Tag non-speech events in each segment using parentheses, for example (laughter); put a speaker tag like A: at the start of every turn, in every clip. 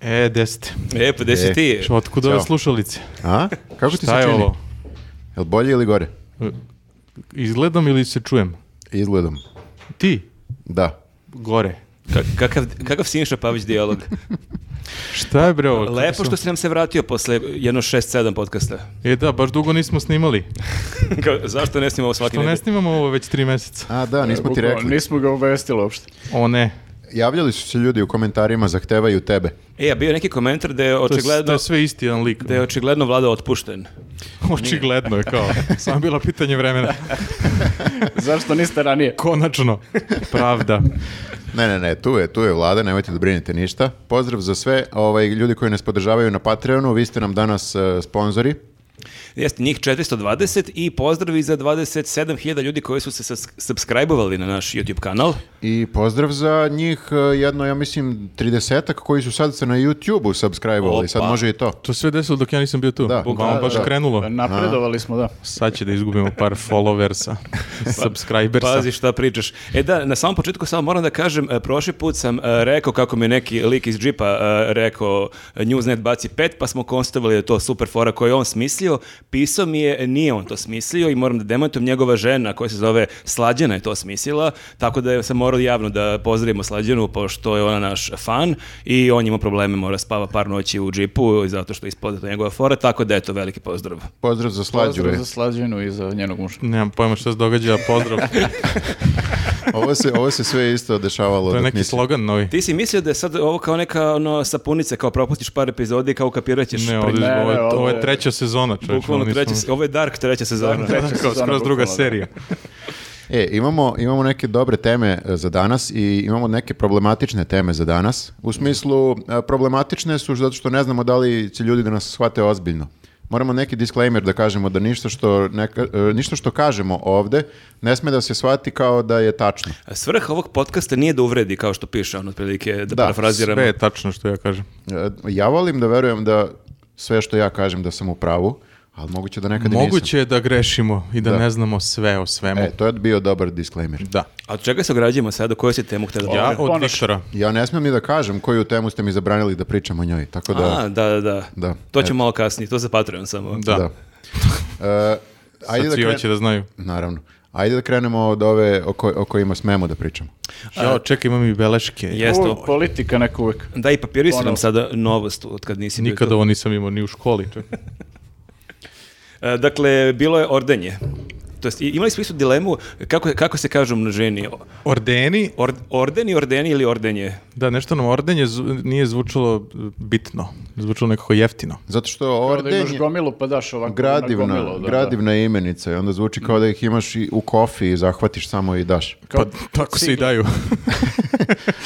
A: 50.
B: E, pa gde si
C: E.
B: ti?
A: Otkud
C: Ćao.
A: ove slušalice?
C: A? Kako ti se
A: Šta je
C: čini?
A: ovo?
C: Jel bolje ili gore?
A: Izgledam ili se čujem?
C: Izgledom.
A: Ti?
C: Da.
A: Gore.
B: Ka- kakav, kakav Siniša Pavić dijalog?
A: Šta je bre ovo? Kako
B: Lepo
A: sam-
B: što si nam se vratio posle jedno 6-7 podcasta.
A: (laughs) E da, baš dugo nismo snimali.
B: Kao, Zašto Pa ne snimamo ovo svaki
A: Što ne
B: nedelj?
A: snimamo ovo već tri meseca?
C: A, da, nismo ti
D: Bukvalno,
C: rekli.
D: Nismo ga obavestili uopšte.
A: O ne.
C: Javljali su se ljudi u komentarima, zahtevaju tebe.
B: E, a bio je neki komentar da je
A: To je, to
B: očigledno...
A: je sve isti jedan lik.
B: Da je očigledno vlada otpušten.
A: (laughs) Očigledno je kao. Samo je bilo pitanje vremena.
D: Zašto niste ranije?
A: Konačno. (laughs) Pravda.
C: Ne, ne, ne, tu je, tu je vlada, nemojte da brinete ništa. Pozdrav za sve ovaj, ljudi koji nas podržavaju na Patreonu, vi ste nam danas eh, sponzori.
B: Jeste, njih 420 i pozdravi za 27.000 ljudi koji su se sas- subscribe-ovali na naš YouTube kanal.
C: I pozdrav za njih eh, jedno, ja mislim, 30 koji su sad se na YouTube-u subscribe-ovali, sad
B: Opa.
C: može i to.
A: To se sve desilo dok ja nisam bio tu.
C: Da,
A: Vama
C: da,
A: baš
C: da.
A: krenulo.
D: Napredovali smo, da.
A: Sad će da izgubimo par followersa, subscribersa.
B: Pazi šta pričaš. E da, na samom početku samo moram da kažem, e, prošli put sam e, rekao kako mi je neki lik iz džipa e, rekao e, Newsnet baci pet, pa smo konstatovali da je to super fora koju je on smislio. Pisao mi je, e, nije on to smislio i moram da demantujem njegova žena koja se zove Slađana je to smislila, tako da sam morao javno da pozdravimo Slađanu pošto je ona naš fan i on ima probleme, mora spava par noći u džipu zato što je ispod to njegova fora, tako da eto, veliki pozdrav.
C: Pozdrav za slađu.
D: Pozdrav
C: eh.
D: za Slađenu i za njenog muža.
A: Nemam pojma šta se događa, pozdrav.
C: Ovo se, ovo se sve isto dešavalo.
A: To je
C: dok
A: neki
C: nisi-
A: slogan novi.
B: Ti si mislio da je sad ovo kao neka ono, sapunica, kao propustiš par epizodi i kao kapiraćeš.
A: Ne,
B: pri-
A: ovdje,
D: Ne, ne,
A: ovo, je,
D: ovo
A: ovo je
D: je-
A: treća sezona, čovječ.
B: Bukvalno
A: ono
B: treća,
A: nismo-
B: se- ovo je Dark treća sezona.
D: treća
A: Kao
D: sezona,
A: skroz druga
D: bukvalno, da.
A: serija.
C: E, imamo, imamo neke dobre teme e, za danas i imamo neke problematične teme za danas. U smislu, e, problematične su zato što ne znamo da li će ljudi da nas shvate ozbiljno. Moramo neki disclaimer da kažemo da ništa što, neka, e, ništa što kažemo ovde ne sme da se shvati kao da je tačno.
B: Svrha ovog podcasta nije da uvredi, kao što piše, ono, otprilike, da,
C: Da,
B: parafraziram.
A: Sve je tačno što ja kažem.
C: E, Ja volim da verujem da sve što ja kažem da sam u pravu, ali moguće da nekad i nisam.
A: Moguće je da grešimo i da, ne znamo sve o svemu.
C: E, to je bio dobar disclaimer.
A: Da.
B: A od čega se ograđujemo sada? Koju si temu htjela da
A: Ja
B: pokrene?
A: od
D: Ponoš.
A: Viktora.
C: Ja ne smijem ni da kažem koju temu ste mi zabranili da pričam o njoj, tako da...
B: A, da, da, da.
C: Da,
B: To ćemo malo kasnije, to za Patreon samo.
A: Da.
C: Da. E,
A: Sad
C: ajde da
A: svi
C: kren-
A: hoće da znaju.
C: Naravno. Ajde da krenemo od ove o, koj- o kojima smemo da pričamo.
A: Ja, čekaj, imam i beleške.
B: Jeste,
D: U, politika neka uvek.
B: da i papiri su nam
D: Ponovo.
B: sada novost od kad nisi bio
A: Nikada
B: tu.
A: ovo nisam imao ni u školi. čovječe.
B: E, Dakle, bilo je ordenje. To jest, i- imali smo istu dilemu, kako, kako se kaže u množini?
A: Ordeni,
B: Or, ordeni, ordeni ili ordenje?
A: da nešto nam ordenje zvu- nije zvučalo bitno. Zvučalo nekako jeftino.
C: Zato što
D: Kao da
C: orden
D: imaš
C: je
D: gomilu pa daš ovako
C: gradivna,
D: na gomilu. Da,
C: gradivna imenica i onda zvuči kao da ih imaš i u kofi i zahvatiš samo i daš.
D: Da. Kao,
A: Tako se i daju.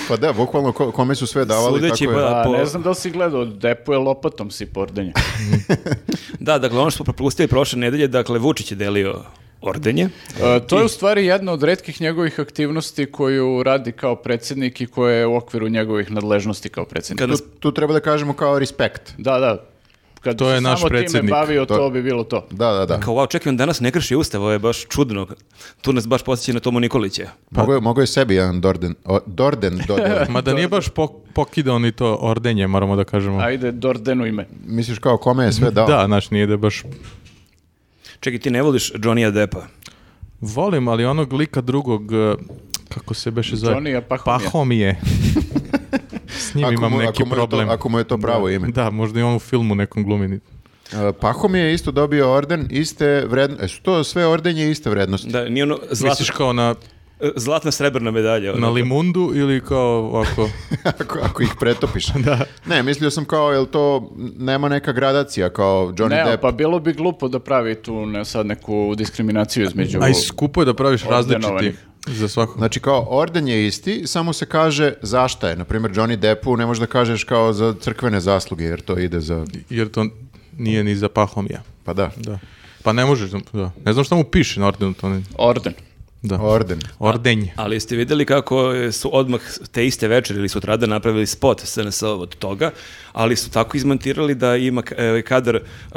C: Pa da, bukvalno ko- kome su sve davali
B: Sudeći
C: tako je.
B: pa-
D: A,
B: po-
D: ne znam da li si gledao, depuje lopatom si pordenje.
B: Da, dakle, ono što smo propustili prošle nedelje, dakle, Vučić je delio ordenje.
D: E, to je u stvari jedna od redkih njegovih aktivnosti koju radi kao predsjednik i koja je u okviru njegovih nadležnosti kao predsjednik.
B: Kad nas-
C: Tu, tu treba da kažemo kao respekt.
D: Da, da. Kad
A: To
D: bi
A: je
D: se
A: naš
D: samo
A: predsjednik.
D: time bavio,
C: To-
D: to... bi bilo to.
C: Da, da, da.
B: Kao, wow, čekaj, on danas ne krši ustav, ovo je baš čudno. Tu nas baš posjeća na Tomu Nikolića.
C: Mogu, je- mogu je sebi jedan dorden, o, dorden dodelati.
A: Ma da nije baš po- pokidao ni to ordenje, moramo da kažemo.
D: Ajde, Dordenu ime.
C: Misliš kao kome je sve dao?
A: Da, znaš, nije da baš
B: Čekaj, ti ne voliš Johnny'a Deppa?
A: Volim, ali onog lika drugog, eh, kako se beše zove?
D: Johnny'a Pahomija.
C: (laughs)
A: Pahomije. S njim
C: Ako
A: imam
C: mu-
A: neki
C: ako mu je to-
A: problem.
C: ako mu je to pravo ime.
A: Da, možda i on u filmu nekom glumini.
C: E, Pahom je isto dobio orden, iste vrednosti. Su to sve ordenje iste vrednosti?
B: Da, nije ono zlatna,
A: Misliš kao na,
B: zlatna srebrna medalja. ono.
A: na Limundu ili kao
D: (laughs)
A: ovako?
C: (laughs) ako, ako ih pretopiš. da. Ne, mislio sam kao, jel to nema neka gradacija kao Johnny
D: Ne,
C: Depp?
D: pa bilo bi glupo da pravi tu ne, sad neku diskriminaciju između...
A: A i skupo je da praviš različiti
D: Ordenovanih.
A: za svakog.
C: Znači kao orden je isti, samo se kaže zašta je. Naprimer Johnny Deppu ne možeš da kažeš kao za crkvene zasluge jer to ide za...
A: Jer to nije ni za Pahomija.
C: Pa da.
A: Da. Pa ne možeš, da. Ne znam šta mu piše na ordenu, to ne.
D: Orden.
A: Da.
C: Orden.
A: Ordenj.
B: Ali ste vidjeli kako su odmah te iste večeri ili sutrada napravili spot SNS od toga, ali su tako izmontirali da ima k- e, kadar uh,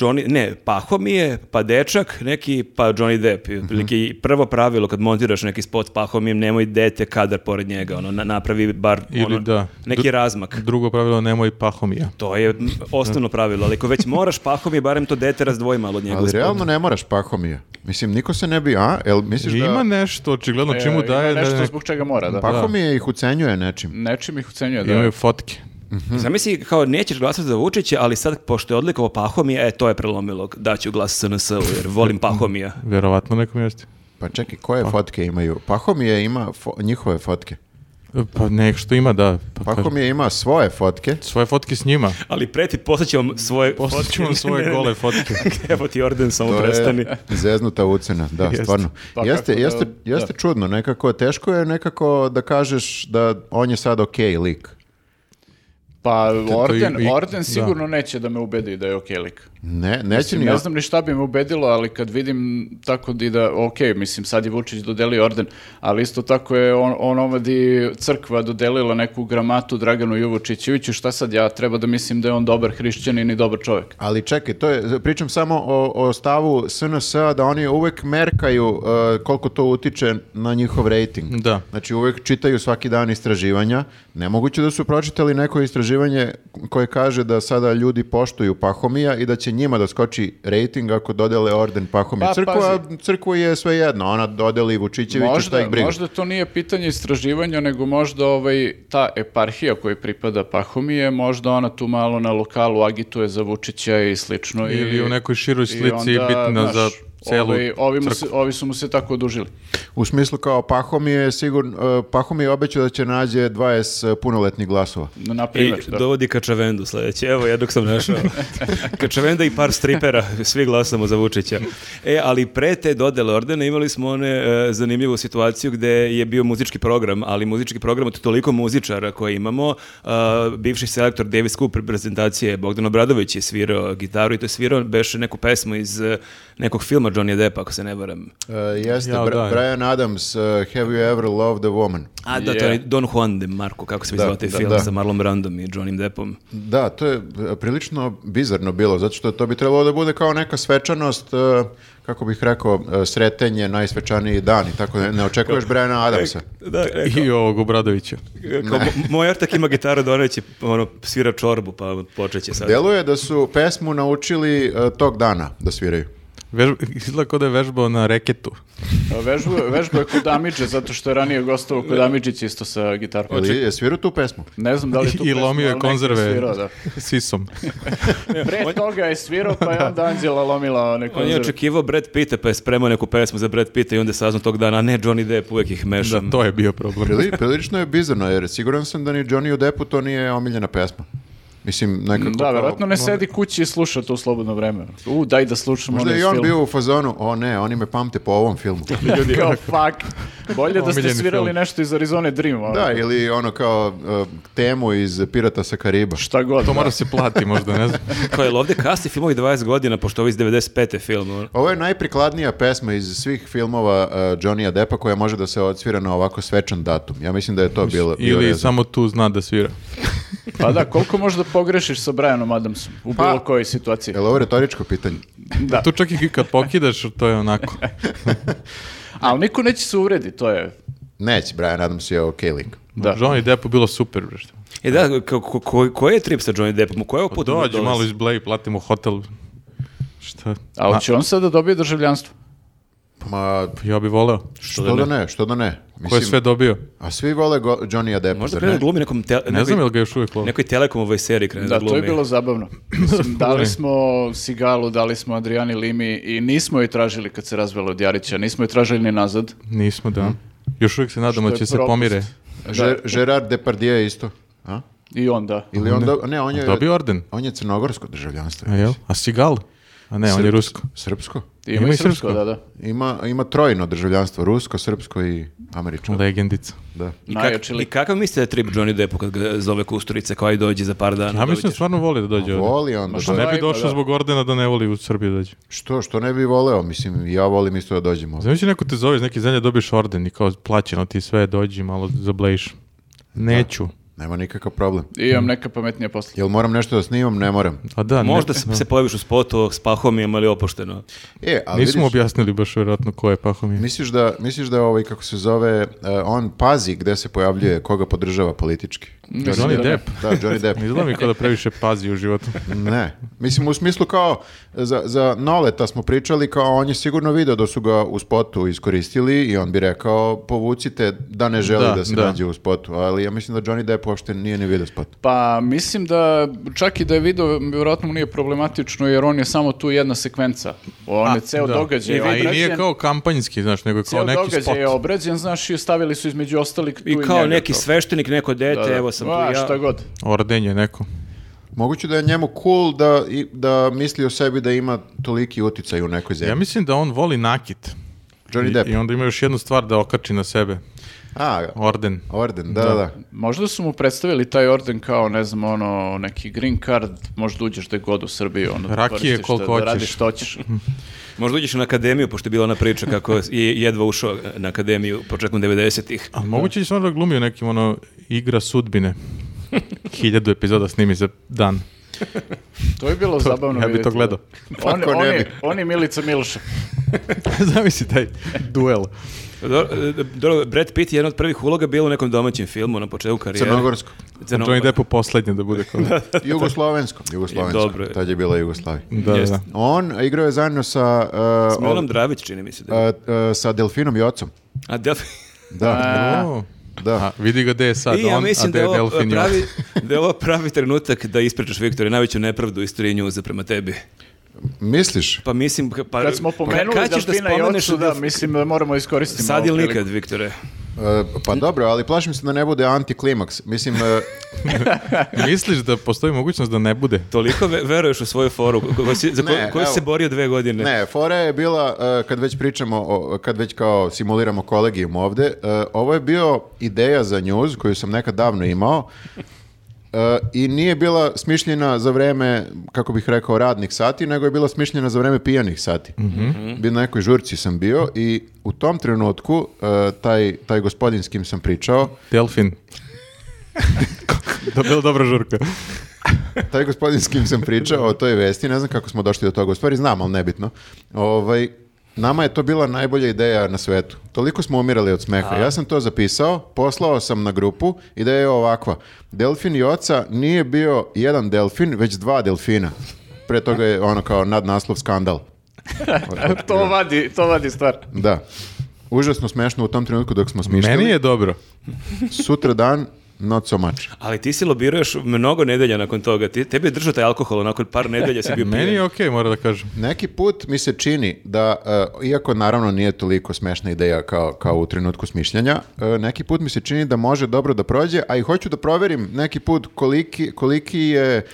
B: Johnny, ne, Pahomije, pa dečak, neki, pa Johnny Depp. I otprilike
A: Mhm.
B: i prvo pravilo kad montiraš neki spot s Pahomijem, nemoj dete kadar pored njega, ono, na- napravi bar
A: Ili
B: ono,
A: da.
B: neki
A: Dru-
B: razmak.
A: Drugo pravilo, nemoj pahomija.
B: To je m, osnovno pravilo, ali ako već moraš Pahomije, barem to dete razdvoji malo od njega.
C: Ali
B: u spotu.
C: realno ne moraš pahomija. Mislim, niko se ne bi, a? El, misliš da...
A: Ima nešto, očigledno, čemu
D: E,
A: daje
D: Ima
A: da
D: nešto
A: ne-
D: zbog čega mora, da.
C: Pahomije ih ucenjuje nečim.
D: Nečim ih ucenjuje, da.
A: imaju fotke. Hmm.
B: Zamisli kao nećeš glasati za Vučića, ali sad pošto je odlikovao Pahomija, e to je prelomilo da ću glas SNS jer
A: (laughs)
B: volim Pahomija.
A: Verovatno na nekom mjestu.
C: Pa čekaj, koje fotke imaju? Pahomije ima fo- njihove fotke.
A: E, Pa nek što ima, da. Pa kažem,
C: Pahomije ima svoje fotke.
A: Svoje fotke s njima.
B: Ali preti, poslat ću vam svoje
A: Poslat ću vam
B: fotke. Ne,
A: svoje
B: ne, ne.
A: gole
C: (laughs)
A: fotke.
B: (laughs) Evo ti orden, samo
C: To
B: prestani.
C: je zeznuta ucena, da, stvarno.
D: Pa
C: jeste,
D: kako da-
C: jeste, jeste čudno, nekako teško je nekako da kažeš da on je sad okej lik.
D: Pa
A: to
D: Orden,
A: i- i-
D: Orden
A: da.
D: sigurno neće da me ubedi da je okej lik.
C: Ne, neće
D: Mislim,
C: ni...
D: ne znam ni šta bi me ubedilo, ali kad vidim tako di da, ok, mislim, sad je Vučić dodelio orden, ali isto tako je on, on ova di crkva dodelila neku gramatu Draganu Juvočićeviću, šta sad ja treba da mislim da je on dobar hrišćanin i dobar čovjek?
C: Ali čekaj, to je, pričam samo o, o stavu sns da oni uvek merkaju e, koliko to utiče na njihov rating.
A: Da.
C: Znači uvek čitaju svaki dan istraživanja. Nemoguće da su pročitali neko istraživanje koje kaže da sada ljudi poštuju Pahomija i da će njima da skoči rating ako dodele orden Pahomija.
D: Pa,
C: Crkva, crkvu je sve jedno, ona dodeli Vučićeviću šta ih
D: Možda,
C: briga.
D: možda to nije pitanje istraživanja, nego možda ovaj, ta eparhija koji pripada Pahomije, možda ona tu malo na lokalu agituje za Vučića i slično.
A: Ili u nekoj široj
D: i
A: slici
D: onda,
A: bitna
D: znaš,
A: za celu
D: ovi, ovi mu se, ovi su mu se tako odužili.
C: U smislu kao Pahomije je sigurno, Pahomije obećao da će nađe 20 punoletnih glasova.
D: Na
B: I
D: primjer, da.
B: dovodi Kačavendu sledeće. Evo, jednog sam
C: (laughs)
B: našao. Kačavenda i par stripera. Svi glasamo za Vučića. E, ali pre te dodele ordena imali smo one e, zanimljivu situaciju gde je bio muzički program, ali muzički program od toliko muzičara koje imamo. e, bivši selektor Davis Cooper prezentacije Bogdan Obradović je svirao gitaru i to je svirao beše neku pesmu iz e, nekog filma Johnny Deppa, ako se ne varam.
C: E, jeste,
A: Jao,
C: Bra-
A: da.
C: Brian Adams, e, Have you ever loved a woman?
B: A da, to je
D: Je.
B: Don Juan de Marco, kako se
C: Da,
B: izvao taj
C: da,
B: film
C: da.
B: sa Marlon Brandom i Johnny Deppom.
C: Da, to je e, prilično bizarno bilo, zato što to bi trebalo da bude kao neka svečanost, e, kako bih rekao, e, sretenje, najsvečaniji dan i tako, ne, ne očekuješ Briana Adamsa.
B: Da, rekao-
A: i ovog Obradovića.
B: Kao, mo- moj ortak ima gitaru, doneće, ono, svira čorbu, pa počeće sad.
C: Deluje da su pesmu naučili e, tog dana da sviraju.
A: Vež... Izgleda kao da je vežbao na reketu.
D: Vežbu, vežbu je kod Amidže, zato što je ranije gostovao
A: (laughs)
D: kod Amidžić isto sa gitarkom.
C: Ili je svirao tu pesmu?
D: Ne znam da li je tu
A: (laughs) I
D: pesmu,
A: lomio je
D: ali neki
A: konzerve
D: Svirao, da.
A: sisom.
D: Pre toga je svirao, pa je onda Anđela lomila one
B: On je
D: konzerve.
B: očekivao Brad Pitta, pa je spremao neku pesmu za Brad Pitta i onda je saznao tog dana, a ne Johnny Depp, uvijek ih
A: Da,
B: mešam.
A: to je bio problem.
C: Prili- prilično je bizarno, jer siguran sam da ni Johnny Deppu to nije omiljena pesma. Mislim, nekako...
D: Da,
C: kao-
D: verovatno ne sedi kući i sluša to u slobodno vreme. U, daj da slušam
C: Možda
D: onaj
C: je i on
D: film. (laughs)
C: bio u fazonu, o ne, oni me pamte po ovom filmu.
D: Kao, fuck. Bolje da ste
A: Omiljeni
D: svirali
A: film.
D: nešto iz Arizone Dream. ono.
C: Da, ili ono kao e, temu iz Pirata sa Kariba.
D: Šta god.
A: To
D: da.
A: mora se plati možda, ne znam.
B: Kao je ovdje kasni film ovih 20 godina, pošto ovo je iz 95. film. ono.
C: Ovo je najprikladnija pesma iz svih filmova uh, Johnny'a Deppa koja može da se odsvira na ovako svečan datum. Ja mislim da je to bilo. bio
A: Ili
C: rezon.
A: samo tu zna da svira.
D: Pa da, koliko možda pogrešiš sa Brianom Adamsom u
C: Pa-
D: bilo kojoj situaciji.
C: Je li ovo retoričko pitanje?
D: Da.
A: Tu čak i kad pokidaš, to je onako.
D: Ali niko neće se uvredi, to je...
C: Neće, Brian Adams je ok lik.
D: Da.
A: Johnny Deppu bilo super, bre. šta.
B: E da, ko- ko- ko- koji je trip sa Johnny Deppom? U Koji je ovo put?
A: Dođe
B: dolazi?
A: Pa malo iz Blay, platimo hotel. Šta?
D: A
C: Pa-
D: hoće on sad da dobije državljanstvo?
C: Ma,
A: Pa Ja bi voleo.
C: što, da ne? što da ne? Mislim,
A: Ko je sve dobio?
C: A svi vole go- Johnny'a Deppa,
B: Možda
C: zar
B: krene
C: ne?
B: da glumi nekom te-
A: Ne znam je
B: nekoj,
A: li ga još uvijek voleo.
B: nekoj telekomovoj seriji krene E, da,
D: Da,
B: glumi.
D: to je bilo zabavno.
B: (laughs)
D: Mislim, dali smo Sigalu, dali smo Adriani Limi i nismo je tražili kad se razvela od Jarića, nismo je tražili ni nazad.
A: Nismo, da. Još uvijek se nadamo
D: Mhm. Što
A: da će
D: je
A: se
D: propust.
A: pomire.
C: Ger- Gerard Depardieu je isto. A?
D: I onda.
C: Ili on, do- ne, on je,
A: Dobio orden.
C: on je crnogorsko državljanstvo.
A: A, jel? A Sigal? A ne, on je rusko.
C: Srpsko?
D: Ima, i srpsko, da, da.
C: Ima, ima trojno državljanstvo, rusko, srpsko i američko.
A: Legendica.
C: Da.
B: I,
D: Najjači
B: kak, I
D: lik.
B: kakav mislite da je trip Johnny Deppu kad ga zove Kusturica koja i dođe za par dana?
A: Ja
B: da
A: mislim da
B: vidite?
A: stvarno voli da dođe ovdje.
C: Voli onda.
D: što
C: da-
A: Ne bi
D: Ajmo,
A: došao
D: pa da.
A: zbog ordena da ne voli u Srbiju da dođe.
C: Što, što ne bi voleo? Mislim, ja volim isto da dođem ovdje.
A: Zamisli neko te zove iz neke zemlje, dobiješ orden i kao plaćeno ti sve, dođi malo zablejiš. Neću.
C: Nema nikakav problem.
D: Imam neka pametnija posla.
C: Jel moram nešto da snimam? Ne moram.
A: A da, ne-
B: Možda se, se pojaviš u spotu s pahomijem ili opušteno.
C: E, ali
A: nismo
C: vidiš,
A: objasnili baš vjerojatno ko je Pahomije.
C: misliš da, misliš da ovaj, kako se zove, eh, on pazi gde se pojavljuje, koga podržava politički?
D: Mislim
A: Johnny
D: da ne.
A: Depp.
C: Da, Johnny Depp.
A: Izgleda mi kao da previše pazi u životu.
C: Ne. Mislim, u smislu kao, za, za Noleta smo pričali, kao on je sigurno video da su ga u spotu iskoristili i on bi rekao, povucite da ne želi
A: Da,
C: da, se
A: da.
C: nađe u spotu. Ali ja mislim da Johnny Depp uopšte nije ni video spot.
D: Pa mislim da čak i da je video, vjerojatno mu nije problematično jer on je samo tu jedna sekvenca. On je Pa, ceo
A: Da.
D: događaj.
A: I, a i nije
D: obrađen.
A: kao kampanjski, znaš, nego je kao
D: Cijel
A: neki
D: događaj
A: spot.
D: je obrađen, znaš, i stavili su između ostalih tu
B: I kao
D: njega
B: neki
D: to.
B: sveštenik, neko dete,
D: Da, da.
B: evo sam tu
D: Ma,
B: i ja.
D: šta god.
A: Orden je neko.
C: Moguće da je njemu cool da, i- da misli o sebi da ima toliki uticaj u nekoj zemlji.
A: Ja mislim da on voli nakit.
C: Johnny
A: I-
C: Depp.
A: I, onda ima još jednu stvar da okači na sebe.
C: A,
A: Orden.
C: Orden, da, da. da.
D: Možda su mu predstavili taj orden kao, ne znam, ono, neki green card, možda uđeš gde god u Srbiju, ono, da
A: Rakije
D: koristiš,
A: koliko
D: da, da
A: hoćeš.
D: radiš što hoćeš.
B: Možda uđeš na akademiju, pošto je bila ona priča kako je jedva ušao na akademiju početkom 90-ih.
A: A moguće je stvarno da glumi u nekim, ono, igra sudbine. Hiljadu epizoda snimi za dan.
D: To je bilo zabavno
A: ja bi to
D: vidjeti, da.
A: gledao. (laughs)
D: On,
C: Kako
D: on
C: ne
D: je-
C: bi?
D: on je Milica Milša.
A: Zamisli taj duel.
B: Dobro, e, dobro, Brad Pitt je jedna od prvih uloga bila u nekom domaćem filmu na početku karijere.
C: Crnogorsko.
B: Crno-
A: Johnny Deppu poslednje (laughs) da Mm. bude
B: (laughs)
A: kao...
C: Jugoslovensko. Jugoslovensko.
B: Dobro je.
C: Tad je bila Jugoslavija.
A: Da, da,
B: Jeste.
A: da.
C: On igrao je zajedno sa... uh,
B: S Milanom Dravić čini mi se. Da. je.
C: uh, uh, sa Delfinom Jocom.
B: A Delfi-
C: Da,
A: O,
C: da.
A: A, vidi ga gde je sad
B: (laughs) I ja
A: on, a
B: mislim
A: gde
B: da je
A: je
B: ovo
A: Delfin
B: pravi,
A: pravi...
B: da je ovo pravi trenutak da ispričaš Viktore najveću nepravdu u istoriji njuza prema tebi.
C: Misliš?
B: Pa mislim... ka- Pa,
D: Kad smo
B: ka-
D: pomenuli
B: kad ćeš
D: Delfina i
B: spomeneš
D: Ocu, da,
B: Delf-
D: mislim da moramo iskoristiti
B: Sad
D: ovu
B: ili
D: priliku.
B: nikad, Viktore.
C: E, pa dobro, ali plašim se da ne bude antiklimaks. Mislim, e,
A: (laughs) Misliš da postoji mogućnost da ne bude?
B: Toliko ve- veruješ u svoju foru ko- ko- si- za ko-
C: Ne,
B: koju si se
C: evo.
B: borio dve godine.
C: ne, fora je bila, e, kad već pričamo, o- kad već kao simuliramo kolegijum ovde, e, ovo je bio ideja za news koju sam nekad davno imao e, i nije bila smišljena za vreme, kako bih rekao, radnih sati, nego je bila smišljena za vreme pijanih sati. Bi na nekoj žurci sam bio i u tom trenutku e, taj, taj gospodin s kim sam pričao,
A: Delfin. (laughs) da bila dobra žurka.
C: taj gospodin s kim sam pričao o toj vesti, ne znam kako smo došli do toga, u stvari znam, ali nebitno. Ovaj, nama je to bila najbolja ideja na svetu. Toliko smo umirali od smeha. Ja sam to zapisao, poslao sam na grupu, ideja je ovakva. Delfin i oca nije bio jedan delfin, već dva delfina. Pre toga je ono kao nadnaslov skandal.
D: To vadi, to vadi stvar.
C: Da. Užasno smešno u tom trenutku dok smo smišljali.
A: Meni je dobro.
C: Sutra dan, not so much.
B: Ali ti si lobiruješ mnogo nedelja nakon toga. Ti, tebi je držao taj alkohol, nakon par nedelja si bio
A: E, Meni
B: pijan.
A: je okej, moram da kažem.
C: Neki put mi se čini da, e, iako naravno nije toliko smešna ideja kao, kao u trenutku smišljanja, e, neki put mi se čini da može dobro da prođe, a i hoću da proverim neki put koliki, koliki je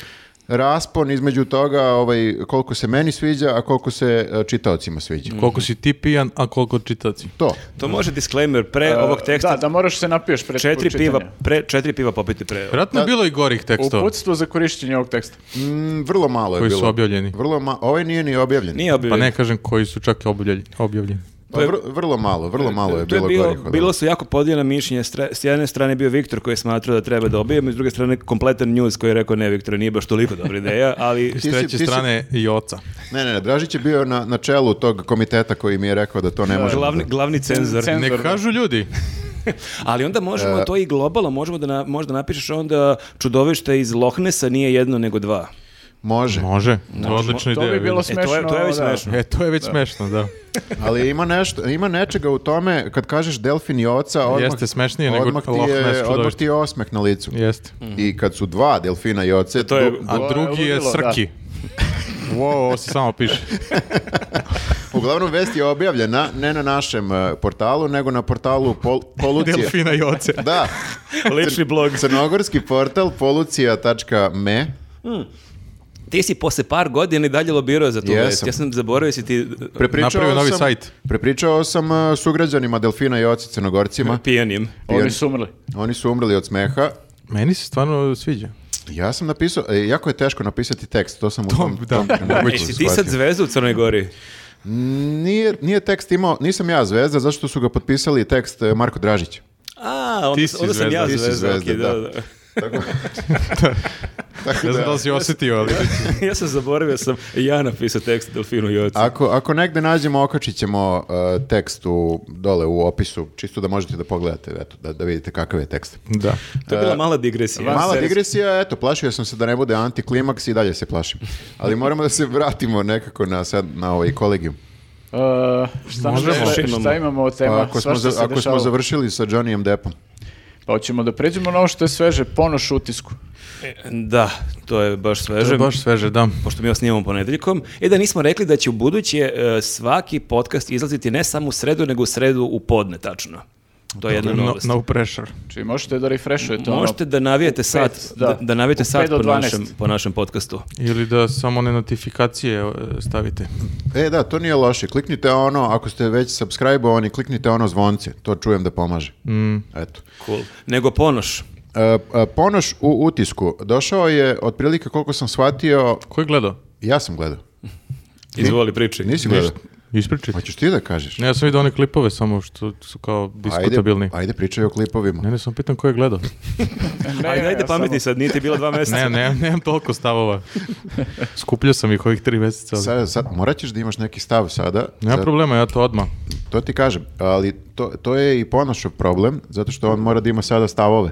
C: raspon između toga ovaj, koliko se meni sviđa, a koliko se e, čitaocima
B: Mhm.
C: sviđa.
A: Koliko si ti pijan, a koliko čitaci.
C: To.
B: To može disclaimer pre E, ovog teksta.
D: E, Da, da moraš se napiješ pred
B: četiri
D: čitanja.
B: piva, pre, četiri piva popiti pre.
A: Vjerojatno je bilo i gorih tekstova.
D: Uputstvo za korišćenje ovog teksta.
C: Mm, vrlo malo je
A: Koji su
C: bilo.
A: objavljeni.
C: Vrlo ma- ovaj nije ni objavljen.
B: Nije
A: Pa
B: objavljen.
A: ne kažem koji su čak i objavljeni. objavljeni.
C: Pa vr- vrlo malo, vrlo malo je
B: To
C: bilo,
B: bio-
C: gorih
A: ono.
C: od
B: bilo
C: ovoga.
B: su jako podijeljena mišljenja. Stra- S jedne strane je bio Viktor koji je smatrao da treba da obije, s druge strane kompletan news koji je rekao ne, Viktor, nije baš toliko dobra ideja, ali
A: S treće
C: ti si-
A: strane i oca.
C: Ne, ne, ne, Dražić je bio na, na čelu tog komiteta koji mi je rekao da to ne može.
B: glavni, glavni cenzor.
D: Cen-
A: Ne
D: Cenzor, da.
A: kažu ljudi.
B: Ali onda možemo
C: E.
B: to i globalno, možemo da na, možda napišeš onda čudovište iz Lohnesa nije jedno nego dva.
C: Može.
A: Može. To je odlična
D: To
A: ideja.
D: bi bilo
A: vidi.
B: E, to
D: smešno.
B: je, to je već
D: da.
B: smešno.
A: E, to je već smešno, da.
C: Ali ima nešto, ima nečega u tome kad kažeš delfin i oca, odmah,
A: Jeste smešnije nego
C: odmah
A: Loch Ness
C: ti je,
A: čudovište.
C: odmah ti je osmeh na licu.
A: Jeste.
C: I kad su dva delfina i oce,
B: E, To je-
C: du-
A: A
D: Ovo je
A: drugi je
D: ludilo,
A: Srki. Wow, ovo se samo (laughs) piše.
C: uglavnom vest je objavljena ne na našem eh, portalu, nego na portalu Pol,
A: (laughs)
C: Polucije.
A: Delfina i oce.
C: Da,
B: Lični blog.
C: crnogorski portal polucija.me
B: Ti si posle par godina i dalje lobirao za to.
C: Jesam.
B: Ja sam zaboravio si ti
C: Prepričao
A: Napravio novi
C: sam,
A: sajt.
C: Prepričao sam uh, sugrađanima Delfina i Oca Crnogorcima.
B: pijanim.
D: Oni su umrli. E,
C: Oni su umrli od smeha.
A: Meni se stvarno sviđa.
C: Ja sam napisao, e, jako je teško napisati tekst, to sam u tom,
A: da,
C: tom trenutku
B: Jesi E, ti sad
C: shvatio.
B: zvezda u Crnoj Gori?
C: Nije, nije tekst imao, nisam ja zvezda, zašto su ga potpisali tekst e, Marko Dražić.
B: A, onda,
A: Ti si
B: onda sam ja
A: zvezda.
C: Ti si
B: zvezda.
C: zvezda,
B: ok,
C: da.
B: da, da. (laughs)
C: Tako
A: Ne znam
C: da,
A: da li si osjetio, ali...
B: ja sam zaboravio sam ja napisao tekst Delfinu i ocu.
C: (laughs) ako, ako negde nađemo, okačit ćemo e, tekst u, dole u opisu, čisto da možete da pogledate, eto, da, da vidite kakav je tekst.
A: (laughs) Da.
B: To je bila mala digresija.
C: e, Mala
B: Serijska.
C: digresija, eto, plašio sam se da ne bude antiklimaks i dalje se plašim. Ali moramo da se vratimo nekako na, sad, na ovaj kolegijum. Pa
D: Uh, šta, nam
A: Možemo.
D: reče- šta imamo od
B: Pa
D: tema?
C: ako smo,
D: Svašta
C: za-
D: se
C: ako smo
D: dešavalo.
C: završili sa Johnnyem Deppom.
D: Pa hoćemo da pređemo na ovo što je sveže, ponoš u utisku.
B: Da, to je baš sveže.
A: To je baš sveže, da.
B: pošto mi ovo snimamo ponedeljkom, je da nismo rekli da će u buduće e, svaki podcast izlaziti ne samo u sredu, nego u sredu u podne, tačno. To je jedna
A: Dakle, No,
B: novost.
A: no pressure.
D: Znači možete da refreshujete ono.
B: Možete da navijete
D: u
B: sat,
D: pet,
B: da, da navijete
D: u
B: sat
D: pet do
B: po
D: 12.
B: našem, po našem podcastu.
A: Ili da samo one notifikacije e, stavite.
C: E, da, to nije loše. Kliknite ono, ako ste već subscribe-ovani, kliknite ono zvonce. To čujem da pomaže.
D: Mm.
C: Eto.
B: Cool. Nego ponoš.
C: E, e, ponoš u utisku. Došao je, otprilike koliko sam shvatio,
A: Ko je gledao?
C: ja sam gledao.
B: Izvoli priči.
C: Nisi gledao?
A: Ispričajte.
C: Hoćeš ti da kažeš?
A: Ne, ja sam vidio one klipove samo što su kao diskutabilni.
C: Ajde, ajde pričaj o klipovima.
A: Ne, ne, samo pitam ko je
D: (laughs)
A: gledao.
D: Ne,
B: Ajde, ajde
D: ja
B: pametni
D: samo-
B: Pa sad, nije ti bilo dva meseca.
A: Ne, ne, nemam toliko stavova.
D: (laughs)
A: Skupljao sam ih ovih tri mjeseca. ali-
C: Sada, sad, morat ćeš da imaš neki stav sada.
A: Nema
C: Sad-
A: problema, ja to odmah.
C: To ti kažem, ali to, to je i ponošov problem, zato što on mora da ima sada stavove.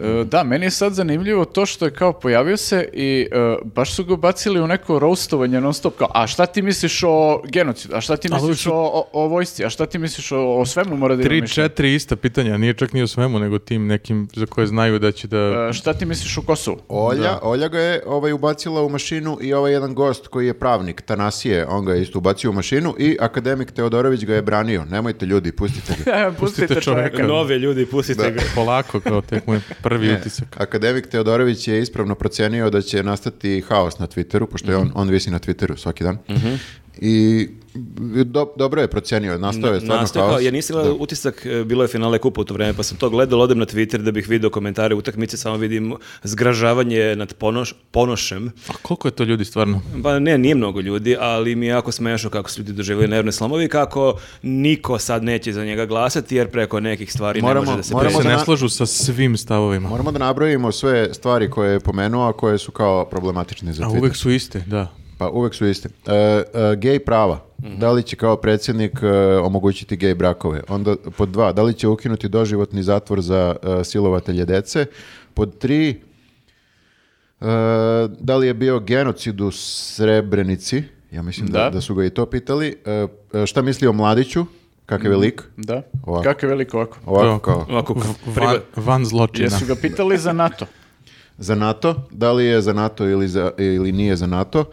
D: E, Da, meni je sad zanimljivo to što je kao pojavio se i e, baš su ga bacili u neko roastovanje non stop, kao a šta ti misliš o genocidu, a šta ti
A: Ali uvijek
D: misliš
A: su-
D: o, o, o vojsci, a šta ti misliš o, o svemu mora da ima
A: Tri,
D: mišljenje.
A: četiri ista pitanja, nije čak ni o svemu, nego tim nekim za koje znaju da će da...
D: E, Šta ti misliš o Kosovu?
C: Olja, Olja ga je ovaj, ubacila u mašinu i ovaj jedan gost koji je pravnik, Tanasije, on ga je isto ubacio u mašinu i akademik Teodorović ga je branio. Nemojte ljudi, pustite ga.
D: E, Pustite,
A: čoveka.
B: Nove ljudi, pustite ga.
A: Polako, kao tek moj prvi
C: E. Ne,
A: utisak.
C: E, Akademik Teodorović je ispravno procenio da će nastati haos na Twitteru, pošto je
B: Mhm.
C: on, on visi na Twitteru svaki dan. I do- dobro je procenio, nastao je stvarno
B: Nastao
C: haos.
B: kao, ja nisam gledao utisak, e, bilo je finale kupa u to vreme, pa sam to gledao, odem na Twitter da bih video komentare utakmice, samo vidim zgražavanje nad ponoš, ponošem.
A: A koliko je to ljudi stvarno?
B: Pa ne, nije mnogo ljudi, ali mi je jako smešno kako su ljudi doživjeli nervne slomove i kako niko sad neće za njega glasati jer preko nekih stvari
C: Moramo-
B: ne može da se
C: moramo
A: se
B: pređe.
C: da
A: ne
C: na-
A: slažu sa svim stavovima.
C: Moramo da nabrojimo sve stvari koje je pomenuo, a koje su kao problematične za
A: A
C: Twitter.
A: uvek su iste, da.
C: Pa uvek su iste. E, e, gej prava. Da li će kao predsjednik e, omogućiti gej brakove? Onda pod dva, da li će ukinuti doživotni zatvor za e, silovatelje dece? Pod tri, e, da li je bio genocid u Srebrenici? Ja mislim da, da,
D: Da.
C: su ga i to pitali. E, e, šta misli o mladiću? Kakav je lik?
D: Da,
C: Ovako.
D: kako je veliko ovako.
C: Ovako
A: Evo,
C: Pa kao.
B: Ovako,
A: V-
B: priba-
A: Van, van zločina.
D: Jesu ga pitali za NATO?
C: Za NATO? Da li je za NATO ili, za, ili nije za NATO?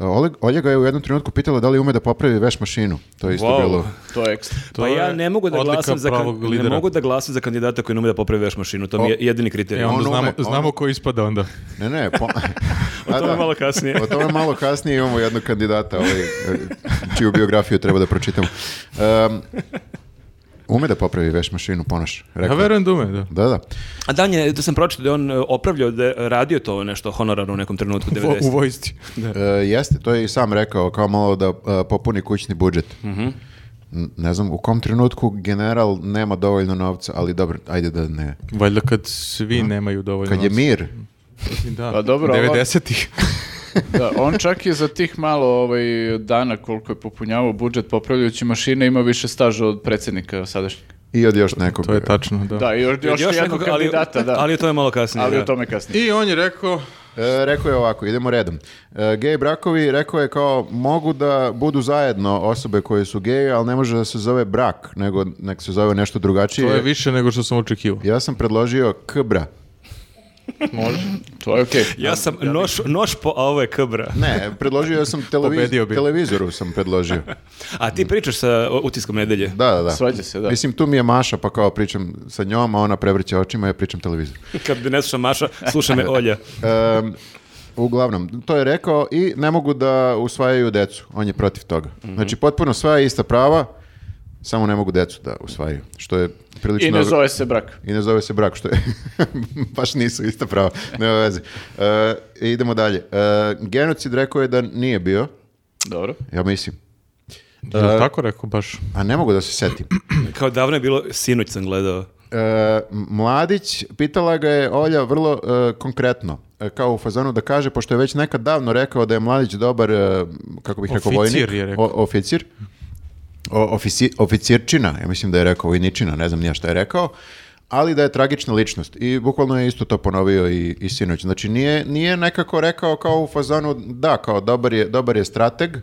C: E, Oleg, Olja ga je u jednom trenutku pitala da li ume da popravi veš mašinu. To je isto
B: Wow.
C: bilo...
D: To je ekstra.
A: To
B: pa ja
A: je
B: ne mogu da
A: odlika
B: glasam za kan-
A: pravog
B: ne
A: lidera.
B: mogu da glasam za kandidata koji ne ume da popravi veš mašinu, to mi je jedini kriterij.
A: E, onda
C: On
D: ono
C: ume,
A: znamo,
C: on-
A: znamo ko ispada onda.
C: Ne, ne,
B: (laughs)
C: po... (laughs)
B: O
C: A
B: tome
C: da,
B: malo kasnije.
C: O tome malo kasnije imamo jednog kandidata ovaj, eh, čiju biografiju treba da pročitam. Um, ume da popravi veš mašinu, ponoš.
A: Ja
C: Rekao. je.
A: verujem da ume, da.
C: Da, da.
B: A dan je, to sam pročitao da je on e, opravljao da je radio to nešto honorarno u nekom trenutku
A: Vo- u
B: 90.
A: vojsci.
C: E, jeste, to je i sam rekao, kao malo da eh, popuni kućni budžet.
B: Mhm.
C: N- Ne znam u kom trenutku general nema dovoljno novca, ali dobro, ajde da ne.
A: Valjda kad svi nemaju dovoljno.
C: Kad je
A: novca.
C: mir,
A: Da,
D: Pa dobro, ovo-
A: 90-ih.
D: Da, on čak i za tih malo ovaj, dana koliko je popunjavao budžet popravljajući mašine ima više staža od predsjednika sadašnjeg.
C: i od još
A: (laughs)
C: nekog.
A: to je tačno, da.
D: Da, i još, još, jednog
B: nekog, ali-
D: kandidata, da.
B: Ali o tome malo kasnije.
D: ali
B: da.
D: o tome kasnije.
A: I on je rekao,
C: E, rekao je ovako, idemo redom. E, gej brakovi, rekao je kao, mogu da budu zajedno osobe koje su geji, ali ne može da se zove brak, nego nek se zove nešto drugačije.
A: to je više nego što sam očekivao.
C: Ja sam predložio kbra.
D: To je okej.
B: Ja sam noš, noš po, a ovo je kbra.
C: Ne,
A: (laughs)
C: predložio sam televiz-
A: Pobedio bi.
C: televizoru sam
A: (laughs)
C: predložio.
B: A ti pričaš sa o, utiskom nedelje.
C: Da, da, da.
D: Svađa se, da.
C: Mislim, tu mi je Maša, pa kao pričam sa njom, a ona prevrće očima, ja pričam televizoru.
B: Kad ne slušam Maša, sluša me Olja.
C: Ehm, Uglavnom, to je rekao i ne mogu da usvajaju decu. On je protiv toga.
D: Mhm.
C: Znači, potpuno sva ista prava, samo ne mogu decu da usvajaju. Što je prilično...
D: I ne zove se brak.
C: I ne zove se brak, što je... (laughs) Baš nisu ista prava, nema veze. E, idemo dalje. E, genocid rekao je da nije bio,
D: Dobro.
C: ja mislim.
A: Je li tako rekao baš?
C: A ne mogu da se setim.
B: Kao davno je bilo, sinoć sam gledao.
C: E, Mladić, pitala ga je Olja vrlo e, konkretno, e, kao u fazonu da kaže, pošto je već nekad davno rekao da je Mladić dobar, e, kako bih rekao,
A: Oficir
C: vojnik.
A: je rekao.
C: O- oficir. O- ofici- oficirčina, ja mislim da je rekao vojničina, ne znam nija šta je rekao, ali da je tragična ličnost. I bukvalno je isto to ponovio i, i sinoć. Znači nije, nije nekako rekao kao u fazonu, da, kao dobar je, dobar je strateg, e,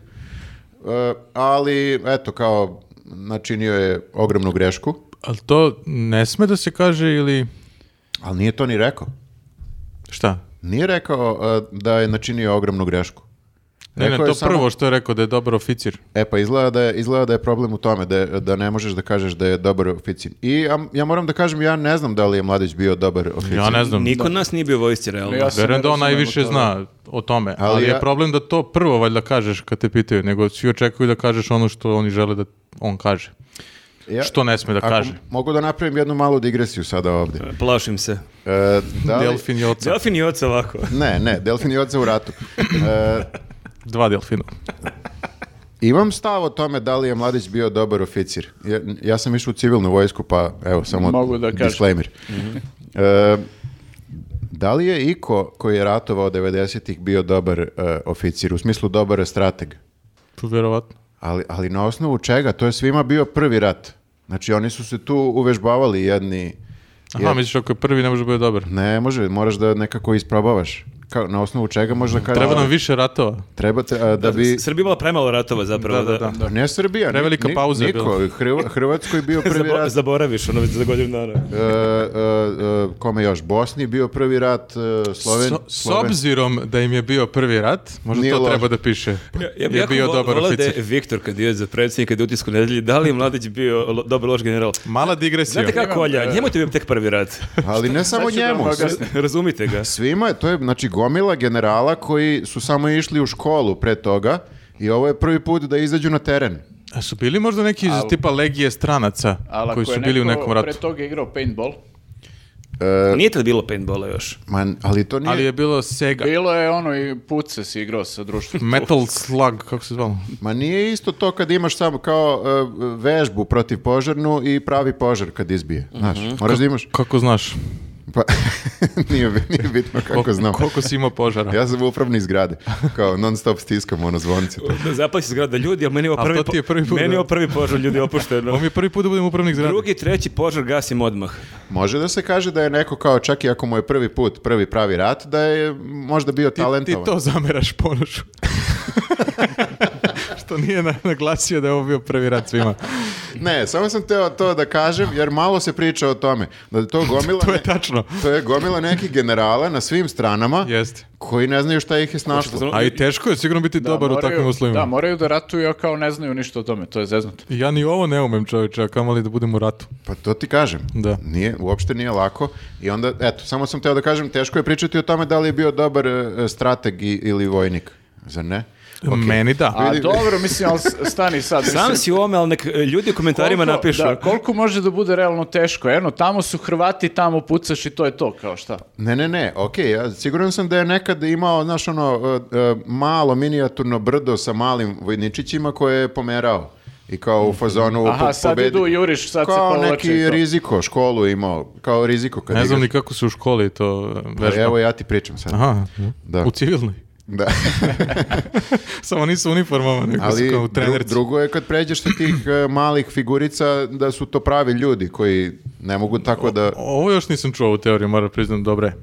C: ali eto, kao načinio je ogromnu grešku,
A: Ali to ne sme da se kaže ili...
C: ali nije to ni rekao.
A: Šta?
C: Nije rekao uh, da je načinio ogromnu grešku.
A: Ne, ne,
C: Rekao
A: to
C: je samo-
A: prvo što je rekao da je dobar oficir.
C: E pa izgleda da je, izgleda da je problem u tome, da, je- da ne možeš da kažeš da je dobar oficir. I ja, ja moram da kažem, ja ne znam da li je Mladić bio dobar oficir.
A: Ja ne znam.
B: Niko od nas nije bio vojsci, realno.
D: Ja sam-
A: Verujem da on
D: Ne razumem
A: najviše
D: o tome.
A: zna o tome, ali,
C: Ali ja-
A: je problem da to prvo valjda kažeš kad te pitaju, nego svi očekuju da kažeš ono što oni žele da on kaže.
C: Ja-
A: Što ne sme da
C: Ako
A: kaže.
C: mogu da napravim jednu malu digresiju sada ovdje.
B: Plašim se.
C: E, da li-
A: Delfin je oca.
B: Delfin i oca ovako.
C: Ne, ne, delfin je oca u ratu. E,
A: Dva delfina.
C: imam stav o tome da li je Mladić bio dobar oficir. Ja, ja sam išao u civilnu vojsku, pa evo, samo
D: Mogu da kažem. Mhm.
C: disclaimer. E, Da li je Iko koji je ratovao 90-ih bio dobar e, oficir, u smislu dobar strateg?
A: Tu verovatno.
C: Ali, ali na osnovu čega? To je svima bio prvi rat. Znači oni su se tu uvežbavali jedni...
A: Aha, misliš ako je prvi ne može da bude dobar.
C: Ne može, moraš da nekako isprobavaš. Kao, na osnovu čega možda kažeš...
A: Treba nam više ratova.
C: Treba tre- a, da bi...
B: Srbija je bila premalo ratova zapravo.
A: Da, da, da.
C: Ne Srbija, ni-
A: Prevelika
C: ni-
A: pauza je
C: niko, Hrv- Hrvatskoj je
A: (laughs)
C: bio prvi
B: Zabo-
C: rat,
B: zaboraviš ono za godinu dana.
C: e, e, e, kome još, Bosni je bio prvi rat, e, Sloven,
A: So- s
C: Sloven-
A: obzirom da im je bio prvi rat, možda
C: Nije
A: to
C: loše.
A: treba da piše.
B: Ja bih
A: je
B: jako
A: bio
B: vol-
A: dobar
B: voleo da je
A: oficir.
B: Viktor kad je za predsjednika da je utisku nedelji, da li je mladić bio lo- dobar loš general?
A: Mala digresija.
B: Znate kako,
A: e-
B: Olja, njemu ti bio tek prvi rat.
C: ali ne samo
D: Sad ću da
C: njemu,
D: vam
C: sve-
D: objasnim.
B: Razumite ga.
C: svima je, to je znači gomila generala koji su samo išli u školu pre toga i ovo je prvi put da izađu na teren.
A: A su bili možda neki iz
D: Al-
A: tipa legije stranaca
D: Ali
A: koji
D: ako
A: su
D: je
A: bili u
D: neko
A: nekom
D: pre
A: ratu?
D: toga igrao paintball,
A: E-
B: Nije tad bilo paintballa još.
C: Ma, ali to nije,
A: Ali je bilo Sega.
D: bilo je ono i puce si igrao sa društvom.
A: Metal Slug, kako se zvalo?
C: ma nije isto to kad imaš samo kao e, vežbu protiv požarnu i pravi požar kad izbije.
A: Mhm.
C: Znaš, moraš da imaš...
A: Kako znaš?
C: Pa, (laughs) nije, nije bitno kako
A: Koliko-
C: znam.
A: Koliko si imao požara?
C: Ja sam upravni zgrade, kao non stop stiskam ono zvonice.
B: Da zapasi zgrada ljudi, ali meni je ovo
A: A
B: prvi,
A: to ti je prvi
B: po-
A: put,
B: meni je
A: da.
B: ovo prvi požar ljudi opušteno.
A: Ovo mi je prvi put da budem upravnik zgrade.
B: Drugi, treći požar gasim odmah.
C: Može da se kaže da je neko kao čak i ako mu je prvi put, prvi pravi rat, da je možda bio
A: ti, ti
C: talentovan.
A: to zameraš ponošu. Što nije na- naglasio da je ovo bio prvi rat svima.
C: Ne, samo sam teo to da kažem, jer malo se priča o tome. Da je to gomila,
A: (laughs) To je
C: ne-
A: tačno.
C: to je gomila nekih generala na svim stranama
A: Jeste.
C: koji ne znaju šta ih je snašlo.
A: A i teško je sigurno biti dobar u takvim uslovima.
D: Da, moraju da ratuju, a kao ne znaju ništa o tome, to je zeznuto.
A: Ja ni ovo ne umem čovječe, a kamali da budem u ratu.
C: Pa to ti kažem.
A: Da.
C: Nije, uopšte nije lako. I onda, eto, samo sam teo da kažem, teško je pričati o tome da li je bio dobar e, strateg i- ili vojnik. Zar ne?
A: Meni da.
D: A
C: Vidi-
D: (laughs) dobro, mislim, ali s- stani sad.
B: Sam
D: mislim,
B: si u ome, ali nek e, ljudi u komentarima
D: koliko-
B: napišu.
D: Da, koliko može da bude realno teško? Eno, tamo su Hrvati, tamo pucaš i to je to, kao šta?
C: Ne, ne, ne, okej, ja siguran sam da je nekad imao, znaš, ono, e, e, malo minijaturno brdo sa malim vojničićima koje je pomerao. I kao u fazonu
D: Aha,
C: po-
D: sad
C: pobedi.
D: idu, juriš, sad se
C: kao
D: povlače i
C: neki
D: to.
C: riziko, školu je imao, kao riziko kad
A: ne znam ni
C: igraš.
A: kako se u školi to e,
D: Pa
A: vežba.
C: Evo ja ti pričam sad.
A: Aha,
C: Da.
A: u civilnoj. (laughs)
C: Da.
A: Samo nisu u uniformama, nego
C: Ali
A: su kao u
C: dru-
A: trenerci.
C: drugo je kad pređeš sa tih e, malih figurica da su to pravi ljudi koji ne mogu tako da...
A: Ovo još nisam čuo u teoriji, moram priznam, dobre.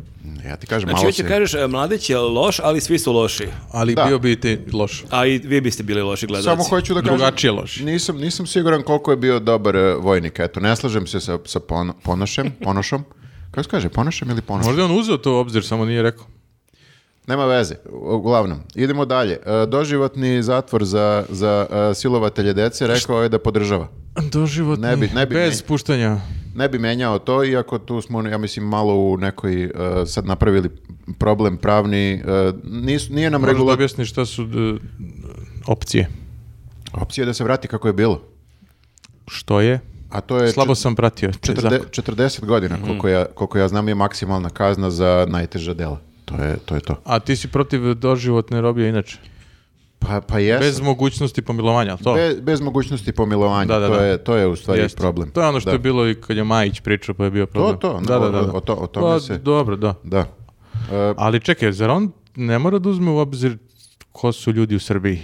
C: Ja ti kažem,
B: Znači,
C: malo
B: hoće
C: se...
B: kažeš, e, mladić je loš, ali svi su loši.
A: Ali
C: Da.
A: bio bi i ti loš.
B: A i vi biste bili loši gledalci.
C: Samo hoću da kažem...
A: Drugačije loš.
C: Nisam, nisam siguran koliko je bio dobar e, vojnik. Eto, ne slažem se sa, sa Pono- ponošem,
A: (laughs)
C: ponošom. Kako se kaže, ponošem ili ponošem?
A: Možda je on uzeo to u obzir, samo nije rekao.
C: Nema veze, U- uglavnom. Idemo dalje. E, Doživotni zatvor za, za e, silovatelje dece rekao je da podržava.
A: Doživotni,
C: Ne bi- ne bi-
A: bez
C: ne.
A: puštanja.
C: Ne bi menjao to, iako tu smo, ja mislim, malo u nekoj, e, sad napravili problem pravni, e, nis- nije nam
A: Možeš da
C: regulator...
A: objasniš šta su d- opcije?
C: Opcija je da se vrati kako je bilo.
A: Što je?
C: A to je
A: Slabo
C: čet-
A: sam Mhm. pratio. taj
C: četrde-
A: zakon.
C: 40 godina, koliko ja, koliko ja znam, je maksimalna kazna za najteža dela. To je to. Je to.
A: A ti si protiv doživotne robije inače?
C: Pa, pa jesam.
A: Bez mogućnosti pomilovanja, jel to?
C: Be- bez mogućnosti pomilovanja.
A: Da, da,
C: to,
A: da.
C: je, to je u stvari
A: Jeste.
C: problem.
A: To je ono što
C: Da.
A: je bilo i kad je Majić pričao, pa je bio problem.
C: to,
A: da, da, da,
C: o-
A: da.
C: o to- o tome
A: Pa,
C: se-
A: Dobro, da.
C: Da. E,
A: Ali čekaj, zar on ne mora da uzme u obzir ko su ljudi u Srbiji?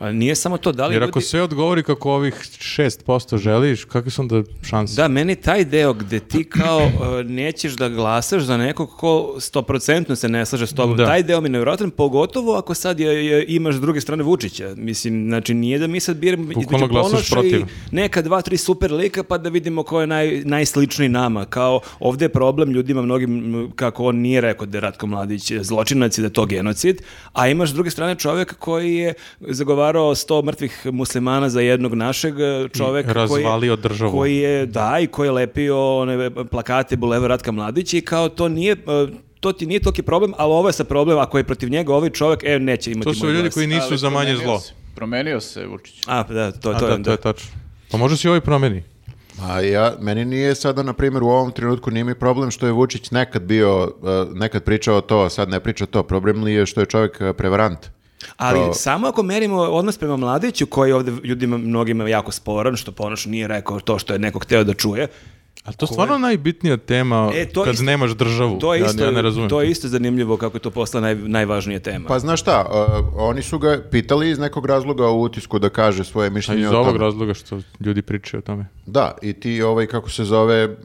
B: A nije samo to, da li
A: Jer
B: ljudi...
A: ako sve odgovori kako ovih 6% želiš, kakve su onda šanse?
B: Da, meni taj deo gde
A: (clears throat)
B: ti kao e, nećeš da glasaš za nekog ko stoprocentno se ne slaže s tobom,
A: Da.
B: taj deo mi je nevjerojatan, pogotovo ako sad je, je- imaš s druge strane Vučića. Mislim, znači nije da mi sad biramo između
A: Bukvalno glasaš
B: Ponoša i
A: protiv.
B: neka dva, tri super lika pa da vidimo ko je naj, najsličniji nama. Kao ovdje je problem ljudima mnogim, m, kako on nije rekao da je Ratko Mladić zločinac i da je to genocid, a imaš s druge strane čovjek koji je zagovarao 100 mrtvih muslimana za jednog našeg e, čovjek koji,
A: razvalio državu.
B: koji je da i koji je lepio one plakate Bulevar Ratka Mladić i kao to nije e, to ti nije toki problem, ali ovo je sa problem, ako je protiv njega ovaj čovjek, e, neće imati
A: To su
B: moj
A: ljudi
B: glas.
A: koji nisu
D: Ali
A: za manje
D: promenio
A: zlo.
D: se. Promenio se Vučić.
B: A, da, to,
A: A,
B: to, je,
A: da, to je tačno. Pa možda se i ovaj promeni.
C: a ja, meni nije sada, na primjer, u ovom trenutku nije mi problem što je Vučić nekad bio, e, nekad pričao to, a sad ne priča to. Problem li je što je čovjek e, prevarant?
B: Ali
C: Kao-
B: samo ako merimo odnos prema mladiću, koji je ovdje ljudima mnogima jako sporan, što Ponoš nije rekao to što je neko hteo da čuje,
A: Ali to je stvarno najbitnija tema
B: E, to je
A: kad
B: isto-
A: nemaš državu.
B: to je,
A: ja,
B: isto,
A: ja ne razumijem.
B: to je isto zanimljivo kako je to postala naj, najvažnija tema.
C: Pa znaš šta, e, oni su ga pitali iz nekog razloga u utisku da kaže svoje
A: A
C: mišljenje
A: iz
C: o
A: ovog
C: tome.
A: razloga što ljudi pričaju o tome.
C: Da, i ti ovaj, kako se zove,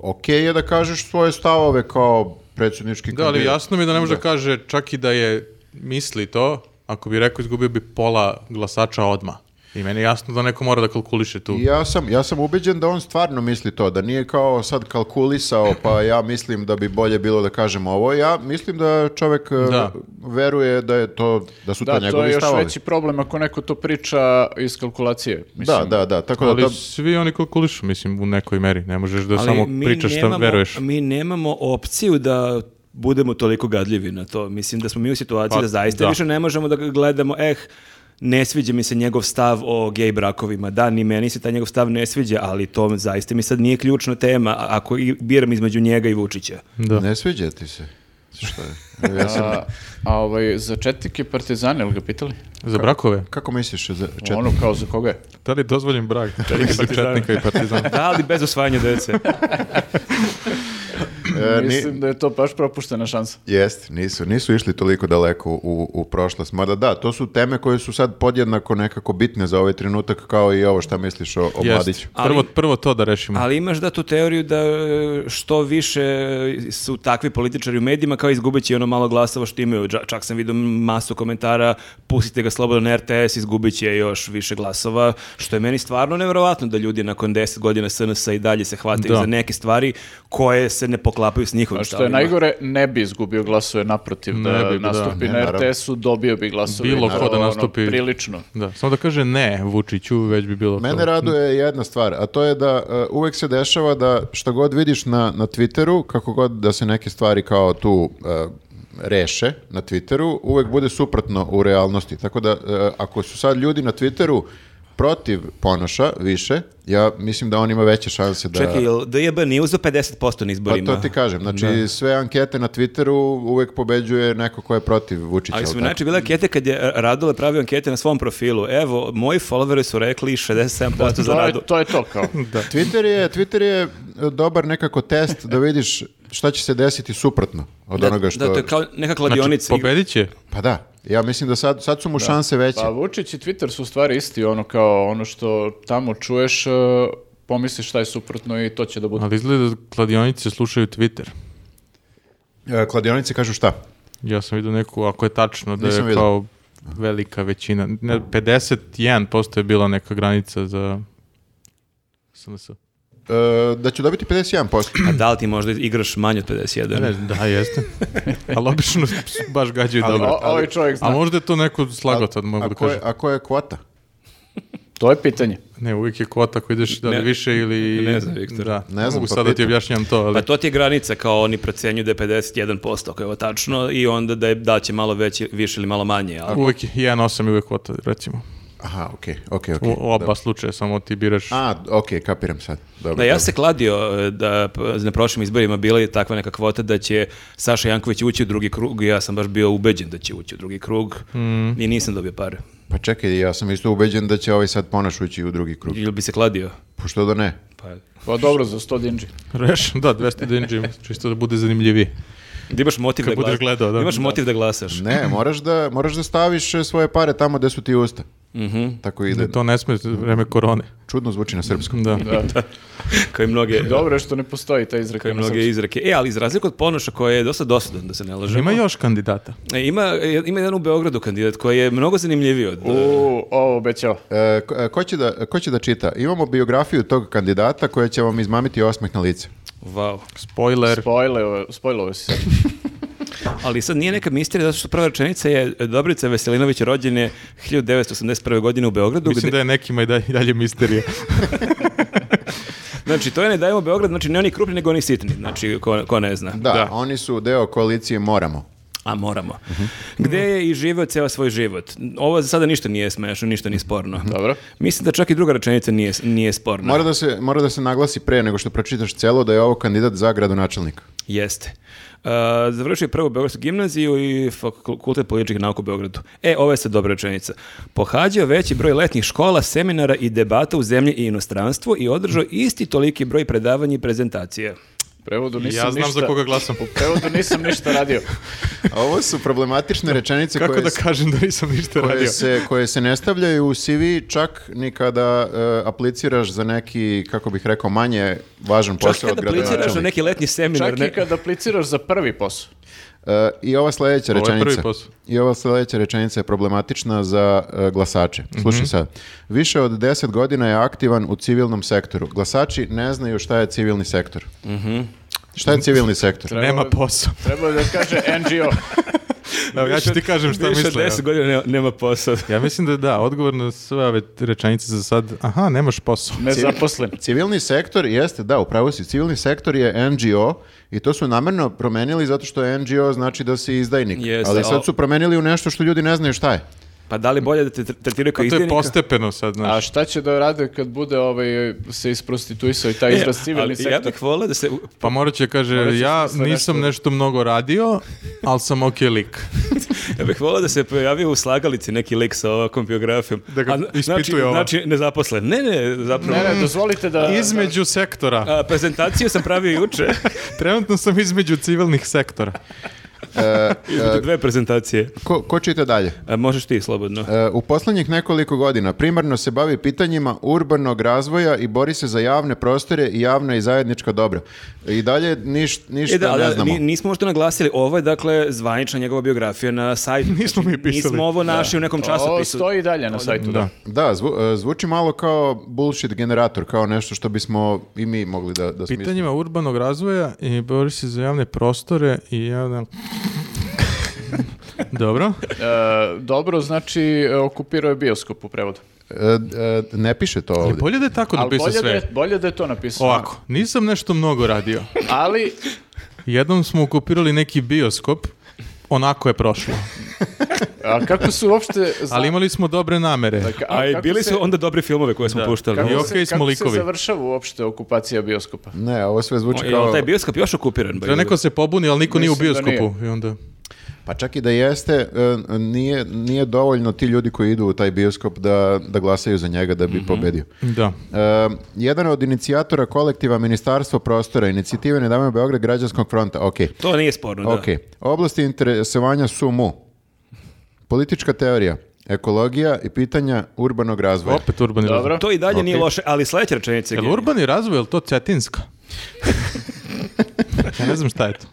C: ok je da kažeš svoje stavove kao predsjednički
A: Da, ali
C: kandidat.
A: jasno mi je da ne može da. kaže čak i da je misli to, ako bi rekao izgubio bi pola glasača odma. I meni je jasno da neko mora da kalkuliše tu.
C: I Ja sam, ja sam ubeđen da on stvarno misli to, da nije kao sad kalkulisao, pa ja mislim da bi bolje bilo da kažem ovo. Ja mislim da čovek e,
A: Da.
C: veruje da je to, da su
D: Da,
C: to
D: to,
C: njegovi
D: je još
C: stavovi.
D: veći problem ako neko to priča iz kalkulacije. Mislim,
C: Da, da, da, tako da
A: Ali
C: to...
A: svi oni kalkulišu, mislim, u nekoj meri. Ne možeš da
B: Ali
A: samo
B: mi
A: pričaš šta
B: nemamo-
A: veruješ.
B: Mi nemamo opciju da budemo toliko gadljivi na to. Mislim da smo mi u situaciji
A: Pa,
B: da zaista
A: da.
B: više ne možemo da gledamo, eh, ne sviđa mi se njegov stav o gej brakovima. Da, ni meni se taj njegov stav ne sviđa, ali to zaista mi sad nije ključna tema a- ako i biram između njega i Vučića.
A: Da.
C: Ne sviđa ti se. Šta je? Evo, Ja sam,
D: (laughs) A, a ovaj, za četnike partizane, jel ga pitali?
A: Za brakove?
C: kako misliš? Za, čet... E,
D: Ono kao za koga je?
A: Da li dozvoljen brak? između četnika i partizana.
B: Da, ali bez osvajanja dece.
C: E, ni-
D: Mislim da je to baš propuštena šansa.
C: Jest, nisu, nisu išli toliko daleko u, u prošlost. Mada da, to su teme koje su sad podjednako nekako bitne za ovaj trenutak kao i ovo šta misliš o, o
A: Jest.
C: Mladiću.
A: Prvo, prvo to da
C: Mm.
A: rešimo.
B: Ali imaš da tu teoriju da e, što više su takvi političari u medijima kao izgubići ono malo glasova što imaju. Đa- Čak sam vidio masu komentara pustite ga slobodno na RTS, izgubit će još više glasova, što je meni stvarno nevjerovatno da ljudi nakon 10 godina SNS i dalje se hvataju
A: Da.
B: za neke stvari koje se ne poklapaju s njihovim
D: A što je
B: stavovima.
D: najgore, ne bi izgubio glasove naprotiv
A: Ne
D: da
A: bi, da.
D: nastupi
C: Ne,
D: na
C: naravno.
D: RTS-u, dobio bi glasove.
A: Bilo ko da
D: naravno, ono,
A: nastupi.
D: prilično.
A: Da, samo da kaže ne Vučiću, već bi bilo
C: Mene
A: to.
B: Mm.
C: raduje jedna stvar, a to je da e, uvek se dešava da što god vidiš na, na Twitteru, kako god da se neke stvari kao tu e, reše na Twitteru, uvek bude suprotno u realnosti. Tako da e, ako su sad ljudi na Twitteru protiv Ponoša više, ja mislim da on ima veće šanse da...
B: Čekaj, jel DJB nije uzeo 50% na
C: Pa
B: izborima?
C: to ti kažem, znači sve ankete na Twitteru uvek pobeđuje neko ko je protiv Vučića.
B: Ali smo
C: jel tako?
B: inače bile ankete kad je Radule pravio ankete na svom profilu. Evo, moji followeri su rekli 67% za
D: To je,
B: Radu.
D: to je to
A: (laughs)
D: kao.
C: Twitter je, Twitter je e, dobar nekako test da vidiš šta će se desiti suprotno od
B: Da,
C: onoga što...
B: da, to je kao neka
A: Znači,
B: kladionica.
A: pobedit će.
C: Pa da, ja mislim da sad, sad su mu šanse veće.
D: Pa Vučić i Twitter su u stvari isti, ono kao ono što tamo čuješ, e, pomisliš šta je suprotno i to će da bude.
A: Ali izgleda da kladionice slušaju Twitter.
C: E, kladionice kažu šta?
A: Ja sam vidio neku, ako je tačno, da
C: Nisam
A: je
C: vidio.
A: kao velika većina. Ne, 51% je bila neka granica za SNS.
C: E, da će dobiti 51%.
B: A da li ti možda igraš manje od 51?
A: Ne, da, jeste. (laughs) Ali obično baš gađaju
D: O,
A: dobro.
D: ovaj čovjek
A: A
D: zna.
A: možda je to neko slago, sad mogu
C: A
A: da
C: ko je,
A: kažem.
C: a ko je kvota?
D: To je pitanje.
A: Ne, uvijek je kvota ako ideš da li
B: Ne-
A: više ili...
B: ne znam, Viktor.
A: Da,
C: Ne znam,
A: mogu
C: pa
A: sad da ti
C: pitam.
A: objašnjam to, ali...
B: Pa to ti je granica, kao oni procenjuju da je 51%, ako je ovo tačno, i onda da, je, da će malo veći, više ili malo manje. Ali...
A: Uvijek je 1,8 i uvijek kvota, recimo.
C: Aha, okej, okej,
A: U,
C: okej.
A: u oba slučaja, samo ti biraš...
C: A, okej, kapiram sad. Dobro,
B: Da, ja
C: dobro.
B: se kladio e, da p- na prošlim izborima bila je takva neka kvota da će Saša Janković ući u drugi krug i ja sam baš bio ubeđen da će ući u drugi krug
A: Mm.
B: i nisam dobio pare.
C: Pa čekaj, ja sam isto ubeđen da će ovaj sad ponaš ući u drugi krug.
B: Ili bi se kladio?
C: Pošto da ne?
B: Pa,
D: Pa dobro, za 100 dinđi.
A: Reš, (laughs) da, 200 dinđi, čisto da bude zanimljiviji.
B: da imaš motiv
A: Kad
B: da
A: budeš
B: glasaš.
A: gledao, da.
B: Imaš
A: Da.
B: motiv da glasaš.
C: Ne, moraš da, moraš da staviš eh, svoje pare tamo gde su ti usta. Tako ide.
A: To ne smije za vreme korone.
C: Čudno zvuči na srpskom.
A: Da.
D: Da.
A: Mm.
B: Kao i
A: (laughs)
B: mnoge,
A: E,
D: Dobro je što ne postoji ta izreka.
B: kao i
D: na srpskom.
B: mnoge izreke. E, ali iz razliku od Ponoša koji je dosta dosadan, da se ne lažemo.
A: Ima još kandidata.
B: E, Ima, e, ima jedan u Beogradu kandidat koji je mnogo zanimljiviji od...
D: U, ovo obećao.
C: E, ko- e, ko, će da, ko će da čita? Imamo biografiju tog kandidata koja će vam izmamiti osmeh na lice.
B: Wow.
A: Spoiler.
D: Spojleo, spojleo si se.
B: Ali sad nije neka misterija, zato što prva rečenica je e, Dobrica Veselinović rođen je 1981. godine u Beogradu.
A: Mislim
B: gde-
A: da je nekima i dalje, i dalje
D: (laughs)
A: misterija.
B: Znači, to je ne dajemo Beograd, znači ne oni krupni, nego oni sitni, znači ko, ko ne zna.
C: Da, oni su deo koalicije Moramo.
B: A moramo. Gde je i živeo ceo svoj život? Ovo za sada ništa nije smešno, ništa nije sporno.
D: Dobro.
B: Mislim da čak i druga rečenica nije, nije sporna.
C: Mora da, se, mora da se naglasi pre nego što pročitaš celo da je ovo kandidat za gradonačelnika.
B: Jeste. Uh, završio je prvu Beogradsku gimnaziju i fakultet političkih nauka u Beogradu. E, ovo je sad dobra rečenica. Pohađao veći broj letnjih škola, seminara i debata u zemlji i inostranstvu i održao isti toliki broj predavanja i prezentacije.
D: U prevodu
A: I
D: nisam
A: ja znam
D: ništa...
A: za koga glasam.
D: U prevodu nisam ništa
A: (laughs)
D: radio.
C: A ovo su problematične rečenice
A: Kako
C: koje,
A: da
C: se-
A: kažem da nisam ništa radio?
C: koje, se, koje se ne stavljaju u CV čak ni kada e, apliciraš za neki, kako bih rekao, manje važan
B: Čak
C: posao
B: kad
C: od
B: apliciraš na
C: gradonačelnika.
B: neki letnji seminar,
D: Čak
B: ne-
D: i kad apliciraš za prvi posao.
C: E, I ova sledeća
A: Ovo je prvi
C: rečenica.
A: posao.
C: I ova sledeća rečenica je problematična za e, glasače. Slušaj
A: Mhm.
C: sad. Više od 10 godina je aktivan u civilnom sektoru. Glasači ne znaju šta je civilni sektor.
A: Mhm.
C: Šta je civilni sektor?
A: Nema posao.
D: Trebao je da kaže NGO.
A: Evo, ja ću ti kažem šta
B: Više od
A: mislim.
B: 10 godina nema, nema posao.
A: Ja mislim da da, odgovor na sve ove rečenice za sad, aha, nemaš posao.
D: Nezaposlen.
C: Civilni sektor jeste, da, upravo si, civilni sektor je NGO i to su namerno promenili zato što NGO znači da si izdajnik.
B: Jeste,
C: Ali
B: al-
C: sad su promenili u nešto što ljudi ne znaju šta je.
B: Pa da li bolje da te tr- tretiraju kao
A: Pa To je
B: izdajnika?
A: postepeno sad, znaš.
D: A šta će da rade kad bude ovaj, se isprostituisao i taj
B: E,
D: izraz civilni
B: ali
D: sektor?
B: Ja bih volio da se... u-
A: Pa morat će kaže,
D: Morat će
A: ja
D: smisla
A: nisam
D: nešto-
A: nešto mnogo radio, ali sam ok lik.
B: Ja bih volao da se pojavio u slagalici neki lik sa ovakvom biografijom.
A: Da ga
B: A, znači,
A: ispituje ovo.
B: znači, nezaposlen. Ne, ne, zapravo.
D: Ne, ne, dozvolite (laughs) da...
A: Između sektora.
B: A, prezentaciju sam pravio juče.
A: Trenutno sam između civilnih sektora.
B: Između dve prezentacije.
C: Ko, ko čita dalje?
B: A, možeš ti slobodno.
C: E, U poslednjih nekoliko godina primarno se bavi pitanjima urbanog razvoja i bori se za javne prostore i javna i zajednička dobra. I dalje niš, ništa
B: E da, ali
C: ne znamo.
B: ni- nismo možda naglasili, ovo je dakle zvanična njegova biografija na sajtu.
A: Nismo mi
B: Znači,
A: pisali.
B: Nismo ovo našli u nekom
D: Ovo
B: časopisu.
D: stoji dalje na sajtu, da.
A: Da.
C: Da, zvu- e, zvuči malo kao bullshit generator, kao nešto što bismo i mi mogli da, da smislimo.
A: Pitanjima urbanog razvoja i bori se za javne prostore i javna... Dobro.
D: E, dobro, znači e, okupirao je bioskop u prevodu.
C: E, e, ne piše to
A: Ali
C: ovdje.
A: bolje da je tako
D: Ali
A: napisao
D: bolje da,
A: sve.
D: je, bolje da je to napisano.
A: Ovako, nisam nešto mnogo radio.
D: Ali,
A: Jednom smo okupirali neki bioskop, onako je prošlo.
D: a kako su uopšte... zna-
A: Ali imali smo dobre namere.
D: Ka- a
B: A i
D: kako
B: bili
D: se-
B: su onda dobre filmove koje smo puštali.
A: Kako-
B: Kako...
A: I
D: Kako,
A: okej
D: se,
A: smo
D: kako se
A: likovi.
D: završava uopšte okupacija bioskopa?
C: Ne, ovo sve zvuči
B: Je
C: kao...
B: taj bioskop još okupiran? by the
A: Da
B: way?
A: neko se pobuni, ali niko nije u
D: Mislim da
A: bioskopu. I onda...
C: Pa čak i da jeste, e, nije, nije dovoljno ti ljudi koji idu u taj bioskop da, da glasaju za njega da bi pobedio.
A: Da.
C: E, jedan od inicijatora kolektiva Ministarstvo prostora inicijative Ne davamo Beograd građanskog fronta. Ok,
B: To nije sporno, da.
C: ok. Oblasti interesovanja su mu politička teorija, ekologija i pitanja urbanog razvoja.
A: Opet urbani
D: Dobro.
A: razvoj.
B: To i dalje nije
C: Ok.
B: loše, ali sledeća rečenica je
A: Jel
B: genijalna.
A: urbani razvoj,
D: (laughs)
A: jel to Cetinska? ja ne znam šta je to.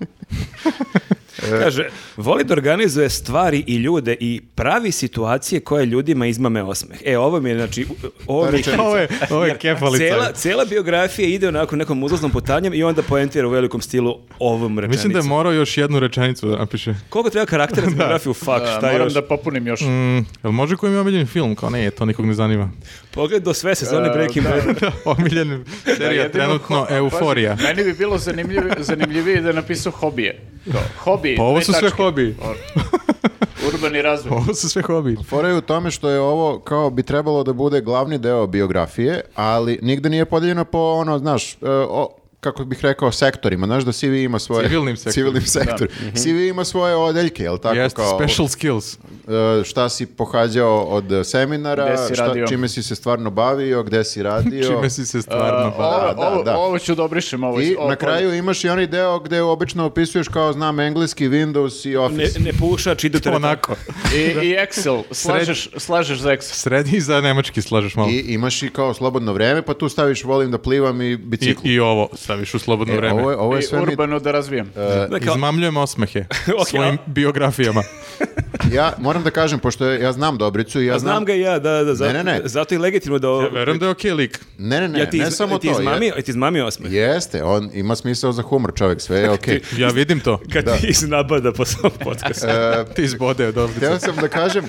B: Kaže, voli da organizuje stvari i ljude i pravi situacije koje ljudima izmame osmeh. E, ovo mi je, znači, u- ovo mi je... (laughs)
A: Ovo je, ovo je kefalica.
B: Cela, cela biografija ide onako nekom uzlaznom putanjem i onda poentira u velikom stilu ovom rečenicom.
A: Mislim da je morao još jednu rečenicu da napiše.
B: Koliko treba
A: (laughs)
B: karaktera za biografiju? Fuck,
D: A,
B: šta
D: moram
B: još?
D: da popunim još.
A: Mm, jel može koji mi je omiljen film? Kao ne, to nikog ne zanima.
B: Pogled do sve sezone
D: E,
B: Breaking
D: da.
B: Bad.
A: (laughs) omiljen serija
D: jedino
A: trenutno Euforija.
D: (laughs) Pazi, meni bi bilo zanimljiv, zanimljivije da je napisao hobije. Kao, hobi,
A: Pa ovo
D: dve
A: su sve
D: tačke.
A: hobi. Pa
D: Urbani razvoj.
A: Ovo su sve hobi.
C: Fora je u tome što je ovo kao bi trebalo da bude glavni deo biografije, ali nigde nije podeljeno po ono, znaš, e, o, kako bih rekao, sektorima. Znaš da CV ima svoje...
A: Civilnim sektorima.
C: (laughs)
A: Mhm.
C: Civilnim sektorima. CV ima svoje odeljke, jel tako?
A: Jeste,
C: kao,
A: special skills.
C: e, šta si pohađao od e, seminara,
D: Gde si
C: šta,
D: radio?
C: čime si se stvarno bavio, gde si radio.
A: (laughs) Čime si se stvarno
D: Pa ovo,
A: bavio?
C: da, da,
D: ovo-
C: da.
D: ovo ću da obrišem. Ovo,
C: I
D: ovo-
C: na kraju imaš i onaj deo gde obično opisuješ kao znam engleski, Windows i
B: Ne,
C: Office.
B: ne
A: (laughs)
B: pušač, idu telefon.
A: Onako.
D: I, i Excel. Slažeš, slažeš za Excel.
A: Srednji za nemački slažeš malo.
C: I imaš i kao slobodno vreme, pa tu staviš volim da plivam i
A: I,
C: biciklu.
A: i ovo staviš u slobodno
C: E,
A: vreme.
C: Ovo je, ovo je
D: I
C: sve mi- E.
D: urbano da razvijem.
B: Da, kao,
A: Izmamljujem osmehe
B: Ok,
A: svojim
B: a-
A: biografijama.
C: Ja moram da kažem, pošto ja znam Dobricu, i ja znam...
B: znam ga i ja, da, da, zato,
C: Ne, ne, ne.
B: zato je legitimno da...
A: Verujem da je okej lik.
C: Ne, ne, ne,
B: ja ti,
C: ne
B: izma-
C: samo
B: ti
C: to. je-
B: izmamio, ti izmamio osmeh.
C: Jeste, on ima smisao za humor, čovjek, sve
B: (laughs)
C: je okej.
A: Ja vidim to.
B: Kad ti iznabada po svom
C: (laughs)
B: podcastu.
A: Ti izbode od ovdje.
C: Htio sam da kažem...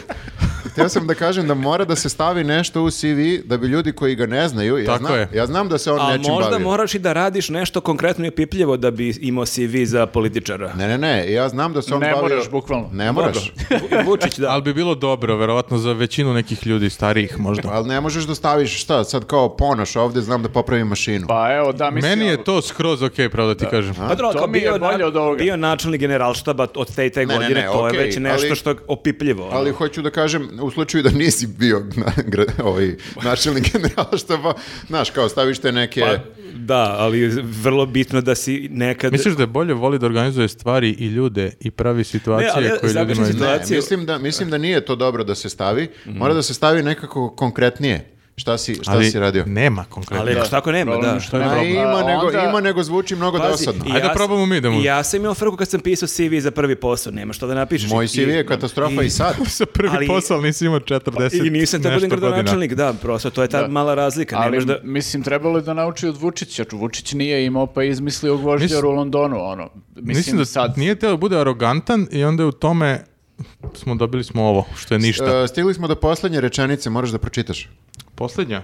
C: Htio sam da kažem da mora da se stavi nešto u CV da bi ljudi koji ga ne znaju, ja,
A: Tako
C: znam,
A: je.
C: ja znam da se on
B: A
C: nečim
B: možda
C: bavio.
B: moraš i da radiš nešto konkretno i opipljivo da bi imao CV za političara.
C: Ne, ne, ne, ja znam da se on
D: Ne
C: bavio...
D: moraš, bukvalno.
C: Ne moraš,
B: Vu- (laughs) Vučić, da.
A: Ali bi bilo dobro, verovatno za većinu nekih ljudi, starijih možda.
C: ali ne možeš da staviš šta, sad kao ponoš ovdje, znam da popravim mašinu.
D: Pa evo, da mi
A: Meni je to skroz okej, pravo da ti kažem.
B: Pa dobro,
D: to
B: kao
D: mi je
B: bio, na-
D: bolje od ovoga.
B: bio načelnik generalštaba od te i te
C: Ne, ne,
B: godine,
C: ne,
B: to je
C: okej,
B: već nešto
C: ali-
B: što je opipljivo. ono.
C: Ali hoću da kažem, u slučaju da nisi bio (laughs) na, gra- ovaj, načelnik generalštaba, znaš, kao staviš te neke...
B: Pa, da, ali je vrlo bitno da si nekad...
A: Misliš da je bolje voli da organizuje stvari i ljude i pravi situacije
B: Ne, ali
A: koje
B: zakači
A: ljudima...
B: situa-
C: Ne,
B: situaciju.
C: mislim da, mislim da nije to dobro da se stavi. Mora da se stavi nekako konkretnije. Šta si, šta
A: Ali
C: si radio?
A: nema konkretno.
B: Ali šta ako nema,
D: Problem
B: da.
D: je što
A: To je
C: A,
A: problem.
C: ima,
D: A
C: nego,
D: onda-
C: ima nego zvuči mnogo
B: Pazi,
C: dosadno.
B: i
A: Ajde,
B: ja s-
A: probamo mi da mu-
B: i Ja sam imao frku kad sam pisao CV za prvi posao, nema što da napišeš.
C: Moj
B: I-
C: CV je katastrofa i, (laughs) sad.
A: Sa prvi
B: Ali-
A: posao nisi imao 40
B: I nisam tako
A: nešto
B: budem
A: godina.
B: gradonačelnik, da, prosto, to je ta mala razlika. ne
D: Ali,
B: možeš da...
D: mislim, trebalo je da nauči od Vučića. Vučić nije imao, pa je izmislio gvožđar
A: Mislim-
D: u Londonu, ono. Mislim,
A: Mislim da
D: sad...
A: nije teo da bude arogantan i onda je u tome smo dobili smo ovo, što je ništa.
C: E, stigli smo do posljednje rečenice, moraš da pročitaš.
A: Poslednja.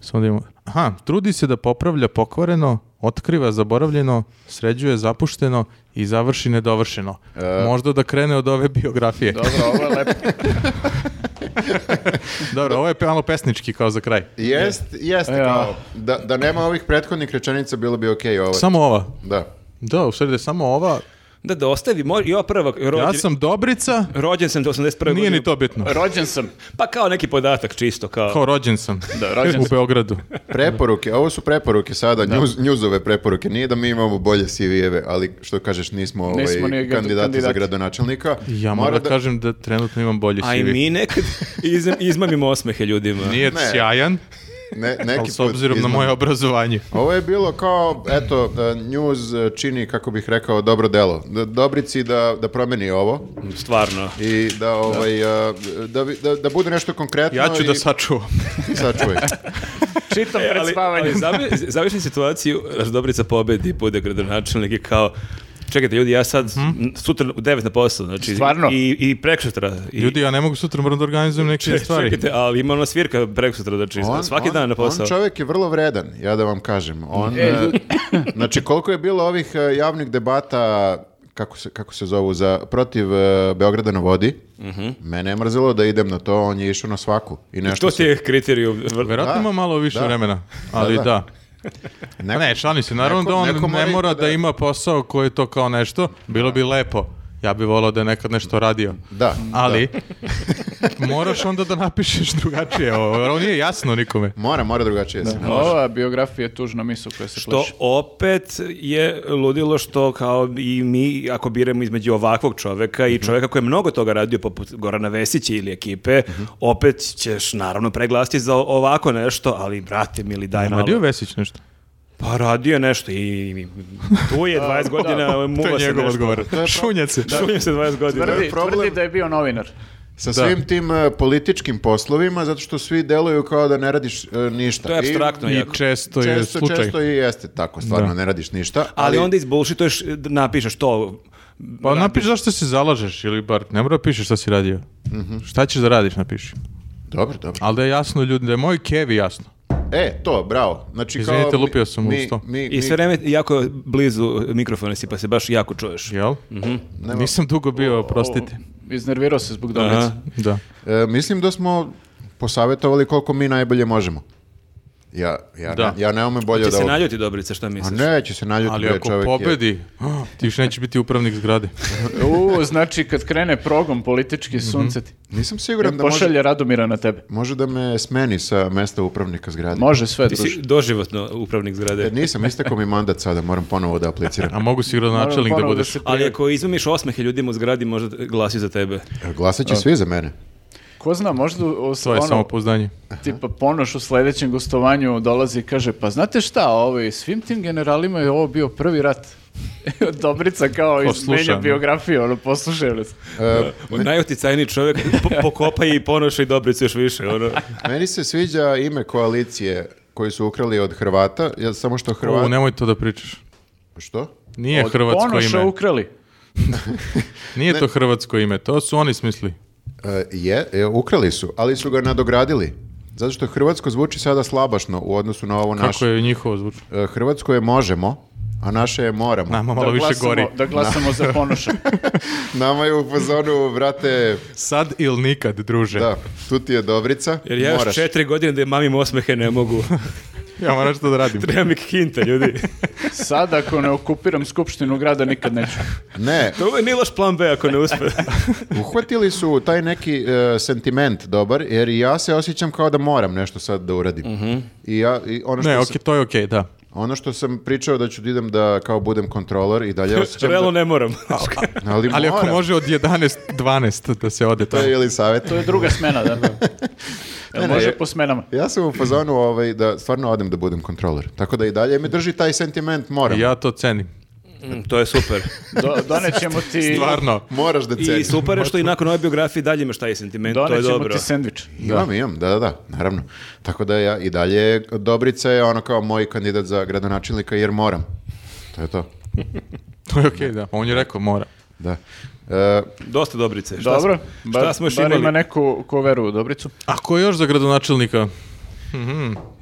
A: Samo da imamo- Aha, trudi se da popravlja pokvareno, otkriva zaboravljeno, sređuje zapušteno i završi nedovršeno. Možda da krene od ove biografije. Dobro,
D: Dobro, ovo
A: (laughs)
D: je lepo.
A: ovo je pe- malo pesnički kao za kraj.
C: Jest, jeste
D: Ja.
C: kao. Da, da nema ovih prethodnih rečenica, bilo bi okej ovo.
A: Samo ova.
C: Da.
A: Da, u sredi samo ova.
B: Da, da ostavi, mo- i ova prva, rođen,
A: Ja sam Dobrica,
B: rođen sam do 81.
A: nije
B: godine.
A: ni to bitno.
D: Rođen sam.
B: Pa kao neki podatak čisto, kao...
A: Kao rođen sam.
D: Da, rođen
A: u
D: sam.
A: Beogradu.
C: Preporuke, ovo su preporuke sada, njuz, njuzove preporuke. Nije da mi imamo bolje CV-eve, ali što kažeš, nismo, ovaj,
D: Nismo ni
C: kandidati,
D: grad-
C: za
D: kandidati.
C: gradonačelnika.
A: Ja moram da, kažem da trenutno imam bolji CV.
B: A i mi nekad (laughs) izm- izmamimo osmehe ljudima.
A: Nije
C: Ne.
A: sjajan,
C: Ne, neki
A: ali s
C: put
A: obzirom na
C: izmam-
A: moje obrazovanje.
C: Ovo je bilo kao, eto, e, news e, čini, kako bih rekao, dobro delo. Da, Dobrici da, da promeni ovo
B: Stvarno.
C: i da, ovaj, e, da, vi- da, da bude nešto konkretno.
A: Ja ću
C: i,
A: da sačuvam.
C: (laughs) i
B: (laughs)
C: sačuvaj.
D: Čitam pred
B: E, ali, ali
D: spavanjem.
B: zamisli- zamisli situaciju, znaš, Dobrica pobedi, bude gradonačelnik i kao, čekajte ljudi, ja sad
A: Hm?
B: m, sutra u 9 na posao, znači
D: Stvarno?
B: i, i preksutra. I, (laughs)
A: Ljudi, ja ne mogu sutra, moram da organizujem neke stvari.
B: Čekajte, ali ima ona svirka preksutra, znači svaki dan na posao.
C: On čovjek je vrlo vredan, ja da vam kažem. On,
D: E,
C: e,
D: ljudi.
C: (laughs) znači, koliko je bilo ovih e, javnih debata kako se, kako se zovu, za, protiv e, Beograda na vodi,
B: Mhm.
C: mene je mrzelo da idem na to, on je išao na svaku. I nešto
B: To ti je kriterijum.
A: Verovatno
C: Da,
A: ima malo više
C: da.
A: vremena, ali
C: Da,
A: da.
C: (laughs) da. Neko-
A: Ne, šalim se, naravno
C: neko-
A: da on
C: neko mora
A: ne
C: i
A: mora
C: da-
A: da... ima posao koji je to kao nešto, bilo bi lepo. Ja bih volao da je nekad nešto radio.
C: Da,
A: Ali, (laughs) moraš onda da napišeš drugačije ovo, jer ovo nije jasno nikome.
C: Mora, mora drugačije. se.
D: Ova biografija je tužna misl koja se
B: To
D: plaši.
B: opet je ludilo što kao i mi ako biramo između ovakvog čoveka i čoveka koji je mnogo toga radio poput Gorana Vesića ili ekipe, opet ćeš naravno preglasiti za ovako nešto, ali brate mi ili daj malo.
A: Radio Vesić nešto.
B: Pa radio je nešto i tu je 20 godina
A: To
B: muva
A: je
B: se
A: njegov
B: nešto.
A: odgovor. Šunjac je.
B: Šunjem se 20 godina.
C: Tvrdi-
D: Tvrdi,
C: problem.
D: tvrdi da je bio novinar.
C: Sa svim tim e, političkim poslovima, zato što svi deluju kao da ne radiš e, ništa.
B: To je
C: I
B: apstraktno
A: I
B: jako.
A: često je
C: Često,
A: slučaj.
C: često i jeste tako, stvarno ne radiš ništa.
B: Ali, onda izbullshituješ, napišeš to.
A: Pa napiši zašto se zalažeš ili bar ne mora da pišeš šta si radio.
C: Mhm.
A: Šta ćeš da radiš napiši.
C: Dobro, dobro.
A: Ali da je jasno ljudi, da je moj kevi jasno.
C: E, to, bravo. Znači,
A: Izvinite,
C: kao, mi-
A: lupio sam u
C: mi-
A: sto.
C: mi- mi-
B: I sve vreme jako blizu mikrofona si, pa se baš jako čuješ.
A: Jel? Nisam dugo bio, prostite.
D: O, Iznervirao se zbog
B: Aha.
D: dobrice.
A: Da.
C: E, mislim da smo posavjetovali koliko mi najbolje možemo. Ja, ja,
A: Da.
C: ne, ja nemam bolje
B: Će
C: od
B: se
C: ovog.
B: naljuti Dobrica, šta
C: A
B: misliš?
C: neće se naljuti
A: Ali
C: bre,
A: ako
C: čovjek je-
A: pobedi, (gasps) ah, ti više nećeš biti upravnik zgrade.
D: U, znači kad krene progon politički sunceti,
C: Nisam siguran da može,
D: pošalje Radomira na tebe.
C: može da me smeni sa mesta upravnika zgrade.
D: Može sve,
B: Ti si
D: druže.
B: doživotno upravnik
C: Jer
B: zgrade.
C: nisam, istekao mi mandat sada, moram ponovo da
A: A (laughs)
C: apliciram.
A: mogu si
D: Moram
A: gradonačelnik da
D: ponovo
A: budeš.
D: se
B: Ali
D: prijavi.
B: ako izmamiš osmehe ljudima u zgradi, možda glasi za tebe.
C: E, Glasat će svi za mene.
D: Ko zna, možda o,
A: To je
D: ono,
A: samopouzdanje.
D: tipa ponoš u sledećem gostovanju dolazi i kaže, pa znate šta, ovaj, svim tim generalima je ovo bio prvi rat. (laughs) Dobrica kao
A: Poslušam.
D: izmenja biografiju, ono, poslušaj nas.
C: E,
B: Najoticajniji čovjek po- pokopa i ponoša i Dobricu još više. Ono.
C: meni se sviđa ime koalicije koji su ukrali od Hrvata, jer samo što Hrvati...
A: U, nemoj to da pričaš.
C: Što?
A: Nije
D: Od
A: hrvatsko
D: Ponoša
A: ime.
D: ukrali.
A: Nije to hrvatsko ime. To su oni smisli.
C: E, je, e, ukrali su, ali su ga nadogradili. Zato što Hrvatsko zvuči sada slabašno u odnosu na ovo naše.
A: Kako je njihovo zvučno.
C: E, Hrvatsko je možemo, a naše je moramo.
A: Nama malo
D: da
A: više
D: glasamo,
A: gori.
D: Da glasamo za ponoša.
C: Nama je u fazonu, vrate,
A: Sad ili nikad, druže.
C: da, tu ti je Dobrica,
B: Jer ja još
C: moraš.
B: četiri godine da mamim osmehe ne mogu.
A: Ja moram što da radim.
B: Treba mi hinta, ljudi.
D: Sad ako ne okupiram skupštinu grada, nikad neću.
C: Ne,
B: To je nije loš plan B ako ne uspe.
C: uhvatili su taj neki e, sentiment dobar, jer i ja se osjećam kao da moram nešto sad da uradim. I, ja, i ono, što
A: Ne,
C: sam,
A: okej, to je okej, da.
C: ono što sam pričao da ću da idem da kao budem kontroler i
B: (laughs)
C: dalje osjećam
B: Realno
C: da,
B: ne moram.
C: ali,
A: Ali ako
C: moram.
A: može od 11, 12 da se ode
C: To
A: tamo.
C: je ili savjet.
D: To je druga smena, da. Jel
C: Ne, ne,
D: može
C: je-
D: po smenama.
C: Ja sam u fazonu ovaj, da stvarno odem da budem kontroler. Tako da i dalje me drži taj sentiment moram.
A: Ja to cenim.
B: (laughs) Mm, to je super.
D: Do, donećemo ti...
A: Stvarno.
C: Moraš da
B: I
C: ceniš.
B: super je što i nakon ove biografije dalje imaš taj sentiment, to je
D: Donećemo
B: dobro.
D: ti sendvič.
C: Imam, imam, da, da, da, naravno. Tako da ja i dalje, Dobrica je ono kao moj kandidat za gradonačelnika jer moram. To je to,
A: To je okej, da. On je rekao mora.
C: da. E,
B: Dosta Dobrice. Šta
D: Dobro,
B: smo-
D: bar,
B: šta smo još
D: bar
B: imali?
D: ima neku ko veruje u Dobricu.
A: Ako još za gradonačelnika,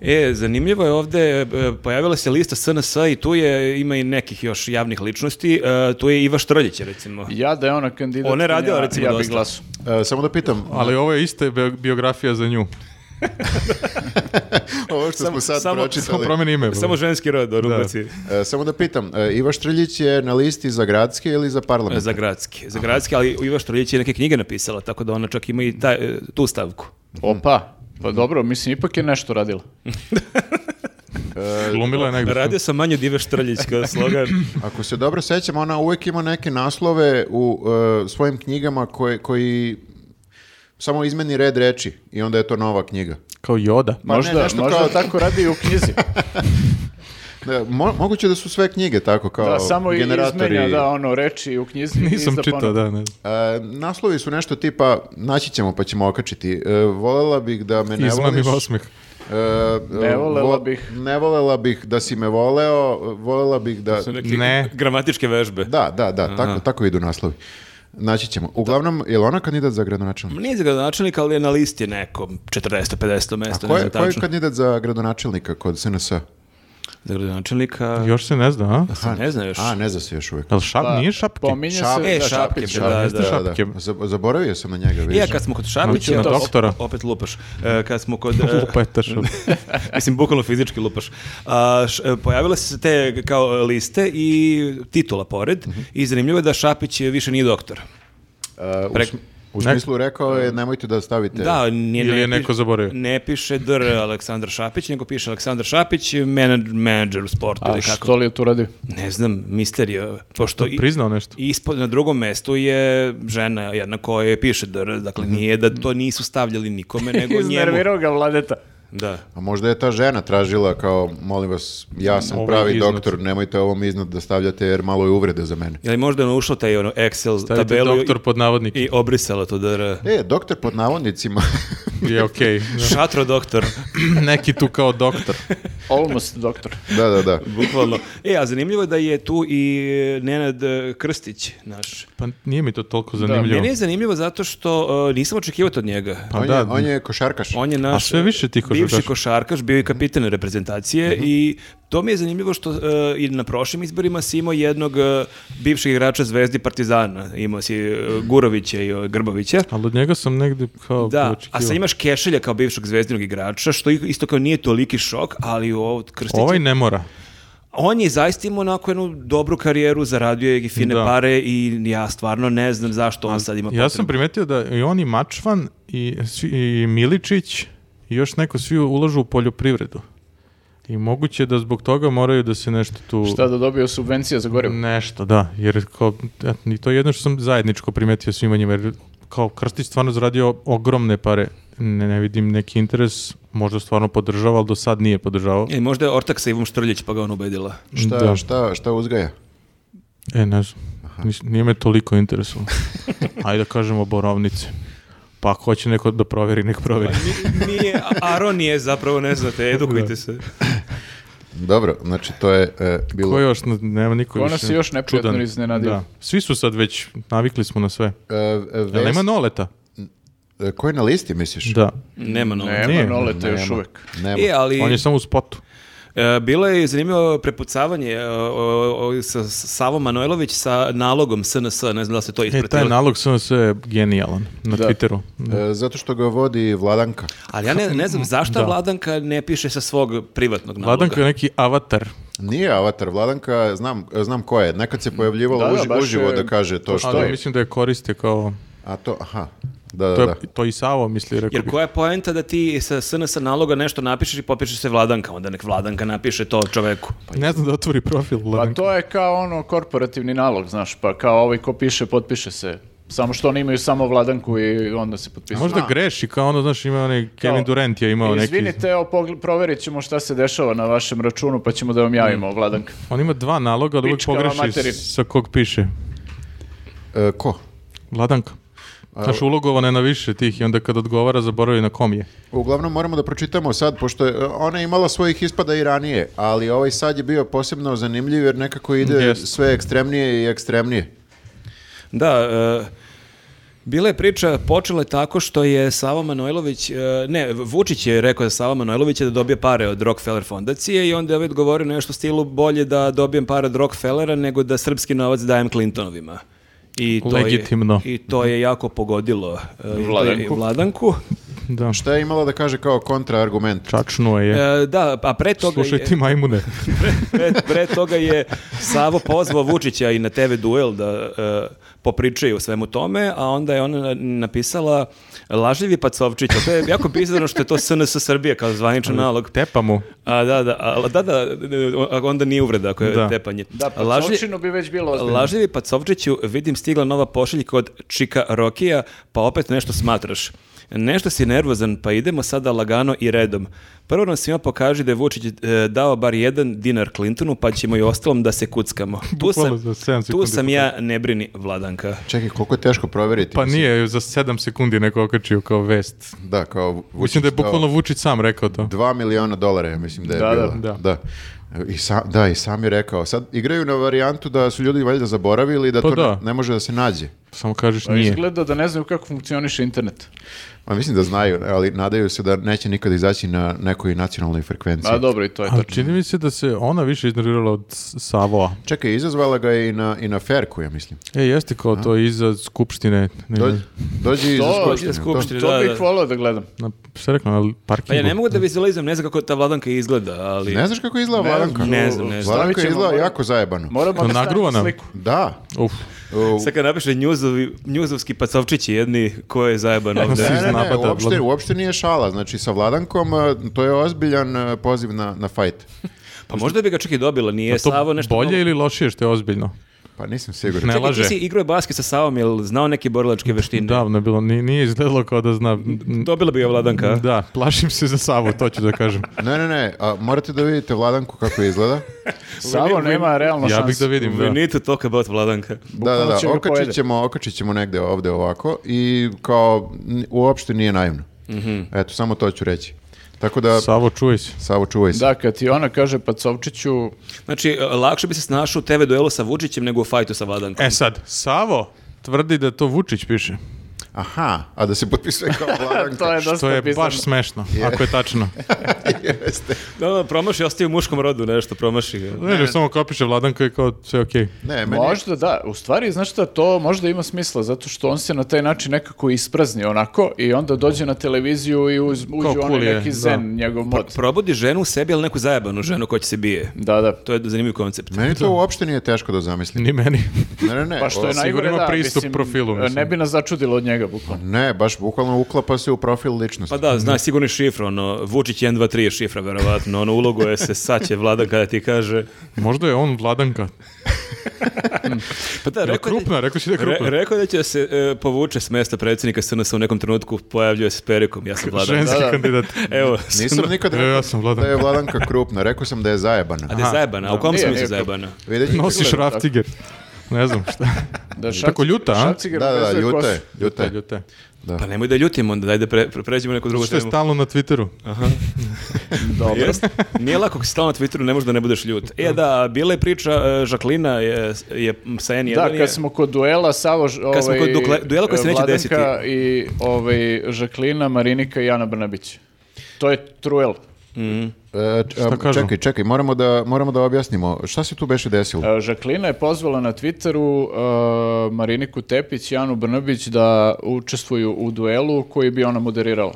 B: E, zanimljivo je ovdje, e, pojavila se lista SNS i tu je, ima i nekih još javnih ličnosti, e, tu je Iva Štrljić recimo.
D: Ja da je ona kandidat.
B: Ona je radila, recimo,
D: ja bih
B: dosta.
D: glasao.
C: e, samo da pitam,
A: ali ovo je ista bio- biografija za nju.
C: (laughs) ovo što smo sad
B: samo-
A: Samo
C: pročitali, e, samo,
A: promeni ime.
B: Samo ženski rod ono, u rubrici.
C: da pitam, e, Iva Štriljić je na listi za gradske ili za
B: E,
C: parlament?
B: Za gradski. Za gradski, ali Iva Štrljić je neke knjige napisala, tako da ona čak ima i taj, e, tu stavku.
C: Mhm.
D: Opa, pa dobro, mislim, ipak je nešto radila.
A: Glumila je negdje.
B: Radio sam manje od Ive Štrljić kao
C: (laughs)
B: slogan.
C: Ako se dobro sećam, ona uvijek ima neke naslove u e, svojim knjigama koje, koji samo izmeni red reči i onda je to nova knjiga.
A: Kao Joda.
C: Ma Pa ne,
D: možda
C: nešto
D: možda
C: kao-
D: tako radi i u knjizi.
C: Da, E, mo- moguće da su sve knjige tako (laughs) kao
D: Da, samo i
C: generatori.
D: izmenja, da, ono, reči u knjizi.
A: Nisam
D: izda
A: čitao,
D: ponovo.
A: da, ne znam.
C: E, naslovi su nešto tipa naći ćemo pa ćemo okačiti. E, volela bih da me ne
A: Izmamim
C: voliš.
A: osmeh.
C: E, e,
D: Ne volela
C: vo-
D: bih.
C: Ne volela bih da si me voleo, e, volela bih da...
B: Su neke
A: Ne.
B: Gramatičke vežbe.
C: Da, da, da, tako, tako idu naslovi. Naći ćemo. Uglavnom, je li ona kandidat za gradonačelnika?
B: Nije za gradonačelnika, ali je na listi neko 40-50 mesto,
C: Ko
B: ne
C: je,
B: znam
C: ko je
B: tačno.
C: kandidat za gradonačelnika kod SNS?
B: Za gradonačelnika,
A: Još se ne zna, a?
B: se ne zna još.
C: A, ne zna se još uvijek.
A: Jel šap,
D: Pa,
A: nije šapke?
D: Pominje
C: Šap-
D: se...
B: E,
D: da,
B: Šapke,
D: Šapić.
B: da, da,
C: Da, da.
A: Šapke.
C: Zab- Zaboravio sam na njega,
B: I ja
C: vidiš.
B: kad smo kod
A: Hoću
B: Šapića,
A: na
B: to-
A: doktora.
B: opet lupaš. E, kad smo kod...
A: (laughs)
B: e,
A: Lupetaš.
B: (laughs) mislim, bukvalno fizički lupaš. A, š- e, pojavile su se te kao liste i titula pored
A: Mhm.
B: i zanimljivo je da Šapić više nije doktor.
C: E, u
B: Prek-
C: sm- U smislu rekao je nemojte da stavite...
B: Da, nije,
A: Ili je
B: ne pi-
A: neko zaboravio.
B: Ne piše dr. Aleksandar Šapić, nego piše Aleksandar Šapić, menad- menadžer u sportu
D: A
B: ili kako.
D: što li je
C: (laughs)
D: tu radio?
B: Ne znam, misterio. Pošto i-
A: Priznao nešto.
B: Ispod, na drugom mestu je žena
A: Mhm.
B: jedna koja piše dr, dakle nije da to nisu stavljali nikome, nego njemu.
C: (laughs)
D: Iznervirao ga Vladeta.
B: Da.
C: A možda je ta žena tražila kao, molim vas, ja sam
A: Ovo je
C: pravi
A: iznad.
C: doktor, nemojte ovom iznad da stavljate jer malo je uvrede za mene.
B: Je li možda je ono ušlo taj ono Excel
A: Stavite
B: tabelu
A: doktor pod navodnike.
B: i obrisalo to da r-
C: E, doktor pod navodnicima. (laughs)
A: Je okej.
B: (laughs) šatro
A: (laughs)
B: doktor,
A: Neki tu kao doktor.
D: Almost doktor.
C: da, da, da.
B: bukvalno. E, a zanimljivo je da je tu i Nenad e, Krstić naš.
A: Pa nije mi to toliko zanimljivo.
B: Meni je zanimljivo zato što e, nisam očekivao to od njega.
A: Pa
C: on,
A: da,
C: je, on je košarkaš.
B: On je naš e,
A: A sve više ti košarkaš. Mhm.
B: bivši košarkaš, bio je kapitan reprezentacije i to mi je zanimljivo što e, i na prošlim izborima si imao jednog e, bivšeg igrača Zvezdi Partizana, imao si e, Gurovića i e, Grbovića.
A: ali od njega sam negde kao
B: Da, a
A: očekivao.
B: sad imaš Kešelja kao bivšeg zvezdinog igrača, što i- isto kao nije toliki šok, ali u ovo Krstić,
A: Ovaj ne mora.
B: on je zaista imao onako jednu dobru karijeru, zaradio je i fine
A: Da.
B: pare i ja stvarno ne znam zašto on sad ima
A: Ja sam
B: potrebu.
A: primetio da i on i Mačvan i, svi- i Miličić i još neko svi ulažu u poljoprivredu. I moguće da zbog toga moraju da se nešto tu...
D: Šta da dobio subvencija za gorivo?
A: Nešto, da. Jer kao, eto, ni to je jedno što sam zajedničko primetio svima njima. Jer kao Krstić stvarno zaradio ogromne pare. Ne, ne vidim neki interes. Možda stvarno podržava, ali do sad nije podržavao.
B: E, možda je ortak sa Ivom Štrljić pa ga on ubedila.
C: Šta,
A: Da.
C: šta, šta uzgaja?
A: E, ne znam. Nis- Nije me toliko interesuo.
D: (laughs)
A: Ajde da kažemo borovnice. Pa ako hoće neko da proveri, nek proveri.
B: Nije, Aron je zapravo, ne znate, edukujte se.
C: Dobro, znači to je e, bilo...
A: Ko još, n- nema niko
D: Ko nas je još neprijatno
A: čudan.
D: iznenadio?
A: Da. Svi su sad već, navikli smo na sve.
C: E, e,
A: Jel
C: vest-
A: nema noleta?
C: e, ko je na listi, misliš?
A: Da.
B: Nema novaca.
D: Nema
A: Nije.
D: noleta još
C: Nema.
D: uvek.
C: Nema.
B: E, ali...
A: On je samo u spotu.
B: E, Bilo je zanimljivo prepucavanje e, o- o- sa sa Savom Manojlović sa nalogom SNS, ne znam da li se to
A: E,
B: ispratilo.
A: taj nalog sam sve genijalan na
D: Da.
A: Twitteru. Da.
C: E, zato što ga vodi Vladanka.
B: Ali ja ne, ne (laughs) znam zašto
A: Da.
B: Vladanka ne piše sa svog privatnog naloga.
A: Vladanka je neki avatar.
C: Nije avatar Vladanka, znam, znam ko je. Nekad se pojavljivalo
D: Da, da,
C: uži-
D: baš je-
C: uživo da kaže to Pa što
A: Ali
C: je.
A: mislim da je koriste kao...
C: A to, aha. Da,
A: To,
C: da,
A: je,
C: da.
A: to i Savo misli, rekao
B: Jer
A: bih.
B: koja je poenta da ti sa SNS naloga nešto napišeš i popiše se Vladanka, onda nek Vladanka napiše to čoveku.
A: Ne znam da otvori profil
D: Pa
A: Vladanka.
D: to je kao ono korporativni nalog, znaš, pa kao ovaj ko piše, potpiše se. Samo što oni imaju samo vladanku i onda se potpisuju.
A: Možda greši, kao ono, znaš, ima onaj Kevin Durant je imao neki...
D: Izvinite, evo, pogled- proverit ćemo šta se dešava na vašem računu, pa ćemo da vam
A: Mm.
D: javimo, vladanka.
A: On ima dva naloga, ali uvijek
D: Pička vam
A: pogreši
D: materin.
A: s- sa kog piše.
C: E, ko?
A: Vladanka. Znaš, ulogovana je na više tih i onda kad odgovara zaboravi na kom je.
C: Uglavnom moramo da pročitamo sad, pošto je, ona je imala svojih ispada i ranije, ali ovaj sad je bio posebno zanimljiv jer nekako ide
A: Jest.
C: sve ekstremnije i ekstremnije.
B: Da, e, bila je priča, počela je tako što je Savo Manojlović, e, ne, Vučić je rekao da Savo Manojlović je da dobije pare od Rockefeller fondacije i onda je ovaj odgovorio nešto u stilu bolje da dobijem pare od Rockefellera nego da srpski novac dajem Clintonovima. I to
A: Legitimno.
B: Je, I to je jako pogodilo e, i
D: Vladanku.
B: vladanku.
A: Da,
C: Šta je imala da kaže kao kontraargument?
A: čačnuo je.
B: E, da, a pre toga
A: Slušaj
B: je...
A: ti majmune.
B: pre, (laughs) pre, pre toga je Savo pozvao Vučića i na TV duel da e, popričaju o svemu tome, a onda je ona na- napisala lažljivi pacovčić. A To je jako bizarno što je to SNS Srbije kao zvaničan nalog.
A: (laughs) Tepa mu.
B: A da, da, a, da, da, a onda nije uvreda ako je
A: Da.
B: tepanje.
D: Da, pa
B: Lažlji-
D: Laži... bi već bilo ozbiljno.
B: Lažljivi pacovčiću, vidim stigla nova pošiljka od Čika Rokija, pa opet nešto smatraš. Nešto si nervozan, pa idemo sada lagano i redom. Prvo nam svima pokaži da je Vučić e, dao bar jedan dinar Clintonu, pa ćemo i ostalom da se kuckamo. Tu
A: Bukvalno za
B: sam,
A: sedam
B: tu
A: sekundi
B: sam ja, ne brini, Vladanka.
C: Čekaj, koliko je teško proveriti?
A: Pa
C: Mislim,
A: nije, za sedam sekundi neko okačio kao vest.
C: Da, kao Vučić
A: Mislim da je
C: dao
A: bukvalno Vučić sam rekao to.
C: Dva miliona dolara, ja mislim da je
D: Da,
C: bilo.
A: da, da.
C: I sam, da, i sam je rekao. Sad igraju na varijantu da su ljudi valjda zaboravili i da
A: Pa
C: to ne-
A: da.
C: ne može da se nađe.
A: Samo kažeš
D: Pa
A: nije.
D: Izgleda da ne znaju kako funkcioniše internet.
C: Pa mislim da znaju, ali nadaju se da neće nikada izaći na nekoj nacionalnoj frekvenciji.
D: A Pa dobro, i to je
A: Ali
D: tačno.
A: čini mi se da se ona više iznervirala od S- Savoa.
C: Čekaj, izazvala ga je i na, i na Ferku, ja mislim.
A: E, jeste kao to iza skupštine. Ne,
C: Dođi, dođi iza
D: To-
C: Skupštine,
B: iza
C: to-
B: Skupštine.
D: To
B: Da,
D: bih
B: da.
D: volao da gledam.
A: na, šta rekao, na
B: Pa
A: parkingu.
B: ja ne mogu da vizualizujem, ne znam kako ta Vladanka izgleda, ali...
C: Ne znaš kako izgleda
D: Ne
C: Vladanka?
D: znam,
B: ne znam, ne znam.
C: Vladanka je
D: Stavit ćemo,
C: izgleda
D: moram-
C: jako zajebano.
A: Pa
D: Moramo da stavimo
A: nagruvana.
D: sliku.
C: Da.
A: Uf,
C: U-
B: Sad kad napiše njuzovi, njuzovski pacovčići jedni, ko je zajeban ovde?
A: Svi
C: Ne, ne, ne,
A: napada
C: uopšte,
A: Vladan-
C: uopšte nije šala. Znači, sa Vladankom e, to je ozbiljan e, poziv na, na fajt.
B: Pa možda bi ga čak i dobila, nije
A: to
B: Savo nešto...
A: bolje ili lošije što je ozbiljno?
C: Pa nisam siguran.
A: Ne
B: Čekaj,
A: laže.
B: ti si igrao je basket sa Savom, jel znao neke borilačke veštine?
A: Davno je bilo, ni- nije izgledalo kao da zna.
B: Dobila bi ga Vladanka. a?
A: Da, plašim se za Savu, to ću da kažem.
C: Ne, ne, ne, a, morate da vidite Vladanku kako izgleda.
D: Savo nema realno
A: Ja bih da
D: šansu.
A: vidim,
B: We
A: da.
B: need to talk about Vladanka.
C: Da, da, da,
D: će ga
C: okačit
D: pojede.
C: ćemo, okačit ćemo negde ovde ovako i kao n- uopšte nije naivno. Eto, samo to ću reći. Tako da,
A: Savo, čuj se.
C: Savo, čuvaj se.
D: Da, kad ti ona kaže pa Pacovčiću,
B: Znači, lakše bi se snašao u TV duelu sa Vučićem nego u fajtu sa Vladankom.
A: E sad, Savo tvrdi da to Vučić piše.
C: Aha, a da se potpisuje kao Vladanka.
D: to je dosta
A: Što je
D: bizarno.
A: baš smešno, ako je
B: (laughs)
A: tačno.
C: Jeste.
B: Da, da, promaši, ostaje u muškom rodu nešto, promaši. ga.
A: Ne, ne, samo kapiše Vladanka i kao sve okej.
C: Ne, meni,
D: Možda da, u stvari znaš šta, to možda ima smisla, zato što on se na taj način nekako isprazni onako i onda dođe na televiziju i uz, uđe
A: Kao
D: onaj
A: cool je,
D: neki
A: da.
D: zen, njegov mod.
B: Probudi ženu u sebi, ali neku zajebanu ženu koja će se bije.
D: Da, da.
B: To je zanimljiv koncept.
C: meni to uopšte nije teško da zamislim.
A: Ni meni.
C: Ne, ne, ne.
D: Pa što
C: o-
D: je najgore,
A: ima
D: da,
A: pristup
D: mislim,
A: profilu, mislim.
D: ne bi nas začudilo od njega, bukvalno.
C: Ne, baš bukvalno uklapa se u profil
B: Pa
C: ličnosti.
A: Mhm.
B: da, znaš sigurni šifru, ono, Vučić 1, 2, 3 je šifra, verovatno, ono, uloguje se, sad će Vladan kada ti kaže.
A: Možda je on Vladanka.
B: Pa da,
A: Je
B: rekao je da-
A: krupna, rekao si da je
B: Re-
A: krupna.
B: rekao je da će se e, povuče s mesta predsjednika SNS u nekom trenutku, pojavljuje se s perikom, ja sam Vladan.
A: Ženski
D: Da, da.
B: (laughs)
A: kandidat.
B: Evo,
C: Nisam nikad
A: E,
C: rekao
A: ja sam Vladanka.
C: da je Vladanka krupna, rekao sam da je zajebana.
B: A da je zajebana, a u kom
D: Nije,
B: smislu
D: nije.
B: zajebana?
C: Vidjet ćete.
A: Nosiš
D: Izgleda
A: raftiger. Ne znam
C: (laughs)
A: šta.
D: Da šaci,
A: Tako ljuta, a?
D: Šaciger
C: Da, da,
D: vezuje
C: ljuta
D: kosu.
C: je, ljuta je.
A: Ljute.
B: Pa nemoj da ljutim onda, daj da pre, pre- pređemo na neku drugu
A: Što je
B: temu.
A: stalno na Twitteru?
D: Dobro.
B: Jest? Nije lako ako si stalno na Twitteru, ne možeš da ne budeš ljut. E da, bila je priča, e, Žaklina je, je sa N1.
D: Da,
B: je-
D: kad smo kod duela Savo, ž- ovaj,
B: Kad smo kod dukle- duela koji se neće
D: Vladanka i ovaj, Žaklina, Marinika i Ana Brnabić. To je truel.
C: E, č- a,
A: kažu?
C: čekaj, čekaj, moramo da, moramo da objasnimo. Šta se tu beše desilo?
D: E, Žaklina je pozvala na Twitteru e, Mariniku Tepić i Anu Brnabić da učestvuju u duelu koji bi ona moderirala.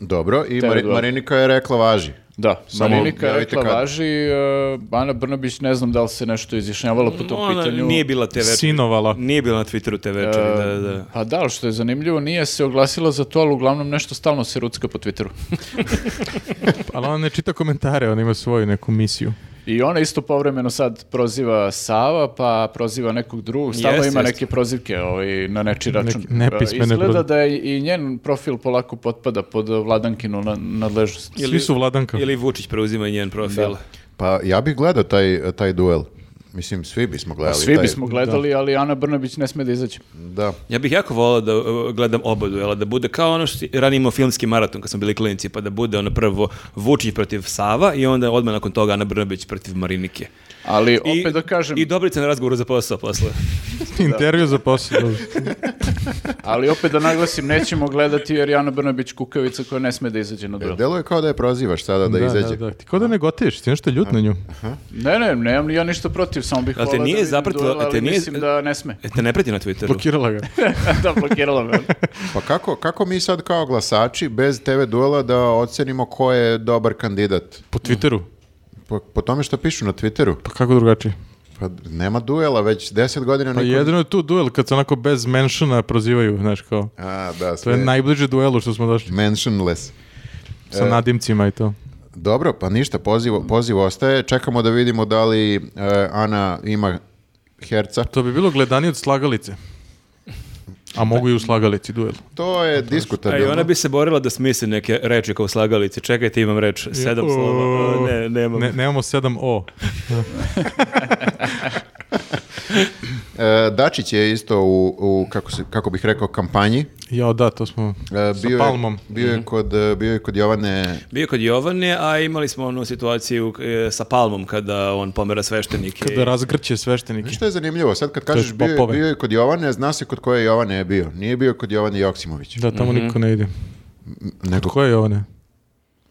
C: Dobro, i
D: Tebe
C: Mari-
D: dobro.
C: Marinika je rekla važi.
D: Da,
C: Samo
D: Marinika je
C: javite
D: rekla
C: kad.
D: važi, e, Ana Brnabić ne znam da li se nešto izjašnjavala po tom
B: Ona
D: pitanju.
B: nije bila te večeri. (laughs)
A: Sinovala.
B: Nije bila na Twitteru te večeri, da, da.
D: Pa da, ali što je zanimljivo, nije se oglasila za to, ali uglavnom nešto stalno se rucka
B: (laughs)
D: po Twitteru.
A: Ali ona ne čita komentare, ona ima svoju neku misiju.
D: I ona isto povremeno sad proziva Sava, pa proziva nekog drugog. Stalno
B: Jeste,
D: ima
B: jeste.
D: neke prozivke ovaj, na nečiji račun.
A: Neki
D: E,
A: nepismene
D: Izgleda
A: proziv-
D: da je i njen profil polako potpada pod Vladankinu na, nadležnost.
A: Svi su Vladanka.
B: Ili Vučić preuzima njen profil.
C: Pa ja bih gledao taj, taj duel. Mislim, svi bismo gledali.
D: Svi
C: taj-
D: bismo gledali, ali Ana Brnabić ne sme da izađe.
C: Da.
B: Ja bih jako volao da e, gledam oba duela, da bude kao ono što ranimo filmski maraton kad smo bili klinici, pa da bude ono prvo Vučić protiv Sava i onda odmah nakon toga Ana Brnabić protiv Marinike.
D: Ali opet da kažem,
B: I Dobrica na razgovoru za posao posle.
A: (laughs) Intervju za posao.
D: ali opet da naglasim, nećemo gledati jer je Ana Brnabić kukavica koja ne sme da izađe
B: E,
D: na duel.
C: Delo je kao da je prozivaš sada da,
A: Da, da,
C: izađe.
A: da. Ti kao da ne gotiš, ti nešto ljut na
C: (laughs)
A: nju.
D: Ne, ne, nemam ni ja ništa protiv, samo bih
B: Ali te
D: volao da
B: nije
D: vidim
B: zapratila-
D: duel, ali
B: te nije-
D: mislim da ne sme.
B: (laughs) E, te ne preti na Twitteru.
A: Blokirala ga.
D: (laughs) da,
B: (laughs)
D: blokirala me.
C: Pa kako, kako mi sad kao glasači bez TV duela da ocenimo ko je dobar kandidat?
A: Po Twitteru.
C: Po, po tome što pišu na Twitteru.
A: Pa kako drugačije?
C: Pa nema duela, već 10 godina
A: Pa
C: niko-
A: jedino je tu duel kad se onako bez menšana prozivaju, znaš kao.
C: A, da,
A: To
C: sve
A: je najbliže duelu što smo došli.
C: mentionless. E.
A: Sa nadimcima i to.
C: Dobro, pa ništa, poziv,
A: Mm.
C: poziv ostaje. Čekamo da vidimo da li e, Ana ima herca.
A: To bi bilo gledanije od slagalice. A mogu i u slagalici duel.
C: To je
B: A i
C: diskutabilno.
B: ona bi se borila da smisli neke reči kao u slagalici. Čekajte, imam reč, sedam slova. A, Ne, nemam.
A: Ne, nemamo 7 O.
C: E, Dačić je isto u, u, kako, se, kako bih rekao, kampanji.
A: Jao da, to smo
C: E,
A: sa
C: bio
A: palmom. Mhm.
C: Je, bio, je kod, e, bio je kod Jovane...
B: Bio kod Jovane, a imali smo onu situaciju e, sa Palmom kada on pomera sveštenike.
A: Kada razgrće sveštenike.
C: Što je zanimljivo, sad kad kažeš bio, je-
A: popove.
C: bio je kod Jovane, zna se kod koje Jovane je bio. Nije bio kod Jovane Joksimović,
A: Da, tamo niko ne ide.
C: nego
A: Ko je ovo ne?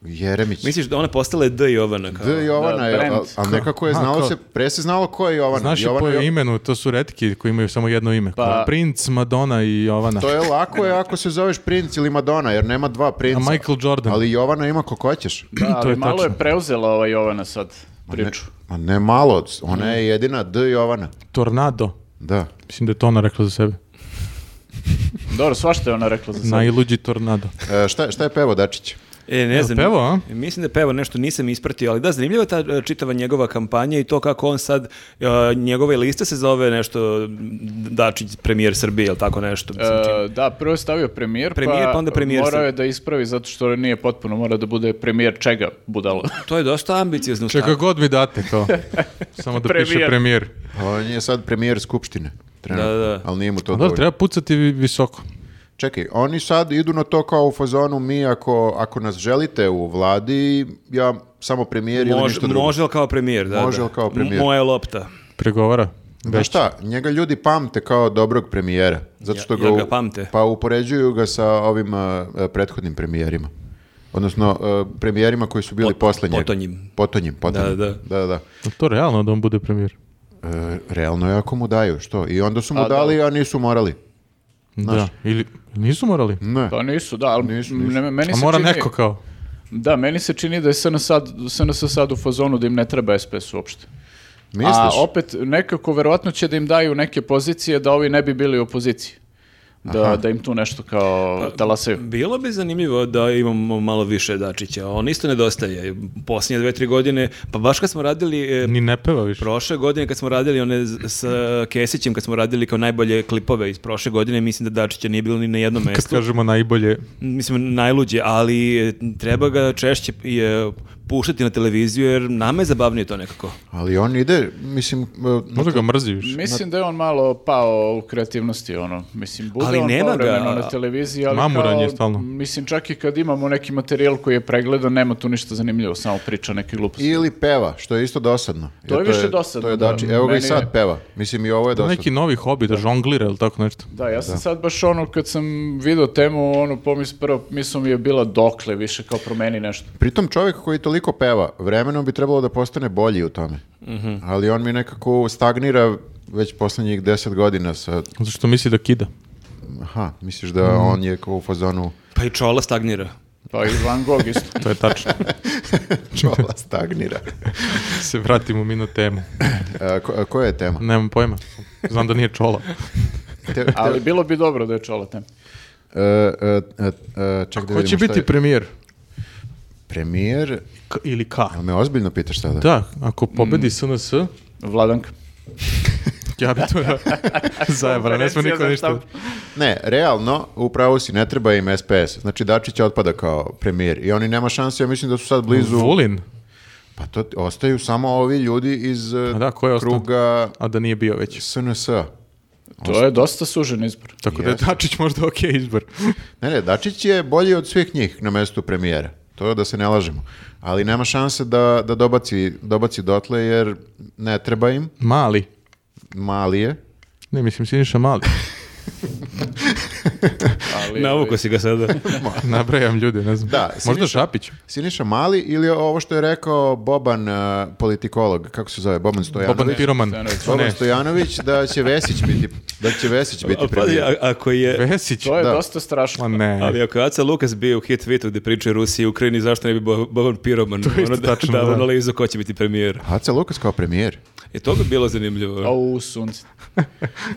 C: Jeremić.
B: Misliš da ona postala je D Jovana? Kao?
C: D Jovana
D: Da,
C: je,
D: brand.
C: ali- ali nekako je
A: Aha,
C: znalo
A: kao-
C: se, pre se znalo ko je Jovana.
A: Znaš i
C: Jovana
A: po
C: Jo-
A: imenu, to su retki koji imaju samo jedno ime.
D: Pa-
A: Prince, Madonna i Jovana.
C: To je lako je ako se zoveš princ ili Madonna, jer nema dva
A: A
C: princa.
A: Michael Jordan.
C: Ali Jovana ima koliko hoćeš.
D: Da,
A: To
D: ali
A: je
D: malo
A: tačno.
D: je preuzela ova Jovana sad
C: Ne,
D: priču.
C: ma ne malo, ona je jedina D Jovana.
A: Tornado.
C: Da.
A: Mislim da je to ona rekla za sebe.
D: Dobro, svašta je ona rekla za sebe.
A: Najluđi tornado.
C: E, šta, šta je pevo Dačić?
B: E, ne
A: Jel
B: znam.
A: pevao, a?
B: Mislim da je pevao nešto, nisam ispratio, ali da, zanimljiva je ta e, čitava njegova kampanja i to kako on sad, e, njegove liste se zove nešto Dačić premijer Srbije ili tako nešto. Mislim, čini-
D: E, da, prvo je stavio premijer,
B: Premijer, pa onda premijer
D: morao
B: sad.
D: je da ispravi zato što nije potpuno, mora da bude premijer čega
C: (laughs)
D: budalo.
B: to je dosta ambiciozno.
A: Čeka god mi date
D: (laughs)
A: to. Samo da piše
D: Premijer.
A: premijer.
C: On je sad premijer Skupštine. Trenutno,
B: Da, da.
C: Ali nije mu to
A: Da,
C: dovoljno.
A: treba pucati vi- visoko.
C: Čekaj, oni sad idu na to kao u fazonu mi ako, ako nas želite u vladi, ja samo premijer ili
B: Može,
C: ništa drugo.
B: može li kao premijer, da.
C: Može
B: da.
C: li kao premijer?
B: M- Moja lopta.
A: Pregovara.
C: Znaš šta, njega ljudi pamte kao dobrog premijera. Zato što
B: Ja-
C: ga,
B: ja ga
C: u-
B: pamte.
C: Pa upoređuju ga sa ovim a, a, prethodnim premijerima. Odnosno, a, premijerima koji su bili
B: Pot-
C: posle njega.
B: potonjim.
C: Potonjim, potonjim.
B: Da, da.
C: da, da.
A: Je to realno da on bude premijer?
C: E, realno je ako mu daju, što? I onda su mu
D: A, da.
C: dali, a nisu morali.
A: Da. Ili nisu morali?
C: Ne.
D: Pa nisu, da, ali
C: Nisu, nisu.
D: ne- meni
A: A
D: se
A: mora
D: čini,
A: neko kao.
D: Da, meni se čini da je SNS sad, SNS sad u fazonu da im ne treba SPS uopšte.
C: Misliš?
D: A opet, nekako, verovatno će da im daju neke pozicije da ovi ne bi bili u opoziciji. Da, da im tu nešto kao
B: Pa,
D: talasaju.
B: Bilo bi zanimljivo da imamo malo više Dačića. On isto nedostaje. Posljednje dve, tri godine, pa baš kad smo radili e,
A: Ni ne peva više.
B: Prošle godine kad smo radili one z- s Kesićem, kad smo radili kao najbolje klipove iz prošle godine, mislim da Dačića nije bilo ni na jednom
A: Kad
B: mestu.
A: kažemo najbolje,
B: Mislim, najluđe, ali e, treba ga češće i, e, puštati na televiziju, jer nama je zabavnije to nekako.
C: Ali on ide, mislim... e,
D: Pa-
A: možda ga mrzi više. Znači,
D: Mislim da je on malo pao u kreativnosti, ono. Mislim, bude
B: Ali
D: on
B: nema ga.
D: povremeno na televiziji, ali
A: Mamuran
D: kao,
A: je stalno.
D: mislim, čak i kad imamo neki materijal koji je pregledan, nema tu ništa zanimljivo, samo priča neke gluposti.
C: Ili peva, što je isto dosadno.
D: To je
C: Jer
D: više dosadno,
C: To je
D: da.
C: dači, evo ga i
D: Meni je-
C: sad peva. Mislim i ovo je
A: Da,
C: dosadno.
A: neki novi hobi, da žonglira ili tako nešto.
D: Da, ja sam sad baš ono, kad sam vidio temu, ono, pomis, prvo misl mi je bila dokle više, kao promeni nešto.
C: Pritom čovjek koji toliko peva, vremenom bi trebalo da postane bolji u tome.
A: Mhm.
C: Ali on mi nekako stagnira već posljednjih deset godina sa...
A: Zašto misli da kida.
C: Aha, misliš da
A: Mhm.
C: on je kao u
A: (laughs)
C: fazonu
B: Pa i Čola stagnira.
D: Pa i Van Gogh isto.
A: To je
D: (laughs)
A: tačno.
C: čola (laughs) stagnira.
A: Se vratimo mi na temu.
C: E, ko- a koja je
A: (laughs)
C: tema?
A: Nemam pojma. Znam da nije čola.
C: Te- te-
D: Ali bilo bi dobro da je čola tema.
C: e, e, e, e, ček da
A: Ko
C: vidimo
A: će
C: šta
A: biti
C: je.
A: premijer?
C: Premijer,
A: K ili ka?
C: ali me ozbiljno pitaš sada.
A: Da, ako
D: Mm.
A: pobedi SNS,
D: Vladanka.
A: ja bi
D: (laughs)
A: to (laughs) zajebala, ne smo
D: Konferencija
A: niko
D: za
A: ništa.
D: štampu.
C: Ne, realno, upravo si, ne treba im SPS. Znači, Dačić otpada kao premijer i oni nema šanse, ja mislim da su sad blizu...
A: Vulin?
C: Pa to ostaju samo ovi ljudi iz e,
A: A Pa da, ko je ostao?
C: kruga
A: A da nije bio već.
C: SNS-a.
D: To je dosta sužen izbor.
A: Tako da je
C: Jeste.
A: Dačić možda okej izbor.
C: Ne, ne, Dačić je bolji od svih njih na mestu premijera. To da se ne lažemo. Ali nema šanse da, da dobaci, dobaci dotle jer ne treba im,
A: Mali.
C: mali je.
A: Ne, mislim, Siniša Mali.
D: Ali,
B: Navuko si ga sada.
A: Pa, Nabrajam ljude, ne znam.
C: Da,
A: Možda
C: Siniša-
A: Šapić.
C: Siniša Mali ili ovo što je rekao Boban e, politikolog, kako se zove, Boban Stojanović?
A: Boban Piroman.
D: Stanović.
C: Boban
A: Ne,
C: Stojanović da će Vesić biti, da će Vesić
A: (laughs) Pa,
C: biti
B: Pazi,
C: premijer.
B: Pa, a- ako je...
A: Vesić.
D: To je
C: Da.
D: dosta strašno.
A: Ma ne.
B: Ali ako je Aca Lukas bio u hit tweetu gde priča Rusiji i Ukrajini, zašto ne bi Bo- Boban Piroman
D: (laughs)
A: je isto
B: ono da,
A: tačno,
B: dao
A: da.
B: analizu ko će biti premijer?
C: Hace Lukas kao premijer.
B: I to bi bilo zanimljivo.
D: Au, sunce.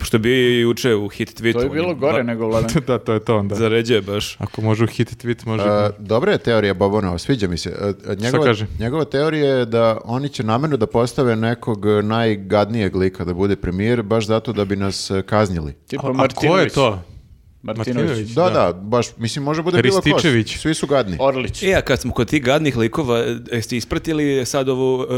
B: Što je bio i juče u hit tweetu.
D: To je
B: on
D: bilo
B: ba-
D: gore
A: (laughs)
D: nego Vladan.
A: (laughs) da, to je to onda.
B: Zaređuje baš.
A: Ako može u hit tweet, može.
C: E, dobra je teorija Bobonova, sviđa mi se. E, e, njegova,
A: kaže?
C: njegova teorija je da oni će namjerno da postave nekog najgadnijeg lika da bude premijer, baš zato da bi nas e, kaznili.
A: a,
D: Tipa
A: a ko je
D: Martinović.
A: to?
D: Martinović.
A: Martinović.
C: Da,
A: Da.
C: da, baš, mislim, može bude bilo ko.
A: Rističević.
C: Svi su gadni.
D: Orlić.
B: E, a kad smo kod tih gadnih likova, e, jeste ispratili sad ovu e,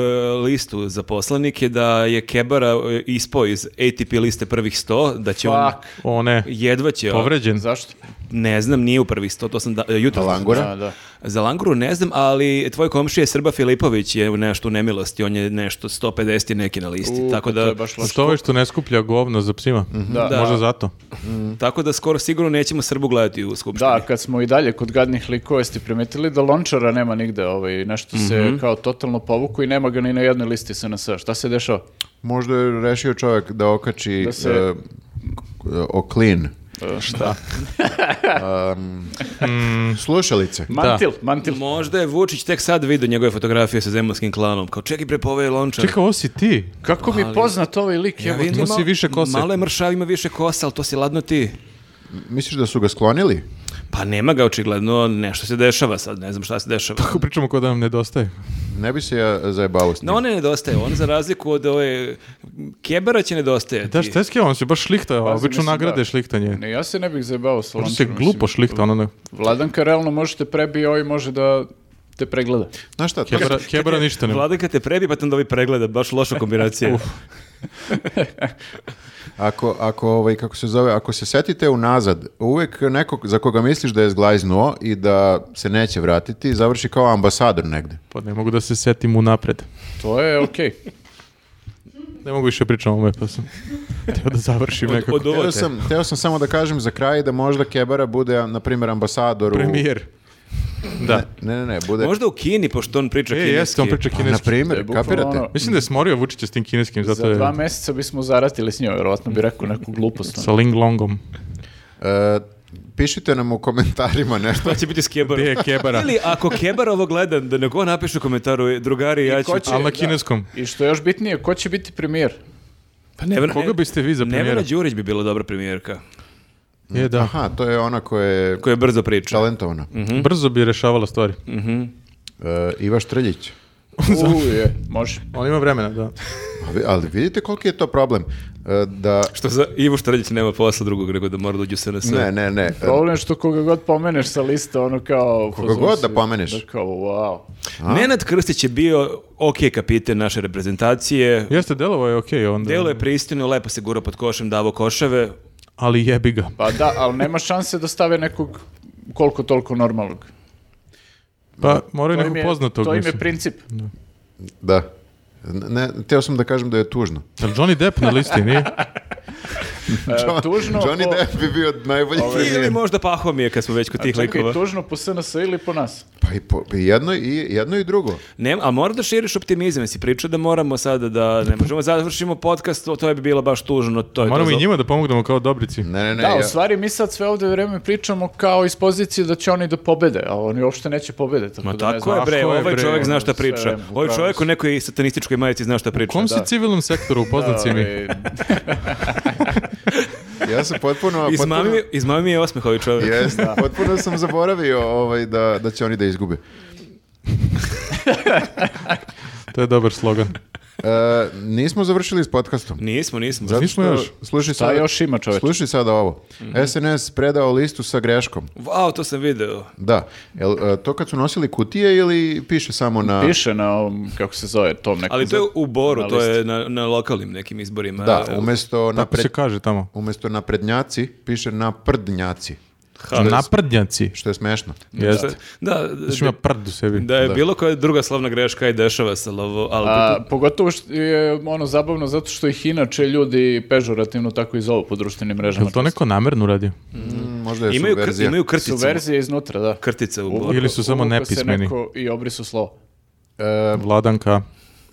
B: listu za poslanike da je Kebara e, ispao iz ATP liste prvih 100, da će on...
D: Fuck.
A: O ne,
B: Jedva će,
A: povređen.
D: Zašto?
B: ne znam, nije u prvih 100, to sam da, e, jutro.
C: Langura.
D: Da, da.
B: Za Languru ne znam, ali tvoj komšija Srba Filipović je u nešto u nemilosti, on je nešto 150 i neki na listi,
D: U,
B: tako
D: To
B: da,
D: je baš loše.
A: Što je što ne skuplja govno za psima?
D: Da.
A: Možda zato.
B: tako da skoro sigurno nećemo Srbu gledati u skupštini.
D: Da, kad smo i dalje kod gadnih likova, ste primetili da lončara nema nigde, ovaj, nešto se kao totalno povuku i nema ga ni na jednoj listi SNS. Šta se dešava?
C: Možda je rešio čovjek da okači
D: Da se- E,
C: e, k- e, oklin.
D: Šta?
A: (laughs) Hmm.
C: Slušalice.
D: Mantil, mantil.
B: Možda je Vučić tek sad vidio njegove fotografije sa zemunskim klanom, kao čekaj bre, pa ovo je lončar.
A: Čekaj, ovo si ti.
D: Kako mi poznat ovaj lik,
B: Ja
D: evo,
B: vidim da
A: ima si
B: malo-
A: više kose.
B: Malo je mršav, ima više kosa, ali to si ladno ti.
C: Misliš da su ga sklonili?
B: Pa nema ga očigledno, nešto se dešava sad, ne znam šta se dešava.
A: Tako pričamo kao da nam nedostaje.
C: Ne bi se ja zajebao s njim.
B: No, on ne nedostaje, on za razliku od ove... Kebera će nedostajati.
A: Da, šta je skijao? On se baš šlihta,
D: Pazi,
A: obično
D: Pa, mislim da-
A: nagrade šlihtanje.
D: Ne, ja se ne bih zajebao s
A: Možda se
D: Lončarom,
A: glupo
D: mislim.
A: šlihta, ono ne.
D: Vladanka realno možete prebije, ovaj može da te pregleda.
C: Znaš šta, to-
A: Kebra, kebra ništa nema.
B: Vlada kad te prebi, pa te onda ovi pregleda, baš
A: (laughs)
B: loša kombinacija.
C: Ako, ako, ovaj, kako se zove, ako se setite unazad, uvek nekog za koga misliš da je zglajznuo i da se neće vratiti, završi kao ambasador negde.
A: Pa ne mogu da se setim unapred.
D: To je okej.
A: Ne mogu više pričam o ovome, pa (laughs) sam teo da završim nekako.
B: od ovo
C: Teo
B: te.
C: sam, teo sam samo da kažem za kraj da možda Kebara bude, na primjer, ambasador u...
A: Premijer. Da.
C: Ne, ne, ne, bude...
B: Možda u Kini, pošto on priča
A: E,
B: kineski.
A: jeste, on
B: (laughs)
A: priča
C: Pa, na
A: kineski.
C: primjer,
D: E, bukvalno
C: kapirate?
D: ono-
A: Mislim da je smorio Vučića s tim kineskim, zato
D: Za dva
A: je
D: meseca bismo zaratili s njom, vjerojatno bi rekao neku glupost. ono.
A: sa Ling
D: (laughs)
A: Longom.
C: E, pišite nam u komentarima nešto.
B: Pa će biti s Kebarom.
A: Gdje je Kebara?
B: Ili ako Kebar ovo gleda, da neko napiše u komentaru, "E, drugari, ja ću...
D: ko će-
A: Ali na
D: E, da.
A: kineskom.
D: I što je još bitnije, ko će biti premijer?
B: Pa Nevena-
A: Koga biste vi za
B: Nevena
A: premijera?
B: Đurić bi bila dobra premijerka,
D: Mm-hmm.
A: Je, (laughs) da. Mhm.
C: Aha, to je ona koja je
B: koja je brzo priča.
C: talentovana.
D: Mm-hmm.
A: Brzo bi rešavala stvari.
C: E, Iva Štrljić.
D: U, je, može.
A: On ima vremena, da.
C: A vi- Ali vidite koliki je to problem. E, da...
B: Što za Ivo Štrljić nema posla drugog, nego da mora da uđe u SNS.
C: Ne, ne, ne. E,
D: Problem je što koga god pomeneš sa lista, ono kao...
C: Koga
D: fazon
C: god da
D: si,
C: pomeneš.
D: Da kao, wow.
B: Nenad Krstić je bio ok kapiten naše reprezentacije.
A: Jeste, delovo je okej onda.
B: Delo je pristojno, lepo se gurao pod košem, davo koševe.
A: Ali jebi ga.
D: Pa da, ali nema šanse da stave nekog koliko toliko normalnog.
A: Pa moraju
D: To im
A: nekog
D: je,
A: poznatog.
D: to im je
A: mislim.
D: princip.
C: Da. Ne, teo sam da kažem da je tužno.
A: Jel Johnny Depp na listi,
D: (laughs)
A: nije?
D: E, tužno
C: Johnny
D: po, Ovaj-
C: Depp bi bio najbolji
B: Ili
C: premijer.
B: možda pahomije kad smo već kod tih
D: Čekaj,
B: likova.
D: tužno po SNS ili po nas?
C: Pa i, po, i jedno, i, jedno i drugo.
B: Nema, a mora da širiš optimizam, jesi pričao da moramo sada da ne možemo završimo podcast, to, to bi bilo baš tužno. To je
A: Moramo
B: to
A: i
B: za-
A: njima da pomognemo kao dobrici.
C: Ne, ne, ne.
D: Da,
C: E, ja-
D: u stvari mi sad sve ovdje vrijeme pričamo kao iz pozicije da će oni da pobede, a oni uopšte neće pobede. Tako
B: Ma
D: da ne
B: Pa tako
D: znam.
B: je bre,
A: Tako je,
B: ovaj
A: bre,
B: čovjek zna
D: ono,
B: šta
D: sve
B: priča.
D: vreme,
B: Ovaj
D: upravo
B: čovjek
D: si.
B: u nekoj satanističkoj majici zna šta priča.
A: Kom si civilnom sektoru, upoznat si mi?
D: Ali,
C: Ja sam potpuno...
D: (laughs)
A: pa
B: Izmami,
C: potpuno (laughs)
B: mi- izmami mi je osmeh ovaj čovjek.
C: Jeste, potpuno sam zaboravio ovaj, da, da će oni da izgube.
A: To je dobar slogan.
C: E, nismo završili s podcastom.
B: Nismo, nismo.
C: Zato
A: Nismo
C: što-
A: još.
C: Slušaj
D: Šta
C: sada,
D: još ima, čoveče? Mhm.
C: Slušaj sada ovo. SNS predao listu sa greškom.
B: Wow, to sam video.
C: Da. Jel, e, to kad su nosili kutije ili piše samo na...
D: Piše na ovom, kako se zove, tom nekom.
B: Ali to je u Boru,
D: na
B: to je na, na lokalnim nekim izborima.
C: Da,
D: e,
C: umjesto na,
A: Tako
C: pred,
A: se kaže tamo.
C: umjesto na prednjaci, piše na prdnjaci.
B: Ha,
A: Naprdnjaci.
C: Što je smešno.
A: Jeste.
B: Da,
A: Znači ima
B: da,
A: prd u sebi.
B: da je bilo koja druga slavna greška i dešava se ali ovo, ali
D: A, pogotovo što je ono zabavno zato što ih inače ljudi pežorativno tako i zovu po društvenim mrežama.
A: Jel to neko namerno uradio?
C: Mm, možda je
B: imaju, kr-
C: subverzija.
B: imaju krticu.
D: Su verzije iznutra, da.
B: Krtica u Boru.
A: Ili su samo
D: Uvukao se
A: nepismeni.
D: neko I obrisu slovo.
C: E,
A: Vladanka.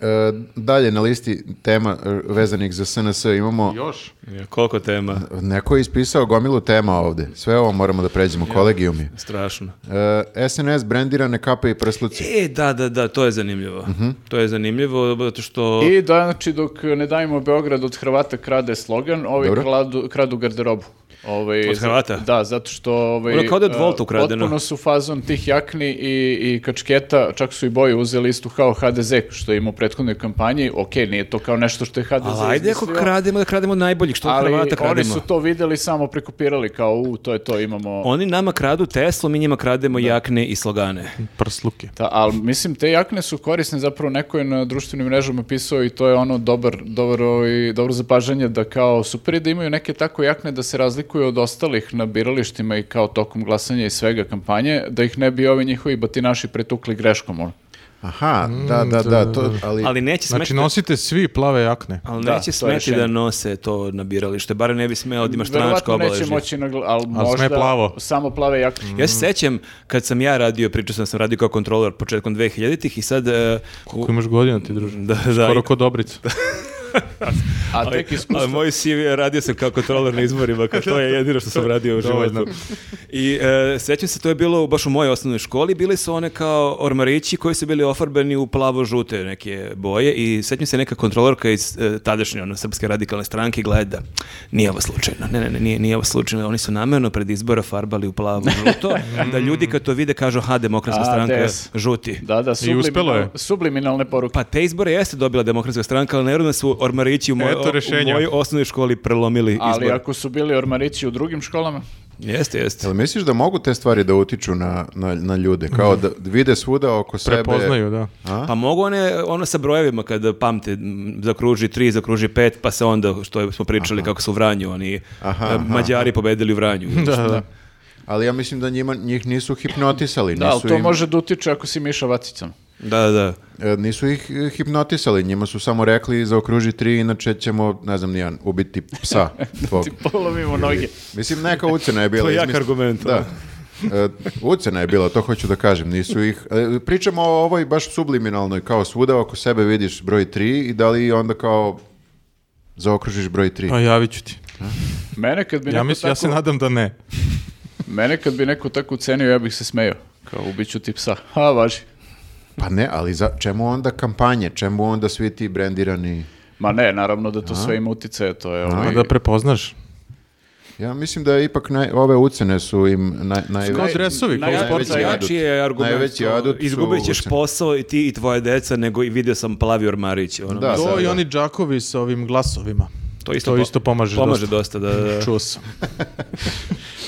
C: E, dalje na listi tema e, vezanih za SNS imamo...
A: Još.
B: Ja, Koliko tema,
C: Neko je ispisao gomilu tema ovde. Sve ovo moramo da pređemo, kolegijum je.
B: strašno.
C: E, SNS brendirane kape i prsluci.
B: E, da, da, da, to je zanimljivo. To je zanimljivo, zato što...
D: Mhm. I da, znači, dok ne dajemo Beograd od Hrvata krade slogan, ovi
C: Dobro.
D: kradu, kradu garderobu. Ovaj,
B: Od
D: za-
B: Hrvata?
D: Da, zato što... Ovaj,
B: Ono kao da je od
D: eh,
B: Volta ukradeno.
D: Potpuno su fazon tih jakni i, i kačketa, čak su i boju uzeli istu kao HDZ, što je imao u prethodnoj kampanji. Ok, nije to kao nešto što je HDZ
B: Ali ajde ako
D: izmislio,
B: krademo, da krademo od najboljih, što od
D: ali
B: Hrvata
D: oni
B: krademo?
D: su to videli, samo prekopirali kao, u, to je to, imamo...
B: Oni nama kradu Teslu, mi njima krademo jakne i slogane.
A: Prsluke.
D: Da, ali mislim, te jakne su korisne, zapravo neko je na društvenim mrežama pisao i to je ono dobar, dobar, ovaj, dobro zapažanje da kao super je da imaju neke tako jakne da se razlikuju od ostalih na biralištima i kao tokom glasanja i svega kampanje, da ih ne bi ovi njihovi batinaši pretukli greškom. Ono.
C: Aha, da, da, da, Mm, to, ali...
B: Ali neće smeti,
A: Znači nosite svi plave jakne.
B: ali
D: Da,
B: neće
D: to je
B: smeti
D: rešenje.
B: da nose to na biralište, bar ne bi smeo da imaš stranačko
D: Verovatno
B: obeležje.
D: neće moći, Mhm. na, gla- ali
A: Ali
D: možda
A: sme plavo.
D: samo plave jakne.
B: Ja se sećam kad sam ja radio, pričao sam da sam radio kao kontroler početkom 2000-ih i sad... e, u-
A: Koliko imaš godina ti druže?
B: Da, da.
A: Skoro ko dobrica.
D: A tek iskustvo...
B: A moj CV je radio sam kao kontroler na izborima, kao to je jedino
D: (laughs)
B: što sam radio u
A: Dovoljno.
B: životu. I e, sećam se, to je bilo baš u mojoj osnovnoj školi, bili su one kao ormarići koji su bili ofarbeni u plavo-žute neke boje i sećam se neka kontrolorka iz e, tadašnje ono, Srpske radikalne stranke gleda, nije ovo slučajno, ne, ne, ne, nije, nije ovo slučajno, oni su namjerno pred izbora farbali u
D: (laughs)
B: plavo-žuto, da ljudi kad to vide kažu, ha, demokratska
D: A,
B: stranka,
D: des.
B: žuti.
D: Da, da, subliminal-
A: uspelo je.
D: subliminalne poruke.
B: Pa te izbore jeste dobila demokratska stranka, ali naravno su ormarići u, moj,
A: Eto rešenja.
B: u mojoj osnovnoj školi prelomili
D: Ali
B: Pa, izbor.
D: ako su bili ormarići u drugim školama,
B: Jeste, jeste.
C: Jel misliš da mogu te stvari da utiču na, na, na ljude? Kao da vide svuda oko sebe...
A: Prepoznaju, da.
B: Pa mogu one, ono sa brojevima kada pamte, m, zakruži tri, zakruži pet, pa se onda, što smo pričali, kako su u Vranju, oni
C: Aha,
B: e,
C: aha.
B: Mađari pobedili u Vranju.
A: Da, da.
C: Ali ja mislim da njima, njih nisu hipnotisali.
D: da, ali
C: nisu
D: to
C: im-
D: može da utiče ako si Miša ono. Vacicom.
B: Da, da.
C: E, Nisu ih e, hipnotisali, njima su samo rekli zaokruži tri, inače ćemo, ne znam, nijan, ubiti psa tvog.
D: Ti polomimo noge.
C: Mislim, neka ucena je bila.
B: To je jak
C: izmisli-
B: argument,
C: Da. E, ucena je bila, to hoću da kažem. Nisu ih... e, pričamo o ovoj baš subliminalnoj, kao svuda oko sebe vidiš broj tri i da li onda kao zaokružiš broj tri.
A: Pa javit ću ti.
D: Mene kad bi
A: Ja,
D: neko
A: mislim, ja se
D: tako-
A: nadam da ne.
D: Mene kad bi neko tako ucenio, ja bih se smejao. Kao, ubiću ti psa. Ha, važi.
C: Pa ne, ali za, čemu onda kampanje? Čemu onda svi ti brendirani...
D: Ma ne, naravno da to sve ima utice, to je
A: Pa
D: ovaj...
A: da prepoznaš.
C: Ja mislim da je ipak naj, ove ucene su im naj, naj-
A: Kao dresovi, kao
D: Najjači-
A: sport.
C: Najveći adut.
B: Jači je argument.
C: Najveći
B: to,
C: adut su
B: Izgubit ćeš
C: ucene.
B: posao i ti i tvoje deca, nego i vidio sam plavi ormarić. Ono.
C: Da,
A: To
C: da,
A: i
C: da.
A: oni džakovi sa ovim glasovima.
B: To isto,
A: to
B: po-
A: isto pomaže,
B: Pomaže
A: dosta.
B: dosta, da, da.
A: Čuo sam.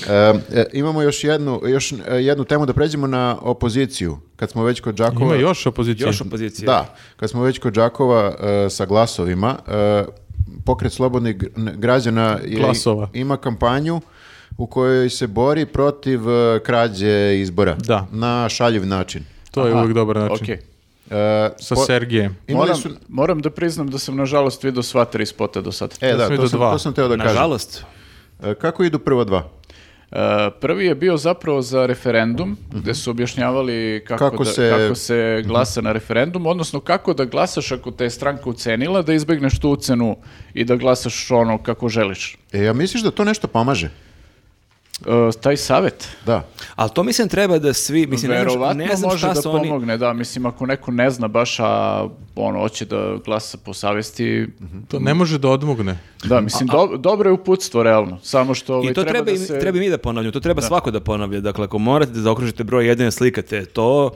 C: E, e, imamo još jednu, još e, jednu temu da pređemo na opoziciju. Kad smo već kod Đakova...
A: Ima još opozicije.
B: Još opozicija.
C: Da, kad smo već kod Đakova e, sa glasovima, e, pokret slobodnih gr- građana je-
A: Glasova.
C: ima kampanju u kojoj se bori protiv e, krađe izbora.
A: Da.
C: Na šaljiv način.
A: To je uvijek dobar način.
D: Okej.
C: E,
A: Sa
C: po-
A: Sergijem.
C: imali
D: Moram,
C: su-
D: moram da priznam da sam nažalost vidio sva tri spota do sada.
C: E, da,
A: Jesmo i
C: to
A: do
C: sam,
A: dva.
C: to sam teo da kažem.
B: Nažalost.
C: E, Kako idu prva dva?
D: E, prvi je bio zapravo za referendum, gde su objašnjavali kako,
C: Kako
D: da,
C: se-
D: kako se glasa na referendum, odnosno kako da glasaš ako te je stranka ucenila, da izbegneš tu ucenu i da glasaš ono kako želiš.
C: E, ja misliš da to nešto pomaže?
D: E, taj savet,
C: Da.
B: Ali to mislim treba da svi, mislim, ne znam,
D: verovatno
B: ne znam
D: može
B: šta
D: da
B: su oni,
D: pomogne, da, mislim, ako neko ne zna baš, a ono, hoće da glasa po savesti,
A: To ne može da odmogne.
D: da, mislim, do- dobro je uputstvo, realno, samo što ovaj,
B: I to treba,
D: treba da
B: i-
D: se...
B: treba i mi da ponavljamo, to treba svako da ponavlja. Dakle, ako morate da zaokružite broj jedan, slikate to,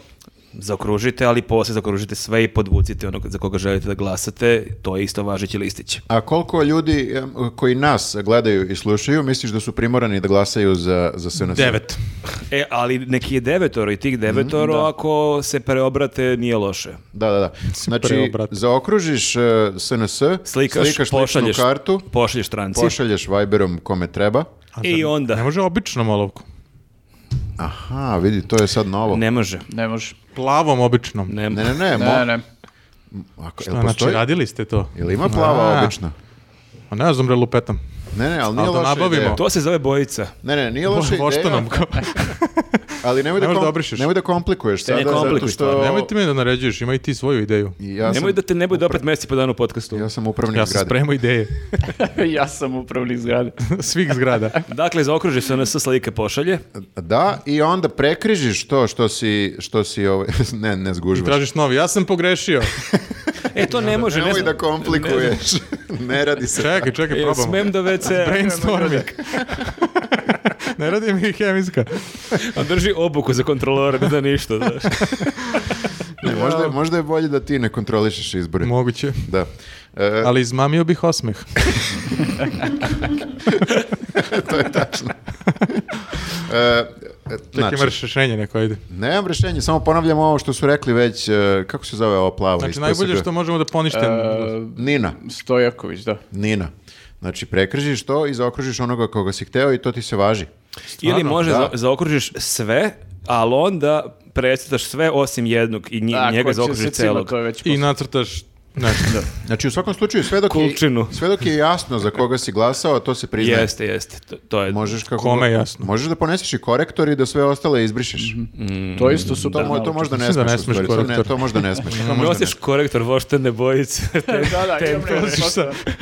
B: zaokružite, ali poslije zaokružite sve i podvucite ono za koga želite da glasate, to je isto važeći listić.
C: A koliko ljudi em, koji nas gledaju i slušaju, misliš da su primorani da glasaju za, za SNS?
A: Devet.
B: E, ali neki je devetoro i tih devetoro ako se preobrate nije loše.
C: Da, da, da. Znači,
A: preobrati.
C: zaokružiš e, SNS,
B: Slikaš,
C: slikaš ličnu
B: pošalješ,
C: kartu,
B: pošalješ stranci
C: pošalješ Viberom kome treba.
B: i
A: Ne
B: onda
A: može običnom olovkom.
C: Aha, vidi, to je sad novo. Ne,
B: ne može.
D: Ne može.
A: Plavom običnom.
B: Ne,
C: ne, ne. E, mo-
D: Ne, (laughs) ne.
C: Ako,
A: Šta,
C: jel
A: znači,
C: postoji?
A: radili ste to?
C: Jel ima plava
A: A.
C: obična?
A: A ne znam, bre, lupetam.
C: Ne, ne, ali nije
A: Ali da
C: loša
A: nabavimo.
C: ideja.
B: To se zove bojica.
C: Ne, ne, nije loša ideja,
A: Voštanom.
C: ali nemoj
A: Ne
C: da,
A: možeš da
C: kom-
A: obrišeš.
C: nemoj da komplikuješ
B: Ne, ne
C: sada, zato
B: komplikuj stvar,
C: što...
A: Nemojte mi da naređuješ, ima i ti svoju ideju.
C: Ja sam,
B: Nemoj da te ne bude opet mjeseci po danu u podcastu.
C: ja sam upravnik
A: Ja sam
C: zgrade.
A: spremao ideje (laughs)
D: ja sam upravnik zgrade.
A: svih zgrada.
B: Dakle, zaokruži se na slike pošalje.
C: Da, i onda prekrižiš to što si, što si ovaj, (laughs) ne, ne
A: I
C: zgužvaš.
A: tražiš novi. Ja sam pogrešio.
B: E, to ne može. ne
C: Nemoj
B: znam.
C: da komplikuješ. (laughs) ne radi se.
A: Čekaj, čekaj,
B: (laughs) E,
A: probamo.
B: smem da WC...
A: Brainstorming. (laughs) ne radi mi hemijska.
B: A drži obuku za kontrolora, ne da (laughs) ništa. Da.
C: Ne, možda, je- možda je bolje da ti ne kontrolišeš izbore.
A: Moguće.
C: Da. E,
A: Ali izmamio bih
C: (laughs)
A: osmeh.
C: to je tačno. E, e,
A: Čekaj,
C: znači,
A: imaš rešenje neko, ajde. Znači,
C: nemam rješenje, samo ponavljam ovo što su rekli već, e, kako se zove ova plava?
A: Znači,
C: iz
A: najbolje
C: PSG?
A: što možemo da
D: E,
A: poništem.
C: Nina,
D: Stojaković, da.
C: Nina. Znači, prekržiš to i zaokružiš onoga koga si hteo i to ti se važi.
B: Ili može
C: da.
B: za, zaokružiš sve, ali onda predstavljaš sve osim jednog i nje-
D: A,
B: njega
D: ko će se
B: zaokružiš
D: cima,
B: celog.
D: to je već
A: I
D: posao.
A: nacrtaš Znači, da.
C: Znači, u svakom slučaju, sve dok, je,
B: Kulčinu.
C: sve dok je jasno za koga si glasao, to se priznaje.
B: Jeste, jeste. To, to je...
C: Možeš kako
A: Kome
C: god-
A: jasno?
C: Možeš da poneseš i korektor i da sve ostale izbrišeš.
D: To isto su...
C: To, mo- to možda ne
A: Mislim Mhm.
C: smeš.
A: da ne
C: u
A: smeš
C: stvari, to ne-
A: korektor.
C: To možda
A: (laughs)
C: ne smeš. To možda ne
B: Nosiš korektor voštene
D: (laughs)
B: bojice.
D: (laughs) Da, da, imam
B: Tempo.
D: nešto.
A: (laughs)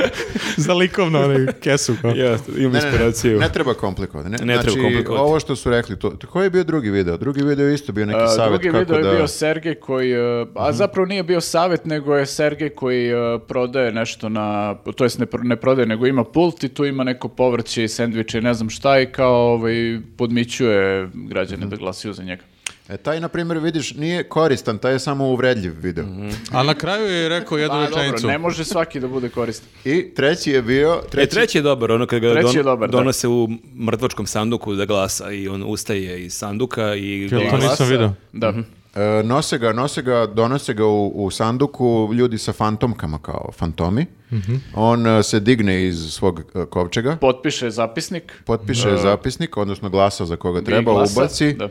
A: Za likovno onaj kesu. kao.
B: Jeste, imam
C: Ne, ne, ne,
B: inspiraciju. E,
C: ne treba komplikovati. Ne,
B: Ne treba
C: znači,
B: komplikovati.
C: ovo što su rekli, to, to- koji je bio drugi video? Drugi video je isto bio neki
D: A,
C: savjet
D: E, drugi
C: kako
D: video
C: da... Mhm.
D: je bio Sergej koji, e, a zapravo nije bio savjet, nego je Sergej koji e, prodaje nešto na, to jest ne, pro- ne prodaje, nego ima pult i tu ima neko povrće i sendviče i ne znam šta i kao ovaj, podmićuje
C: Mhm.
D: građane da glasaju za njega.
C: E, taj, na primjer, vidiš, nije koristan, taj je samo uvredljiv video.
D: Mhm.
A: A na kraju je rekao jednu
D: Pa,
A: rečenicu.
D: dobro, ne može svaki da bude koristan.
C: I treći je bio...
B: Treći,
C: Treći,
B: e, treći je dobar, ono kad ga
D: Treći
B: don-
D: je dobar, da.
B: donose u mrtvočkom sanduku da glasa i on ustaje iz sanduka i
A: Jel to
B: glasa.
A: nisam video.
D: Da.
C: e, nose ga, nose ga, donose ga u, u sanduku ljudi sa fantomkama kao fantomi.
D: Mhm.
C: On e, se digne iz svog e, kovčega,
D: Potpiše zapisnik.
C: potpiše zapisnik, odnosno glasa za koga treba,
D: glasa,
C: ubaci,
D: da.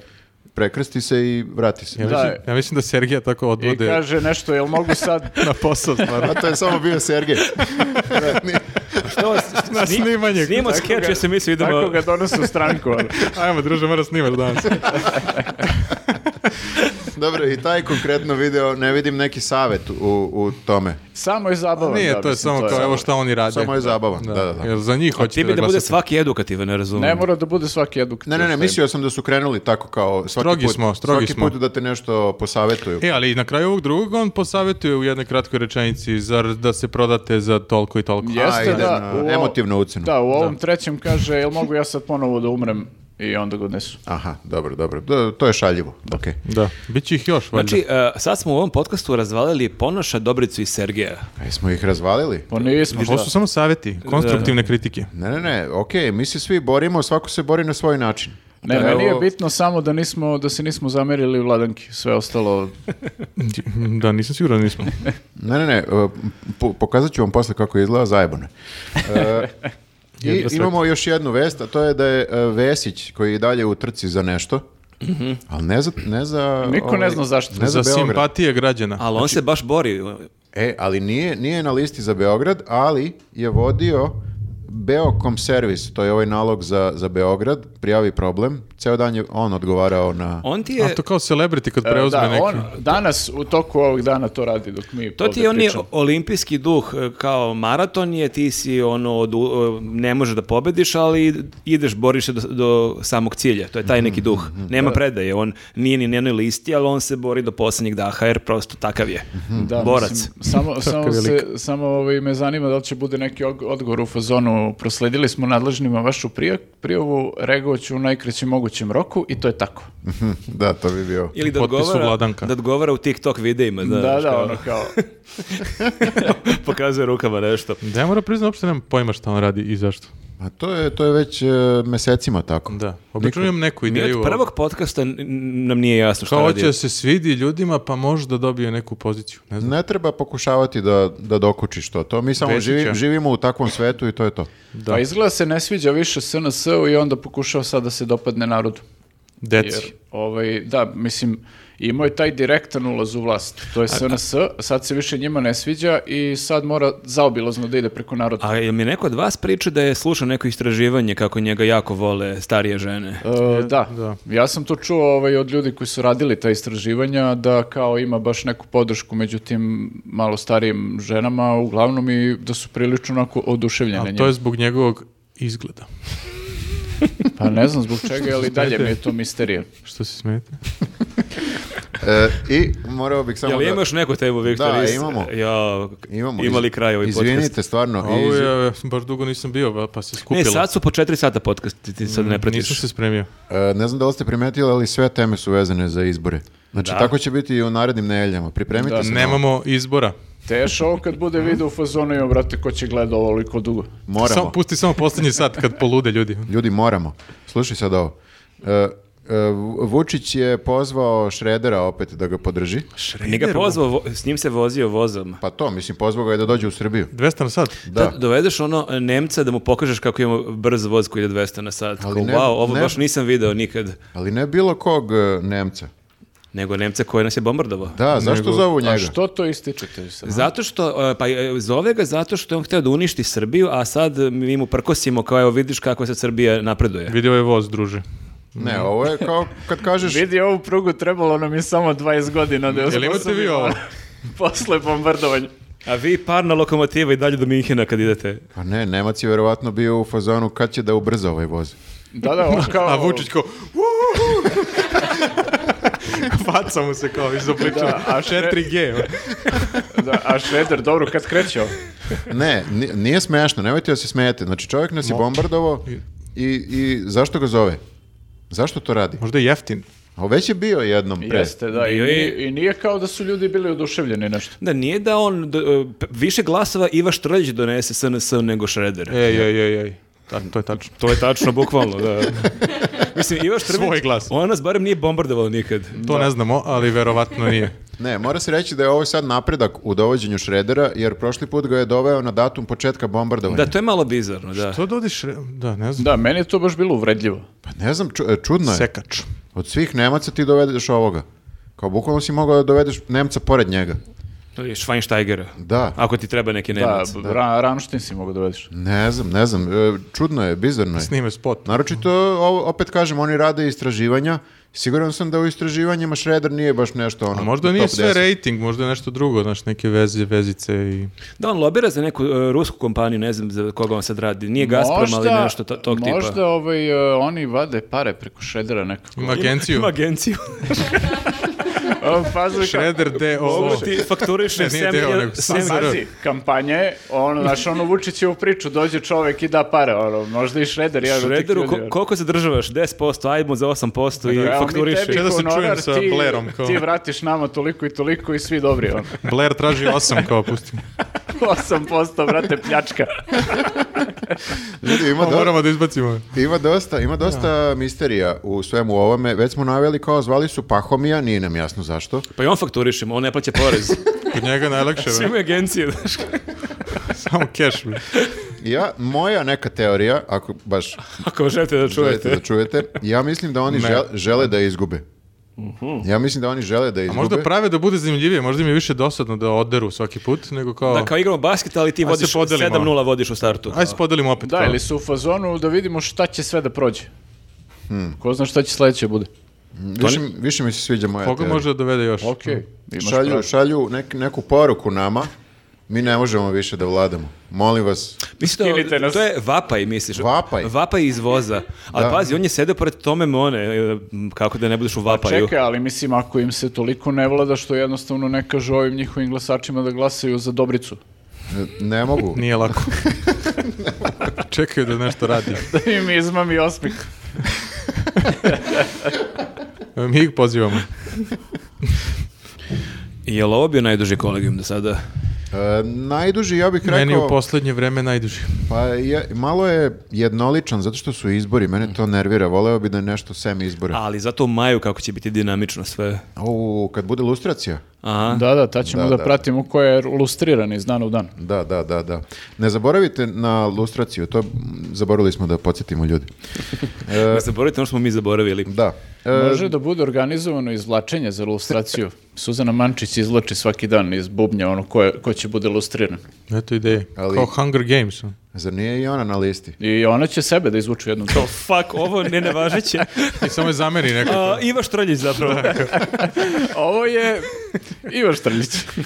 C: prekrsti se i vrati se.
A: Ja
D: Da.
A: mislim, ja mislim da Sergija tako
D: I
A: odvode
D: kaže nešto, jel mogu
C: (laughs)
D: sad...
A: na posao stvarno.
C: A to je samo bio
D: (laughs)
C: Sergej.
B: Što, s-
A: Na
B: sni-
A: snimanje.
B: Snimao
D: Tako
B: skeč,
D: ga-
B: ja sam mislio idemo...
D: Tako ga donosu u stranku. ali.
A: Ajmo, druže, mora snimaš danas.
C: Dobro, i taj konkretno video, ne vidim neki savjet u, u tome.
D: Samo je zabavan.
A: Nije,
D: da,
A: to je
D: mislim, ono.
A: samo kao evo šta oni rade.
C: Samo je zabavan. Da, da, da.
A: Jer za njih hoćete
B: Ti bi
A: da
B: da bude
A: glasate.
B: svaki edukativan, ne razumijem.
D: Ne mora da bude svaki eduk.
C: Ne, ne, ne, mislio sam da su krenuli tako kao svaki
A: Strogi
C: put.
A: smo, strogi
C: svaki
A: smo.
C: put da te nešto posavetuju.
A: E, ali na kraju ovog drugog on posavjetuje u jednoj kratkoj rečenici zar da se prodate za toliko i toliko.
D: Jeste
C: A, ide
D: da,
C: na
D: u ovom-
C: emotivnu ucenu.
D: Da, u ovom trećem kaže, jel mogu ja sad ponovo da umrem i onda ga odnesu.
C: Aha, dobro, dobro. Da, to je šaljivo. Okej.
A: Da. Biće ih još, valjda.
B: Znači, e, sad smo u ovom podcastu razvalili Ponoša, Dobricu i Sergeja.
C: E, smo ih razvalili?
D: Pa nismo.
A: Ovo
D: šta?
A: su samo savjeti, konstruktivne kritike.
C: Ne, ne, ne, okej, mi se svi borimo, svako se bori na svoj način.
D: Ne,
C: Da,
D: meni je
C: evo-
D: bitno samo da nismo da se nismo zamerili u Vladanki, sve ostalo. e,
A: Da, nisam siguran da nismo.
C: Ne, ne, ne, e, po- pokazat ću vam posle kako izgleda zajebano.
D: (laughs)
C: E, I
A: Jedva sve-
C: imamo još jednu vest, a to je da je e, Vesić, koji je i dalje u trci za nešto, ali ne za... Ne za
D: Mhm.
C: ovaj,
D: Niko ne zna zašto.
C: Ne za,
A: Za
C: Beograd.
A: simpatije građana.
B: Ali on se baš bori.
C: E, ali nije, nije na listi za Beograd, ali je vodio Beokom servis, to je ovaj nalog za, za Beograd, prijavi problem. Ceo dan je on odgovarao na...
B: On ti
A: A
B: je...
A: to kao celebrity kad preuzme
D: E, da,
A: neki.
D: on danas u toku ovog dana to radi dok mi
B: To ti
D: ovdje
B: je on je
D: pričamo.
B: olimpijski duh e, kao maraton je, ti si ono, odu- e, ne možeš da pobediš, ali ideš, boriš se do, do samog cilja. To je taj neki duh.
A: Mhm,
B: Nema predaje, on nije ni na jednoj listi, ali on se bori do posljednjeg daha, jer prosto takav je.
A: Mhm.
D: Da,
B: Borac.
D: mislim, samo samo,
A: je
D: se, samo ovaj, me zanima da li će bude neki og- odgovor u fazonu. Prosledili smo nadležnima vašu prija- prijavu, reagovaću u najkraćem mogućem roku i to je tako.
C: (laughs) da, to bi bio...
B: Ili da
A: U potpisu
B: odgovara,
A: Vladanka.
B: da odgovara u TikTok videima. Da,
D: Da, da,
B: znaš, kao,
D: ono kao,
B: (laughs) pokazuje rukama nešto.
A: Da, ja moram priznati, uopšte nemam pojma šta on radi i zašto.
C: A to je, to je već e, mesecima tako.
A: Da, obično imam neku
B: Mi
A: ideju.
B: od prvog podcasta n- n- nam nije jasno što
A: Kao
B: radi.
A: hoće da se svidi ljudima, pa možda dobije neku poziciju. Ne znam.
C: Ne treba pokušavati da, da dokučiš to. To mi samo
A: Vesića.
C: živi- živimo u takvom svetu i to je to.
A: Da.
D: Pa izgleda se ne sviđa više SNS-u i onda pokušao sad da se dopadne narodu. Jer,
A: Deci.
D: ovaj, da, mislim, imao je taj direktan ulaz u vlast. To je SNS, sad se više njima ne sviđa i sad mora zaobilazno da ide preko naroda.
B: A je mi neko od vas priča da je slušao neko istraživanje kako njega jako vole starije žene?
D: E, da.
A: da.
D: ja sam to čuo ovaj, od ljudi koji su radili ta istraživanja da kao ima baš neku podršku među tim malo starijim ženama, uglavnom i da su prilično onako oduševljene
A: Ali to
D: njima.
A: je zbog njegovog izgleda.
D: Pa ne znam zbog čega,
A: (laughs)
D: ali dalje mi je to misterija.
A: Što se smijete?
C: E, I morao bih samo
B: Jel
C: da...
B: ima još neko temu, Viktor?
C: Da,
B: Is-
C: imamo.
B: Ja,
C: Imamo.
B: Ima li
C: Iz-
B: kraj ovaj
C: Izvinite,
B: podcast?
C: stvarno.
A: Ovo
C: Pa iz-
A: je, baš dugo nisam bio, ba- pa se skupilo.
B: Ne, sad su po četiri sata podcast, ti- ti
C: Mm,
B: sad ne pratiš.
A: Nisam se spremio.
C: E, ne znam da li ste primetili, ali sve teme su vezane za izbore. Znači,
B: Da.
C: tako će biti i u narednim nedeljama. Pripremite
D: Da.
C: se.
A: Nemamo izbora.
D: Tešo ovo kad bude video u fazonu i brate, ko će gleda ovoliko dugo.
C: Moramo.
A: Samo, pusti samo posljednji sat kad polude ljudi.
C: Ljudi, moramo. Slušaj sad ovo. E, e, Vu- Vučić je pozvao Šredera opet da ga podrži.
B: Nije ga pozvao, vo- s njim se vozio vozom.
C: Pa to, mislim, pozvao ga je da dođe u Srbiju.
A: 200 na sat.
C: Da.
B: Tad dovedeš ono e, Nemca da mu pokažeš kako ima brz voz koji ide 200 na sat.
C: Ali
B: Kao,
C: ne-
B: wow, ovo
C: ne-
B: baš nisam video nikad.
C: Ali ne bilo kog e, Nemca.
B: nego Nemca koji nas je bombardovao.
C: Da, zašto
A: Nego-
C: zovu njega?
D: A što to ističete sad?
B: Zato što, e, pa e, zove ga zato što je on hteo da uništi Srbiju, a sad mi mu prkosimo kao evo vidiš kako se Srbija napreduje.
A: Video je ovaj voz, druže.
C: Ne, ovo je kao kad kažeš...
D: Vidi ovu prugu, trebalo nam je samo 20 godina da je
A: Jel imate vi ovo?
D: (laughs) Posle bombardovanja.
B: A vi par na lokomotiva i dalje do Minhena kad idete.
C: Pa ne, Nemac je verovatno bio u fazonu kad će da ubrza ovaj voz.
D: Da, da, (laughs) on kao...
A: A Vučić kao, "Uhuhu." Faca mu se kao izobličila.
D: Da, a šre-
A: 4G.
D: Da, a Šreder, dobro, kad kreće ovo?
C: Ne, ni- nije smešno, nemojte da se smijete. Znači čovjek nas je bombardovao i, i zašto ga zove? Zašto to radi?
A: Možda je jeftin.
C: A već je bio jednom pre.
D: Jeste, da, i,
B: Bio je-
D: nije- i nije kao da su ljudi bili oduševljeni nešto.
B: Da, nije da on do- e, p- više glasova Iva Štrljić donese SNS nego Šreder.
A: Ej, ej, ej, ej. Ta- to je tačno.
B: E, To je tačno, bukvalno, da. (laughs) Mislim, Iva Štrljić,
A: Svoj glas.
B: ona nas barem nije bombardovala nikad.
A: To ne znamo, ali verovatno nije.
C: Ne, mora se reći da je ovo sad napredak u dovođenju Šredera, jer prošli put ga je doveo na datum početka bombardovanja.
B: Da, to je malo bizarno, da.
A: To dodiš, da, ne znam,
D: Da, meni je to baš bilo uvredljivo.
C: Pa ne znam, ču- e, čudno je.
A: sekač.
C: Od svih Nemaca ti dovedeš ovoga. Kao bukvalno si mogao da dovedeš Nemca pored njega.
B: Ili Schweinsteigera.
C: Da.
B: Ako ti treba neki
D: Da,
B: nemac.
D: ra, Ramštin si mogu dovedeš.
C: Ne znam, ne znam, e, čudno je, bizarno je.
A: Snime spot.
C: Naročito, o- opet kažem, oni rade istraživanja. Siguran sam da u istraživanjima Šreder nije baš nešto ono.
A: A možda
C: u
A: nije
C: top
A: sve
C: 10.
A: rating, možda je nešto drugo, znaš, neke veze, vezice i...
B: Da, on lobira za neku e, rusku kompaniju, ne znam za koga on sad radi. Nije Gazprom, ali nešto to- tog tipa.
D: Možda ovaj, e, oni vade pare preko Šredera (laughs) nekako.
A: Ima agenciju.
B: Ima
A: (laughs)
B: agenciju.
D: O, pazi, ka-
A: Šreder D.O.
B: Ovo ti fakturiš na
A: Nije
B: sem-
A: deo, nego
B: sem-
A: sam-
D: Pa Pazi, kampanja je, ono, znaš, ono Vučićevu priču, dođe čovek i da pare, ono, možda i Šreder, ja
B: Šrederu, ko- koliko se državaš? 10%, ajmo za 8% i
D: ono. Evo mi
B: fakturiše.
D: tebi
A: Ja da se
D: honorar,
A: čujem sa
D: ti-
A: Blairom, kao.
D: Ti vratiš nama toliko i toliko i svi dobri, ono. (laughs)
A: Blair traži osam kao pusti.
D: 8% brate pljačka.
C: Vidi, ima,
A: Pa
C: do-
A: (laughs) moramo da izbacimo.
C: ima dosta, ima dosta misterija u svemu ovome. Već smo naveli kao zvali su Pahomija, nije nam jasno zašto.
B: Pa i on fakturiše, on ne plaća
A: (laughs)
B: porez.
A: Kod njega je najlakše,
B: Svi
A: bre.
B: imaju agencije, znaš.
A: (laughs) samo cash. bre.
C: Ja, moja neka teorija, ako
A: (laughs)
C: baš
B: Ako želite da
C: želite
B: čujete.
C: da čujete, ja mislim da oni
A: Ne.
C: žel- žele da je izgube. Ja mislim da oni žele da je
A: A
C: izgube.
A: možda prave da bude zanimljivije, možda im je više dosadno da oderu svaki put, nego kao...
B: Da, kao igramo basket, ali ti
A: Ajde
B: vodiš
A: se podelimo.
B: 7-0 vodiš u startu.
A: Ajde spodelimo opet.
D: Da,
A: kao.
D: ili su u fazonu da vidimo šta će sve da prođe.
B: Hmm.
D: Ko zna šta će sledeće bude.
C: više, više mi se sviđa moja
A: Koga
C: teorija.
A: može da dovede još?
D: Ok,
B: Hmm.
D: imaš
C: Šalju,
D: pravo.
C: šalju nek- neku poruku nama. Mi ne možemo više da vladamo. Molim vas,
B: Mislim, to-
D: Skinite nas.
B: to je vapaj, misliš.
C: Vapaj?
B: Vapaj iz voza. Ali
C: Da.
B: pazi, on je sedeo pored Tome Mone, e, m, kako da ne budeš u vapaju.
D: Pa Čekaj, ali mislim, ako im se toliko ne vlada što jednostavno ne kažu ovim njihovim glasačima da glasaju za Dobricu. (laughs)
C: ne mogu.
A: Nije lako. Čekaju da nešto radi.
D: Da im izmami osmih.
A: Mi ih pozivamo.
B: Je li ovo bio najduži kolegium do sada?
C: E, najduži, ja bih
A: Meni u
C: rekao,
A: poslednje vreme najduži.
C: pa je, malo je jednoličan, zato što su izbori, mene to nervira, voleo bi da je nešto sem izbora.
B: Ali zato u maju kako će biti dinamično sve.
C: Au, kad bude lustracija?
B: Aha.
D: Da, da, ta ćemo
C: Da,
D: da,
C: da.
D: pratimo ko je lustriran iz dana u dan.
C: Da, da, da, da. Ne zaboravite na lustraciju, to m, zaboravili smo da podsjetimo ljudi.
B: Ne zaboravite ono što smo mi zaboravili.
C: Da. E,
D: Može da bude organizovano izvlačenje za lustraciju. Suzana Mančić izvlači svaki dan iz bubnja ono ko, je- ko će bude lustriran.
A: Eto ideje.
C: Ali-
A: Kao Hunger Games. ono.
C: Zar nije i ona na listi?
D: I ona će sebe da izvuče jednom.
C: (laughs)
B: To fuck, ovo ne nevažeće.
A: I samo je zameni neko.
B: A, Iva Štrljić zapravo.
D: Ovo je Ivo Štrljić.
A: (laughs)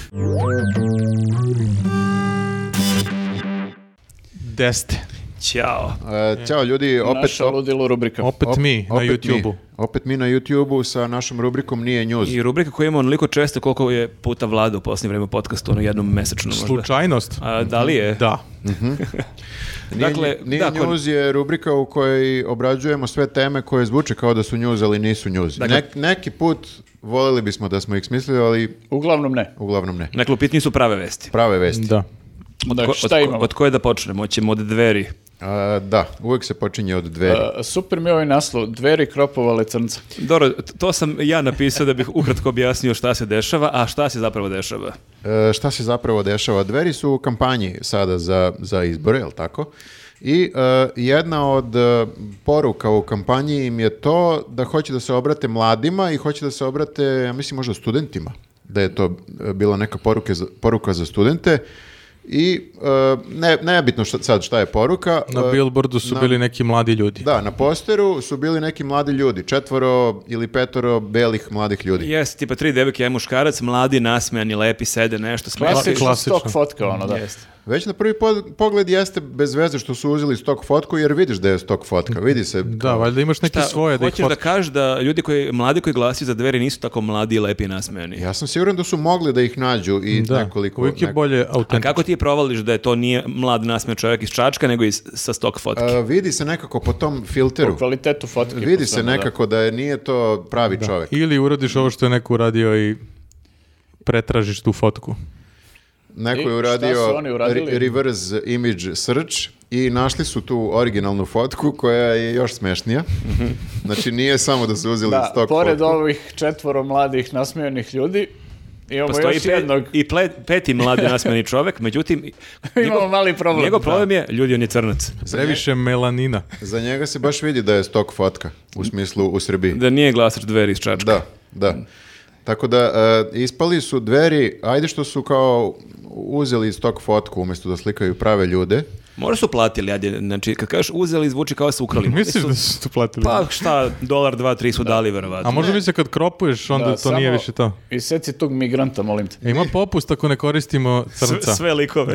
A: Deste.
B: Ćao.
C: E, ćao ljudi, opet...
D: Naša ludilo rubrika.
A: Opet
C: op-
A: mi na
C: opet
A: YouTube-u.
C: mi. Opet mi na YouTube-u sa našom rubrikom Nije news.
B: I rubrika koju imamo onoliko često koliko je puta vlada u posljednje vrijeme u podcastu, ono jednom mesečno možda.
A: Slučajnost?
B: A, da li je?
A: Da.
C: Nije,
B: Dakle,
C: nije
B: da, ako-
C: news je rubrika u kojoj obrađujemo sve teme koje zvuče kao da su news, ali nisu news.
B: Dakle-
C: Nek- neki put voljeli bismo da smo ih smislili, ali
D: Uglavnom ne.
C: uglavnom ne.
B: Dakle, u pitanju su prave vesti.
C: Prave vesti.
A: Da.
D: Dakle,
B: Ko-
D: šta
B: od, ko-
D: imamo?
B: od koje da počnemo? Hoćemo od dveri.
C: A, da, uvek se počinje od dveri.
D: A, super mi je ovaj naslov, dveri kropovale crnca.
B: Dobro, t- to sam ja napisao da bih ukratko objasnio šta se dešava, a šta se zapravo dešava.
C: E, šta se zapravo dešava? Dveri su u kampanji sada za, za izbore, jel tako? I e, jedna od e, poruka u kampanji im je to da hoće da se obrate mladima i hoće da se obrate, ja mislim, možda studentima. Da je to e, bila neka poruke za, poruka za studente. I e, ne, nebitno šta, sad šta je poruka.
A: Na
C: E,
A: billboardu su bili neki mladi ljudi.
C: Da, na posteru su bili neki mladi ljudi, četvoro ili petoro belih mladih ljudi.
B: Jes, tipa tri devike, jedan muškarac, mladi, nasmejani, lepi, sede, nešto smešno.
A: Klasi-
D: Klasično,
A: klasično.
D: stok fotka, ono, da.
B: Jeste.
C: Već na prvi pod- pogled jeste bez veze što su uzeli stok fotku, jer vidiš da je stok fotka, vidi se.
A: Da, valjda imaš neke
B: Šta,
A: svoje da ih
B: hoćeš da
A: fot-
B: kažeš da ljudi koji, mladi koji glasi za dveri nisu tako mladi, lepi i nasmejani.
C: Ja sam siguran da su mogli da ih nađu i
A: Da,
C: nekoliko...
A: uvijek je
C: neko-
A: bolje
B: A
A: autentično.
B: kako ti provališ da je to nije mlad nasmejan čovjek iz Čačka, nego iz, sa stok fotke?
D: E,
C: A, vidi se nekako po tom filteru.
D: Po kvalitetu fotke.
C: Vidi se
D: posebno, da.
C: nekako da je, nije to pravi čovjek.
A: Ili uradiš ovo što je neko uradio i pretražiš tu fotku.
C: Neko je
D: I šta su
C: uradio
D: oni uradili?
C: re- reverse image search i našli su tu originalnu fotku koja je još smešnija. Znači nije samo da su uzeli
D: Mhm. Da,
C: stok
D: pored
C: fotku.
D: ovih četvoro mladih nasmijenih ljudi, imamo
B: Postoji
D: još
B: Pa pe-
D: jednog.
B: i ple- peti
D: (laughs)
B: mladi nasmejani čovjek, međutim,
D: Imamo mali problem.
B: njegov
D: Da.
B: problem je, ljudi, on je crnac.
A: Previše melanina.
C: Za njega se baš vidi da je stok fotka, u smislu u Srbiji.
B: Da nije glasač dveri iz Čačka.
C: Da, da. Tako da, e, ispali su dveri, ajde što su kao uzeli iz tog fotku umjesto da slikaju prave ljude.
B: Možda su platili, ajde, znači, kad kažeš uzeli, zvuči kao da su ukrali. Možda
A: (laughs) Misliš
B: su-
A: da su to platili?
B: Pa šta, dolar, dva, tri su dali,
A: A
B: verovatno.
A: možda mi se kad kropuješ, onda
D: Da,
A: to nije
D: samo
A: više to.
D: I seci tog migranta, molim
A: (laughs)
D: te.
A: E, ima popust ako ne koristimo crnca.
B: Sve, sve
D: (laughs)
B: likove.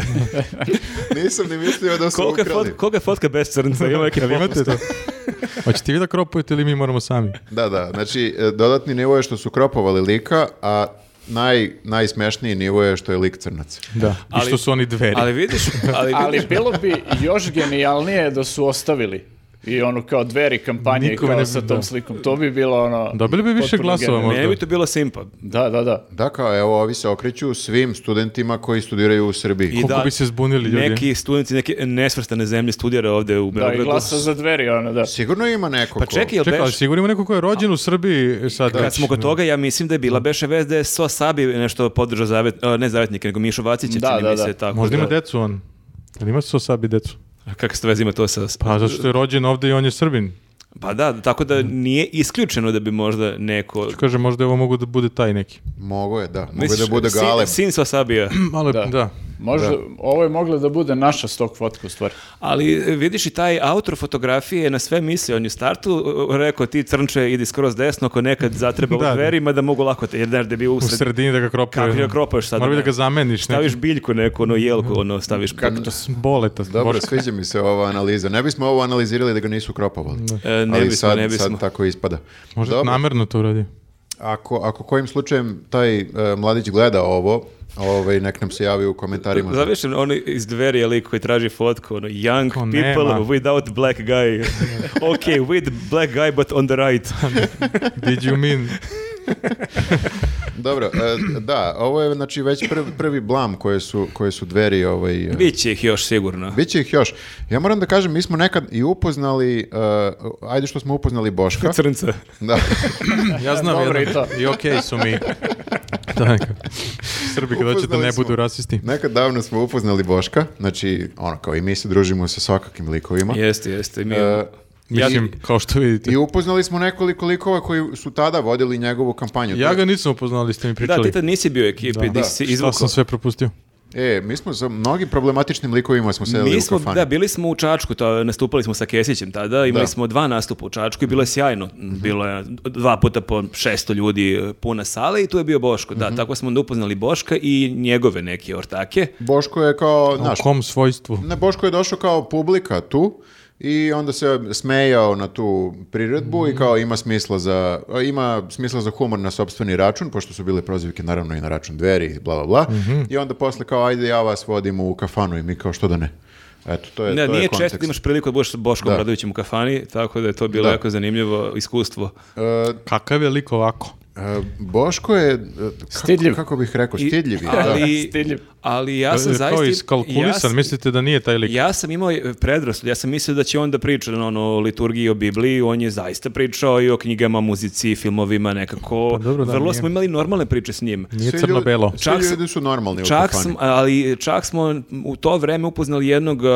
C: (laughs) Nisam ni mislio da su
B: koga,
C: ukrali.
B: fot, koga je fotka bez crnca? Ima neki
A: Jel imate to? Hoćete vi da kropujete ili mi moramo sami?
C: Da, da, znači e, dodatni nivo je što su kropovali lika, a naj, najsmešniji nivo je što je lik crnac.
A: Da. I
B: Ali-
A: što su oni dveri.
B: Ali vidiš, ali
D: Ali
B: vidiš,
D: bilo bi još genijalnije da su ostavili i ono kao dveri kampanje
A: Nikome ne
D: kao
A: bi-
D: sa
A: da.
D: tom slikom. To bi bilo ono...
A: Dobili bi više
D: potpuno
A: glasova
D: genijalno.
A: možda.
B: meni bi to bilo simpa.
D: Da, da, da.
C: Da, kao evo, ovi se okreću svim studentima koji studiraju u Srbiji.
B: I
A: Koliko
B: da,
A: bi se zbunili ljudi.
B: Neki studenti, neke nesvrstane zemlje studira ovdje u
D: Da,
B: Beogradu.
D: i glasa za dveri, ono, da.
C: Sigurno ima neko
B: Pa
C: ko-
B: čekaj, jel
A: Čekaj, ali
B: Beš,
A: sigurno ima neko ko je rođen u Srbiji e, sad. znači,
B: kad
A: već.
B: smo kod toga, ja mislim da je bila Beše vez da je So Sabi nešto podržao zavet, e, ne zavetnike, nego Mišo Vacić,
D: Da,
B: čini
D: da,
B: mi
D: da.
B: se tako.
A: Možda ima
B: da.
A: decu on. Ali ima se sabi decu.
B: Kako se to vez ima to sa...
A: Pa zato što je rođen ovdje i on je Srbin.
B: Pa da, tako da nije isključeno da bi možda neko...
A: Kaže, možda ovo mogu da bude taj neki.
C: Mogo je, da. Mogo je
B: Misliš,
C: da bude
B: sin-
C: galeb.
B: Sin So Sabija.
A: Malo, da.
D: Da.
A: da.
D: Možda, ovo je moglo da bude naša stok fotka u stvari.
B: Ali e, vidiš i taj autor fotografije je na sve mislio. On je u startu e, rekao ti crnče idi skroz desno ako nekad zatreba
A: Da, da.
B: u dverima da mogu lako te, jer znaš da bi
A: U
B: usred...
A: sredini da ga kropuje.
B: Kako ga kropuješ sad?
A: Mora bi da ga
B: ne?
A: zameniš.
B: Staviš biljku neku, ono jelku, ono staviš.
A: neki- s boleta.
C: Dobro,
A: Moraš-
C: sviđa mi se ova analiza. Ne bismo ovo analizirali da ga nisu kropovali.
B: E, ne
C: Ali
B: bismo,
C: sad,
B: ne bismo.
C: sad tako ispada.
A: Možda
C: Dobro,
A: namerno to
C: (laughs)
A: uradi.
C: ako, ako kojim slučajem taj e, mladić gleda ovo, ovaj, nek nam se javi u komentarima.
B: Zaviš, on iz dveri je lik koji traži fotku, ono, young
A: Ko
B: people
A: nema.
B: without black
A: (laughs)
B: guy. ok, with black guy, but on the right.
A: Did you mean?
C: Dobro, e, da, ovo je znači već prvi, prvi blam koje su, koje su dveri ovaj, e,
B: Biće ih još sigurno.
C: Biće ih još. Ja moram da kažem, mi smo nekad i upoznali, e, ajde što smo upoznali
B: (laughs)
C: Boška.
B: Crnca.
C: Da.
A: Ja znam
D: Dobro,
A: jedan.
D: i to.
A: I okej su mi.
C: (laughs)
A: Tako. Srbi kada hoće da
C: Upoznali
A: ne
C: smo.
A: budu rasisti.
C: Nekad davno smo upoznali Boška, znači, ono, kao i mi se družimo sa svakakim likovima.
B: Jeste, jeste. Mi,
C: E,
A: Mislim, kao što vidite.
C: I upoznali smo nekoliko likova koji su tada vodili njegovu kampanju.
A: Ja ga nisam upoznao, ali ste mi
B: da,
A: pričali.
B: ti tad nisi bio u ekipi, da, nisi se
A: Šta
B: izvukao.
A: sam sve propustio?
C: E, mi smo sa mnogim problematičnim likovima smo sedeli
B: Mi
C: u
B: smo,
C: kafani.
B: da, bili smo u Čačku, to, nastupali smo sa Kesićem tada, imali
C: Da. Mhm.
B: smo dva nastupa u Čačku i bilo je sjajno. Bilo je dva puta po 600 ljudi e, puna sale i tu je bio Boško.
C: Mhm.
B: Da, tako smo onda upoznali Boška i njegove neke ortake.
C: Boško je kao,
A: U
C: znaš,
A: kom svojstvu?
C: ne, Boško je došao kao publika tu i onda se smejao na tu priredbu
B: Mhm.
C: i kao ima smisla za a, ima smisla za humor na sopstveni račun pošto su bile prozivke naravno i na račun dveri i bla bla bla
B: Mhm.
C: i onda posle kao ajde ja vas vodim u kafanu i mi kao što da ne eto to je
B: Ne,
C: to je
B: nije
C: kontekst.
B: često da imaš priliku da budeš s Boškom
C: Da.
B: Obradovićem u kafani, tako da je to bilo
C: Da.
B: jako zanimljivo iskustvo.
C: E,
A: Kakav je lik ovako?
C: E, Boško je, e,
D: Stidljiv.
C: kako, kako bih rekao,
B: I-
C: stidljiv. je, da.
B: Ali,
D: Stidljiv.
B: ali ja sam
A: Kao
B: zaista...
A: E, iskalkulisan,
B: ja, sam-
A: mislite da nije taj lik?
B: Ja sam imao predrasud, ja sam mislio da će on da priča na ono, o liturgiji, o Bibliji, on je zaista pričao i o knjigama, muzici, filmovima nekako.
A: Pa dobro, da,
B: Vrlo
A: nije.
B: smo imali normalne priče s njim.
A: Nije
C: Svi
A: crno-belo.
C: Ljudi,
B: Čak
C: svi
B: sam-
C: ljudi su normalni u
B: Čak
C: kafani.
B: smo, ali čak smo u to vreme upoznali jednog e,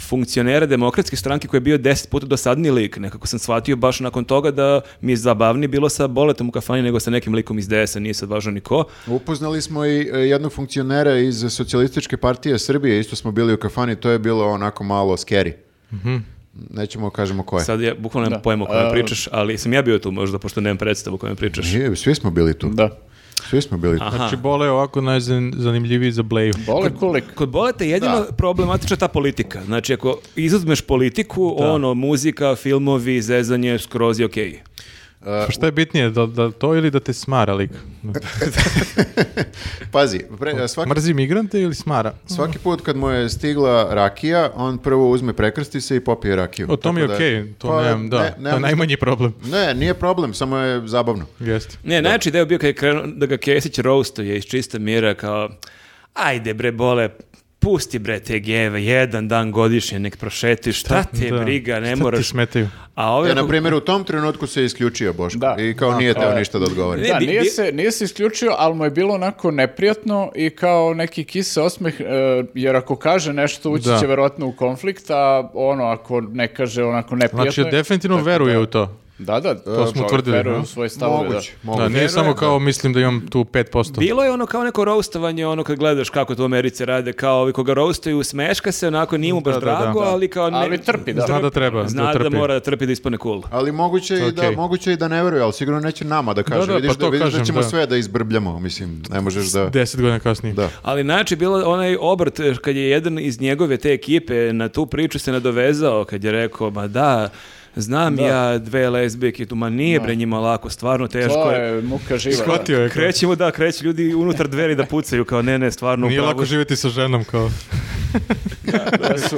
B: funkcionera demokratske stranke koji je bio deset puta dosadniji lik. Nekako sam shvatio baš nakon toga da mi je zabavnije bilo sa boletom u kafani nego sa nekim likom iz DS-a, nije sad važno ni ko.
C: Upoznali smo i e, jednog funkcionera iz socijalističke partije Srbije, isto smo bili u kafani, to je bilo onako malo scary.
A: Mhm.
C: Nećemo kažemo ko je.
B: Sad ja bukvalno nemam
D: Da.
B: pojma o kome
A: E,
D: A-
B: pričaš, ali sam ja bio tu možda, pošto nemam predstavu o kome pričaš.
C: Je, Svi smo bili tu.
D: Da.
C: Svi smo bili tu.
A: Znači, Bole je ovako najzanimljiviji za Bleju.
D: Bole kulik.
B: Kod Boleta je jedino problematična ta politika. Znači, ako izuzmeš politiku, ono, muzika, filmovi, zezanje, skroz je okej.
A: Pa šta je bitnije, da, da to ili da te smara lik?
C: Pazi,
A: Pa,
C: pre, E, svaki,
A: Mrzi migrante ili smara?
C: svaki put kad mu je stigla rakija, on prvo uzme prekrsti se i popije rakiju.
A: O, to mi je
C: Tako da-
A: okej, to
C: Pa,
A: nemam, da.
C: ne-
A: to je
C: nemam-
A: najmanji problem.
C: Ne, nije problem, samo je zabavno.
A: Jeste.
B: Ne, najjači deo je bio kad je krenuo da ga Kesić roastuje iz čista mira kao ajde bre bole, pusti bre te geve, jedan dan godišnje nek prošetiš, šta te
A: Da.
B: briga, ne
A: Šta ti
B: moraš.
A: smetaju?
B: A ove,
C: Ja, na primjer, u tom trenutku se isključio Boško
D: Da.
C: i kao nije teo ništa da odgovori.
B: Ne,
D: Da,
B: bi-
D: nije
B: bi-
D: se, nije se isključio, ali mu je bilo onako neprijatno i kao neki kise osmeh, e, jer ako kaže nešto, ući
A: Da.
D: će verovatno u konflikt, a ono, ako ne kaže, onako neprijatno
A: Znači,
D: je.
A: definitivno veruje u to.
D: Da, da,
A: smo
D: čovjek
A: utvrdili,
D: veruje
A: da.
D: u svoje stavove, da.
C: Moguće, moguće.
A: Da, nije samo kao mislim da imam tu 5%.
B: Bilo je ono kao neko roastovanje, ono kad gledaš kako to u Americi rade, kao ovi koga roastuju, smeška se, onako nije mu baš
A: Da, da, da.
B: drago, ali kao ne...
D: Ali trpi, da.
A: Zna da treba,
B: Zna
A: da
B: da,
A: trpi.
B: mora da trpi da ispane cool.
C: Ali moguće je i da
A: okej.
C: moguće je i da ne veruje, ali sigurno neće nama da kaže.
A: da, pa
C: vidiš da
A: to
C: vidiš
A: kažem,
C: da ćemo
A: da.
C: sve da izbrbljamo, mislim, ne možeš da
A: Deset godina kasnije.
C: da.
B: Ali najče bilo onaj obrt eh, kad je jedan iz njegove te ekipe na tu priču se nadovezao kad je rekao ma da Znam ja dve lesbijke tu, ma nije bre njima lako, stvarno teško
D: To
B: je.
D: je muka živa. da.
A: Shvatio je. kao,
B: Krećemo, da, kreću ljudi unutar dveri da pucaju, kao ne, ne, stvarno. u
A: Nije
B: pravu
A: lako
B: ste.
A: živjeti sa ženom kao.
D: Da su,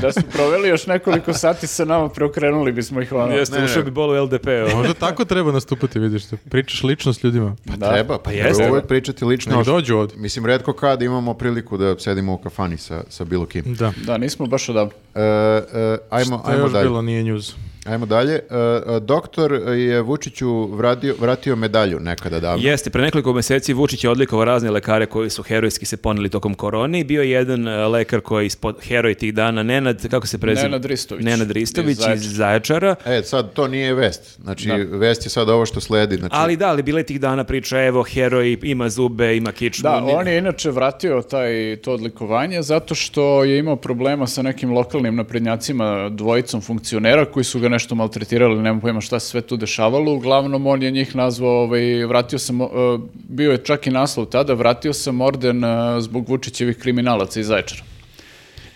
D: da su proveli još nekoliko sati sa nama, preokrenuli bismo ih ono.
B: Jeste,
C: Ne, ne.
B: ušao bi bolu LDP. ovo.
A: Možda tako treba nastupati, vidiš, da pričaš lično s ljudima.
D: Da.
C: Treba, pa
B: jeste.
C: treba uvek pričati lično.
A: Nek dođu ovdje.
C: Mislim, redko kad imamo priliku da sedimo u kafani sa, sa bilo kim. E,
A: Da.
D: Da, nismo baš odavno.
C: e, ajmo,
A: To Mm. je
C: ajmo
A: još
C: dalje.
A: bilo, nije njuz.
C: Ajmo dalje. E, e, doktor je Vučiću vradio, vratio medalju nekada davno.
B: Jeste, pre nekoliko meseci Vučić je odlikovao razne lekare koji su herojski se poneli tokom korone i bio je jedan e, lekar koji je ispod heroj tih dana, Nenad, kako se preziva?
D: Nenad Ristović.
B: Nenad Ristović
D: Iz Zaječara.
B: iz Zaječara.
C: E, sad, to nije vest. Znači, vest je sad ovo što sledi. Znači,
B: Ali da, ali bila je tih dana priča, evo, heroj ima zube, ima kičmu.
D: Da,
B: ni-
D: on je inače vratio taj, to odlikovanje zato što je imao problema sa nekim lokalnim naprednjacima, dvojicom funkcionera koji su ga nešto maltretirali, nemam pojma šta se sve tu dešavalo. Uglavnom, on je njih nazvao, ovaj, vratio sam, e, bio je čak i naslov tada, vratio sam orden e, zbog Vučićevih kriminalaca iz Zaječara.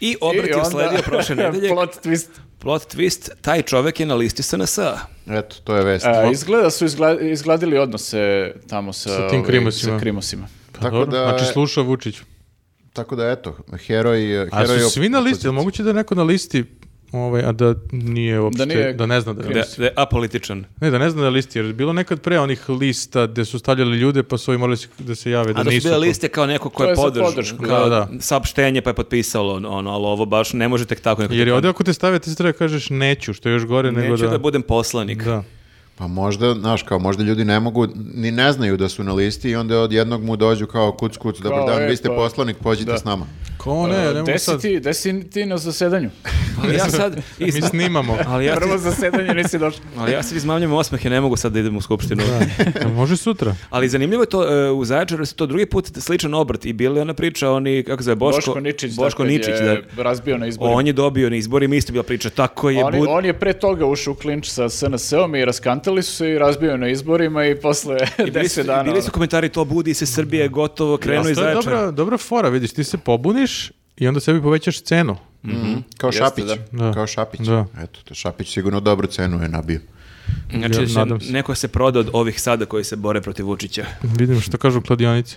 B: I obrat
D: I
B: je
D: onda-
B: sledio prošle
D: (laughs)
B: nedelje.
D: Plot twist.
B: Plot twist, taj čovek je na listi SNS-a.
C: Eto, to je vest.
D: E, izgleda su izgla- izgladili odnose tamo sa,
A: Sa tim
D: ovaj,
A: krimosima.
D: sa krimosima.
A: Pa
C: Tako
A: dobro,
C: da-
A: Znači, sluša Vučić.
C: Tako da, eto, heroj... e,
A: A
C: heroj
A: su
C: op-
A: svi na listi, je li moguće da je neko na listi ovaj, a da nije uopšte, da,
D: nije
A: ne zna da je na
B: Da,
A: listi?
B: da je apolitičan.
A: Ne, da ne zna da je na listi, jer je bilo nekad pre onih lista gde su stavljali ljude, pa su ovi morali se- da se jave da,
B: A da su
A: nisu.
B: bile
A: tu.
B: liste kao neko ko
D: To
B: je
D: je za
B: podrž,
D: podršku.
B: kao
A: Da,
B: saopštenje pa je potpisalo ono, ali ovo baš ne može tek tako. Neko
A: Jer je ovdje ako te stave, ti se treba kažeš neću, što je još gore nego
B: Neću
A: da...
B: da budem poslanik.
A: Da.
C: Pa možda, znaš, kao možda ljudi ne mogu, ni ne znaju da su na listi i onda od jednog mu dođu kao kuc kuc, dobar
D: Kao,
C: dan,
D: e,
C: vi ste
D: pa-
C: poslanik, pođite
D: da.
C: s nama.
A: Ko ne,
B: Pa,
D: Gde
A: nemo
D: si
A: E, sad.
D: ti, gde si ti na zasedanju?
B: Ali ja sad...
A: (laughs) Mi
C: (laughs)
A: snimamo.
B: Ali ja,
D: Prvo
B: se-
D: zasedanje nisi došao.
B: (laughs) ali ja se izmamljam osmeh i ne mogu sad da idem u skupštinu.
A: A može sutra.
B: Ali zanimljivo je to, e, u Zaječaru se to drugi put sličan obrt i bila je ona priča, oni, kako se zove, Boško,
D: Boško, Ničić,
B: Boško
D: da, kad
B: Ničić, da.
D: je razbio na izborima.
B: On je dobio na izborima, isto je bila priča, tako je...
D: On, je-
B: bud-
D: on je pre toga ušao u klinč sa SNS-om i raskantali su se i razbio je na izborima i posle (laughs)
B: I bili, su,
D: 10 dana.
B: bili su
D: ono.
B: komentari, to budi se Srbije, gotovo, krenu
A: Ali
B: iz
A: to je
B: Zaječara.
A: dobra, dobra fora, vidiš, ti se pobuniš i onda sebi povećaš cenu.
C: Mhm. Kao
D: Mhm. Jeste,
C: Šapić.
A: da.
C: Kao Šapić.
A: Da.
C: Eto, to Šapić sigurno dobru cenu je nabio.
B: Znači,
A: Ja
B: se-
A: nadam se.
B: neko se proda od ovih sada koji se bore protiv Vučića.
A: Vidim što kažu kladionici.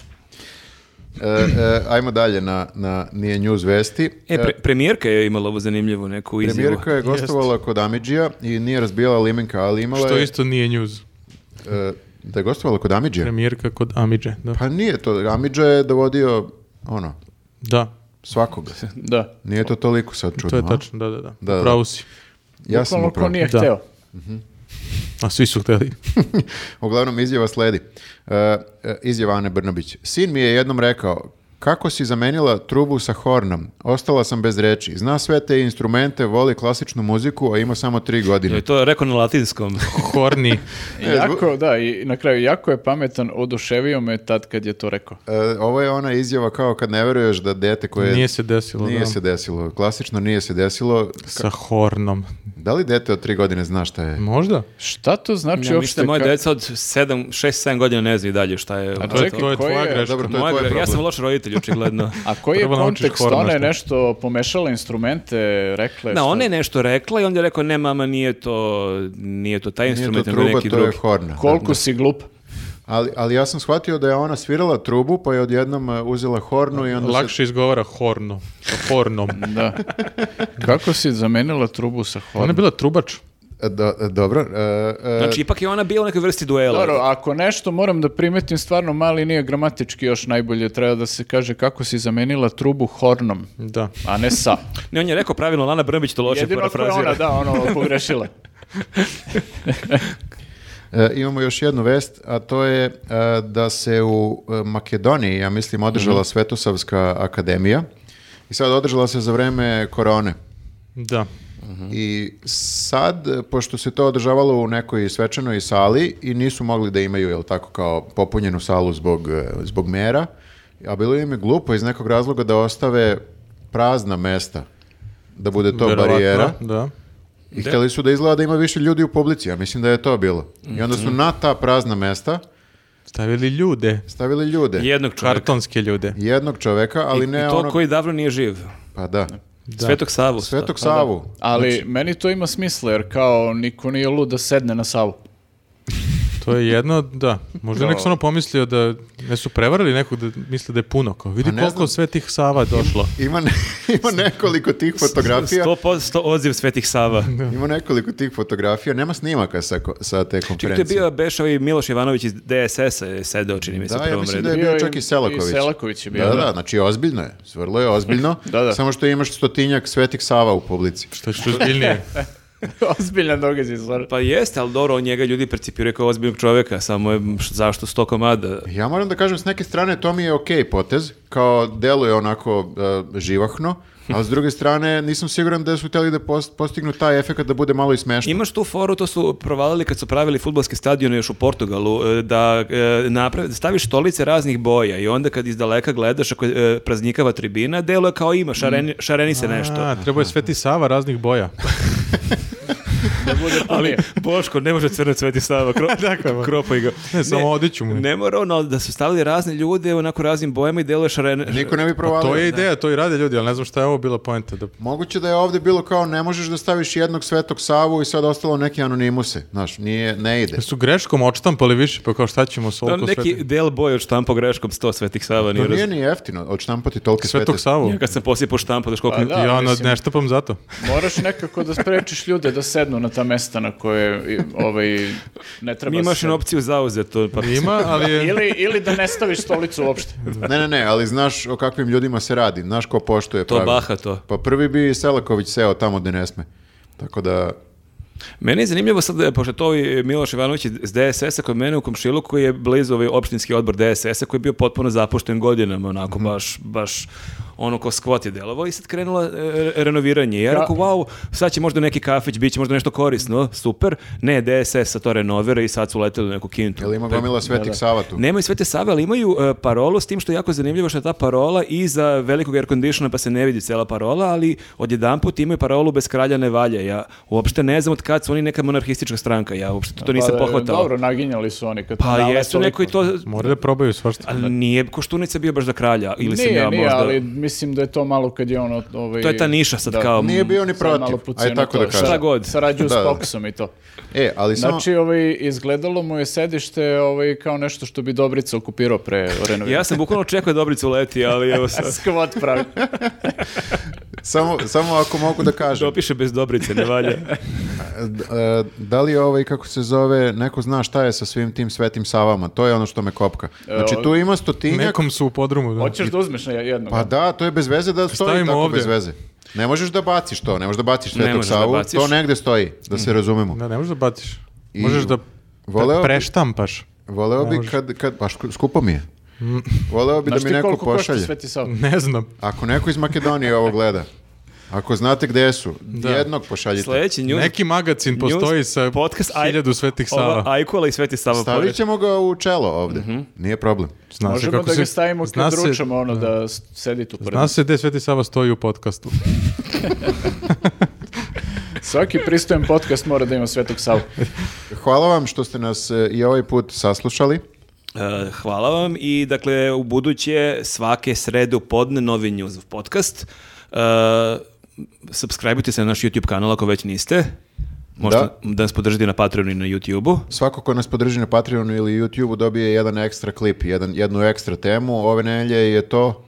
C: E, e, ajmo dalje na, na Nije News vesti.
B: E, pre- premijerka je imala ovu zanimljivu neku izjavu.
C: Premijerka je gostovala kod Amidžija i nije razbijala limenka, ali imala
A: Što
C: je...
A: isto nije njuz.
C: e, Da je gostovala kod Amidže?
A: Premijerka kod Amidže, da.
C: Pa nije to, Amidže je dovodio, ono,
A: Da, (laughs)
C: svakoga.
D: Da.
C: Nije to toliko sad čudno.
A: to je
C: a?
A: tačno, da, da, da.
C: Da, da.
A: Upravo si.
C: Ja sam
D: Bukvalno ko
C: upravo.
D: nije
A: Da.
D: hteo.
A: A svi su hteli.
C: (laughs) Uglavnom, izjava sledi. E, e, izjava Ane Brnabić. Sin mi je jednom rekao, kako si zamenila trubu sa hornom? Ostala sam bez reči. Zna sve te instrumente, voli klasičnu muziku, a ima samo tri
B: Je
C: godine.
B: li to rekao na latinskom?
C: (laughs)
A: Horni.
C: E,
D: Jako, da, i na kraju, jako je pametan, oduševio me tad kad je to rekao.
C: E, ovo je ona izjava kao kad ne veruješ da dete koje...
A: Nije se desilo,
C: Nije
A: da.
C: se desilo. Klasično nije se desilo.
A: Sa hornom.
C: Da li dete od tri godine zna šta je?
A: Možda?
D: Šta to znači
B: Ja, mislim
D: uopšte?
B: da moje
D: ka-
B: deca od 7, 6-7 godina ne znaju dalje šta je.
D: A
A: To je, to je
D: Koji
A: tvoja
D: je-
A: greška.
C: Dobro, to je
B: Moja
C: tvoj
B: gre- ja
C: problem.
B: sam loš roditelj, očigledno.
D: A koji je
A: Prvo naučiš
D: kontekst?
A: horor
D: Ona je
A: nešto.
D: nešto pomešala instrumente, rekla je
B: Da,
D: šta-
B: ona je nešto rekla i onda je rekao, ne mama, nije to, nije to taj
C: Nije to
B: instrument, nego
C: truba,
B: neki
C: to je
B: drugi.
C: horna.
D: Koliko si glup?
C: Ali, ali ja sam shvatio da je ona svirala trubu, pa je odjednom e, uzela hornu i onda se...
A: Lakše izgovara horno. Sa
C: (laughs)
A: hornom.
D: Da. Kako si zamenila trubu sa
A: Ona je
D: horom?
A: bila trubač.
C: E, do- e, dobro. e, e,
B: Znači, ipak je ona bila u nekoj vrsti duela.
D: Dobro, ako nešto moram da primetim, stvarno mali nije gramatički još najbolje. Treba da se kaže kako si zamenila trubu hornom,
A: Da.
D: a ne sa.
B: Ne, on je rekao pravilno, Lana Brnabić (laughs) to loše
D: Jedino ako je
B: parafrazira.
D: ona, da, ono,
B: (laughs)
D: pogrešila.
C: E, imamo još jednu vest, a to je e, da se u e, Makedoniji, ja mislim, održala Svetosavska akademija i sad održala se za vreme korone.
A: Da.
C: I sad, e, pošto se to održavalo u nekoj svečanoj sali i nisu mogli da imaju, jel tako, kao popunjenu salu zbog, e, zbog mera, a bilo im je glupo iz nekog razloga da ostave prazna mesta, da bude to
A: Verovatno,
C: barijera.
A: Da.
C: I hteli su da izgleda da ima više ljudi u publici, ja mislim da je to bilo. I onda su na ta prazna mesta
A: Stavili ljude.
C: stavili ljude.
B: Jednog čovjeka.
A: Kartonske ljude.
C: Jednog čoveka, ali
B: I
C: ne
B: to
C: ono...
B: koji davno nije živ.
C: Pa da.
B: Svetog Savu.
C: Svetog
B: Pa da.
C: Savu.
D: Ali meni to ima smisla, jer kao niko nije lud da sedne na savu.
A: To je jedno, da. Možda je neko samo pomislio da ne su prevarili nekog da misle da je puno. Kao, vidi
C: Pa ne
A: koliko
C: znam.
A: sve tih Sava došlo.
C: Ima, ne- (laughs) ima nekoliko tih fotografija.
B: 100% odziv Svetih
C: (laughs)
B: Sava.
C: Ima nekoliko tih fotografija. Nema snimaka sa, ko- sa
B: Čekaj,
C: te
B: to je
C: konferencije.
B: bio Bešao i Miloš Jovanović iz DSS-a je sedeo, čini mi se,
C: Da,
B: u
C: ja
B: prvom
C: mislim
B: redu.
C: da je bio čak
D: i-
C: i Selaković.
D: i Selaković je bio,
C: Da,
D: da.
C: da, znači ozbiljno je. Vrlo je
B: (laughs)
C: ozbiljno.
D: Da, da.
C: Samo što imaš stotinjak Svetih Sava u publici.
A: Što ću ozbiljnije.
D: (laughs) Ozbiljan događaj, stvarno.
B: Pa jeste, ali dobro, on njega ljudi percipiraju kao ozbiljnog čovjeka, samo je m, š- zašto sto komada.
C: Ja moram da kažem, s neke strane to mi je okej potez, kao deluje onako e, živahno, ali s druge strane nisam siguran da su htjeli da post- postignu taj efekt da bude malo i smešno.
B: Imaš tu foru, to su provalili kad su pravili futbolske stadione još u Portugalu, e, da e, naprave- da staviš stolice raznih boja i onda kad iz daleka gledaš ako je e, praznikava tribina, deluje kao ima,
C: Mm.
B: šareni, šareni se nešto.
A: A, treba je Sveti Sava raznih boja.
D: Da bude
B: Ali
D: punije.
B: Boško ne može crno cveti stava, kro, kropaj ga.
A: Ne, samo odeću mu.
B: Ne mora ono da su stavili razne ljude onako raznim bojama i deluje šarene.
C: Niko ne bi provalio.
A: To je ideja, to i rade ljudi, ali ne znam šta je ovo bila poenta. Da...
C: Moguće da je ovdje bilo kao ne možeš da staviš jednog svetog Savu i sad ostalo neki anonimuse. Znaš, nije, ne ide.
A: Jer su greškom odštampali više, pa kao šta ćemo s
B: Da,
A: ovoliko
B: neki
A: Sveti-
B: del boje od štampa greškom 100 svetih sava.
C: To
B: Nije
C: nije
B: raz...
C: ni jeftino odštampati tolike svete.
A: Svetog Savu.
B: Ja kad sam poslije poštampao, daš koliko...
D: Pa da,
A: I ja
D: mislim.
A: ne štapam zato.
D: Moraš nekako da sprečiš ljude da sednu na ta mesta na koje i, ovaj, ne treba
B: Mi imaš
D: se-
B: jednu opciju zauzet. to, Pa,
A: Ima, ali je...
D: Ili, ili da ne staviš stolicu uopšte.
C: Ne, ne, ne, ali znaš o kakvim ljudima se radi. Znaš ko poštuje
B: To
C: pravila.
B: baha to.
C: Pa prvi bi Selaković seo tamo gde ne sme. Tako da,
B: Meni je zanimljivo sad, e, pošto to i Miloš Ivanović iz DSS-a kod mene u Komšilu koji je blizu ovaj opštinski odbor DSS-a koji je bio potpuno zapušten godinama, onako baš, baš ono ko skvot je delovao i sad krenulo e, renoviranje. Ja
D: Ka-
B: rekao, wow, sad će možda neki kafić, bit će možda nešto korisno, super. Ne, DSS-a to renovira i sad su leteli u neku kintu.
C: jel ima gomila svetih Sava tu?
B: Nemaju Svete Save, ali imaju e, parolu s tim što je jako zanimljivo što je ta parola iza velikog air conditiona pa se ne vidi cela parola, ali odjedanput imaju parolu bez kralja ne valja. Ja uopšte ne znam od kad su oni neka monarhistička stranka, ja uopšte to nisam
D: Pa,
B: pohvatao.
D: Dobro, naginjali su oni. Kad
B: pa
D: nalete
B: jesu
D: toliko.
B: neko i to...
A: Moraju da probaju svašta.
B: Ali nije Koštunica bio baš za kralja, ili sam
D: Nije,
B: ja
D: nije,
B: možda...
D: ali mislim da je to malo kad je ono... Ovaj,
B: To je ta niša sad
D: da.
B: kao...
C: Nije bio ni
D: Sad malo
C: protiv.
D: pucaju
C: Ajde
D: na
C: tako
D: to.
C: da kažem.
B: Šta god.
D: Sarađuju
C: Da,
D: s
C: da.
D: Foxom i to.
C: E, ali samo...
D: Znači, ovaj, izgledalo mu je sedište ovaj, kao nešto što bi Dobrica okupirao pre renoviranja.
B: Ja sam bukvalno čekao da Dobrica uleti, ali evo
D: (laughs)
B: sad...
D: Skvot pravi.
C: Samo, samo ako mogu da kažem.
B: Dopiše bez Dobrice, ne valja.
C: e, da li je ovaj, kako se zove, neko zna šta je sa svim tim svetim savama, to je ono što me kopka. Znači tu ima stotinjak,
A: Nekom su u podrumu. Da.
D: Hoćeš da uzmeš na jedno?
C: pa da, to je bez veze da stoji
A: Stavimo
C: tako
A: ovdje.
C: bez veze. Ne možeš da baciš to, ne možeš da baciš
B: Ne
C: svetog
B: možeš da
C: savu,
B: baciš. Mm.
C: to negde stoji, da se razumemo.
A: Da, ne možeš da baciš.
C: I-
A: Možeš da
C: Voleo
A: voleo
C: bi-
A: preštampaš.
C: Voleo bi
A: Može.
C: kad, kad, pa šk- skupo mi je. Voleo bi da
D: Mm. Znaš
C: mi
D: ti
C: neko
D: koliko košta
C: pošalje. Mm,
D: Sveti Sava?
A: Ne znam.
C: Ako neko iz Makedonije ovo gleda, ako znate gde su, jednog pošaljite.
B: Sljedeći news,
A: Neki magacin
B: news
A: postoji sa
B: podcast Aj-
A: hiljadu svetih
B: ova
A: sava.
B: Ajkula i Sveti Sava.
C: Stavit
B: pored. Mhm.
C: ćemo ga u čelo ovdje, nije problem.
A: Zna se
D: Možemo
A: kako
D: da
A: se-
D: ga stavimo
A: zna
D: kad
A: se-
D: ručamo, ono, da s- sedi tu pored.
A: Zna se gde Sveti Sava stoji u podcastu.
D: Svaki pristojan podcast mora da ima Svetog Savu.
C: Hvala vam što ste nas e, i ovaj put saslušali.
B: E, hvala vam i dakle u buduće svake srede u podne novi news podcast. E, subscribeujte se na naš YouTube kanal ako već niste. Možda da, nas podržite na Patreonu i na YouTubeu.
C: Svako ko nas podrži na Patreonu ili YouTubeu dobije jedan ekstra klip, jedan, jednu ekstra temu. Ove nelje je to...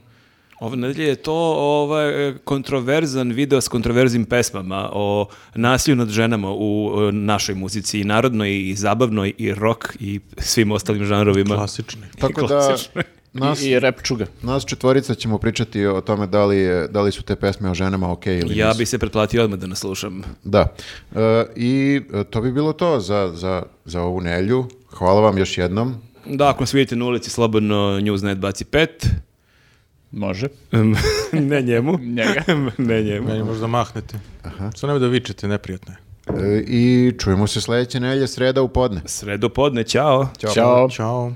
B: Ove nedelje je to ovaj, e, kontroverzan video s kontroverznim pesmama o nasilju nad ženama u e, našoj muzici i narodnoj i zabavnoj i rock i svim ostalim žanrovima.
A: Klasični.
C: Tako da
B: Klasično.
C: nas,
D: I, I rep čuga.
C: nas četvorica ćemo pričati o tome da li, je- da li su te pesme o ženama ok ili
B: Ja
C: nisu.
B: bi se pretplatio odmah da naslušam.
C: Da. E, I e, to bi bilo to za, za, za ovu nelju. Hvala vam još jednom.
B: Da, ako nas vidite na ulici, slobodno Newsnet baci pet.
D: Može.
B: Em, (laughs) ne njemu.
C: (laughs)
D: Njega.
B: ne njemu.
A: Meni možda mahnete. Samo nemoj da vičete, neprijatno je.
C: E, I čujemo se sledeće nelje, sreda u podne.
B: Sredopodne, čao.
D: Ćao.
A: Ćao.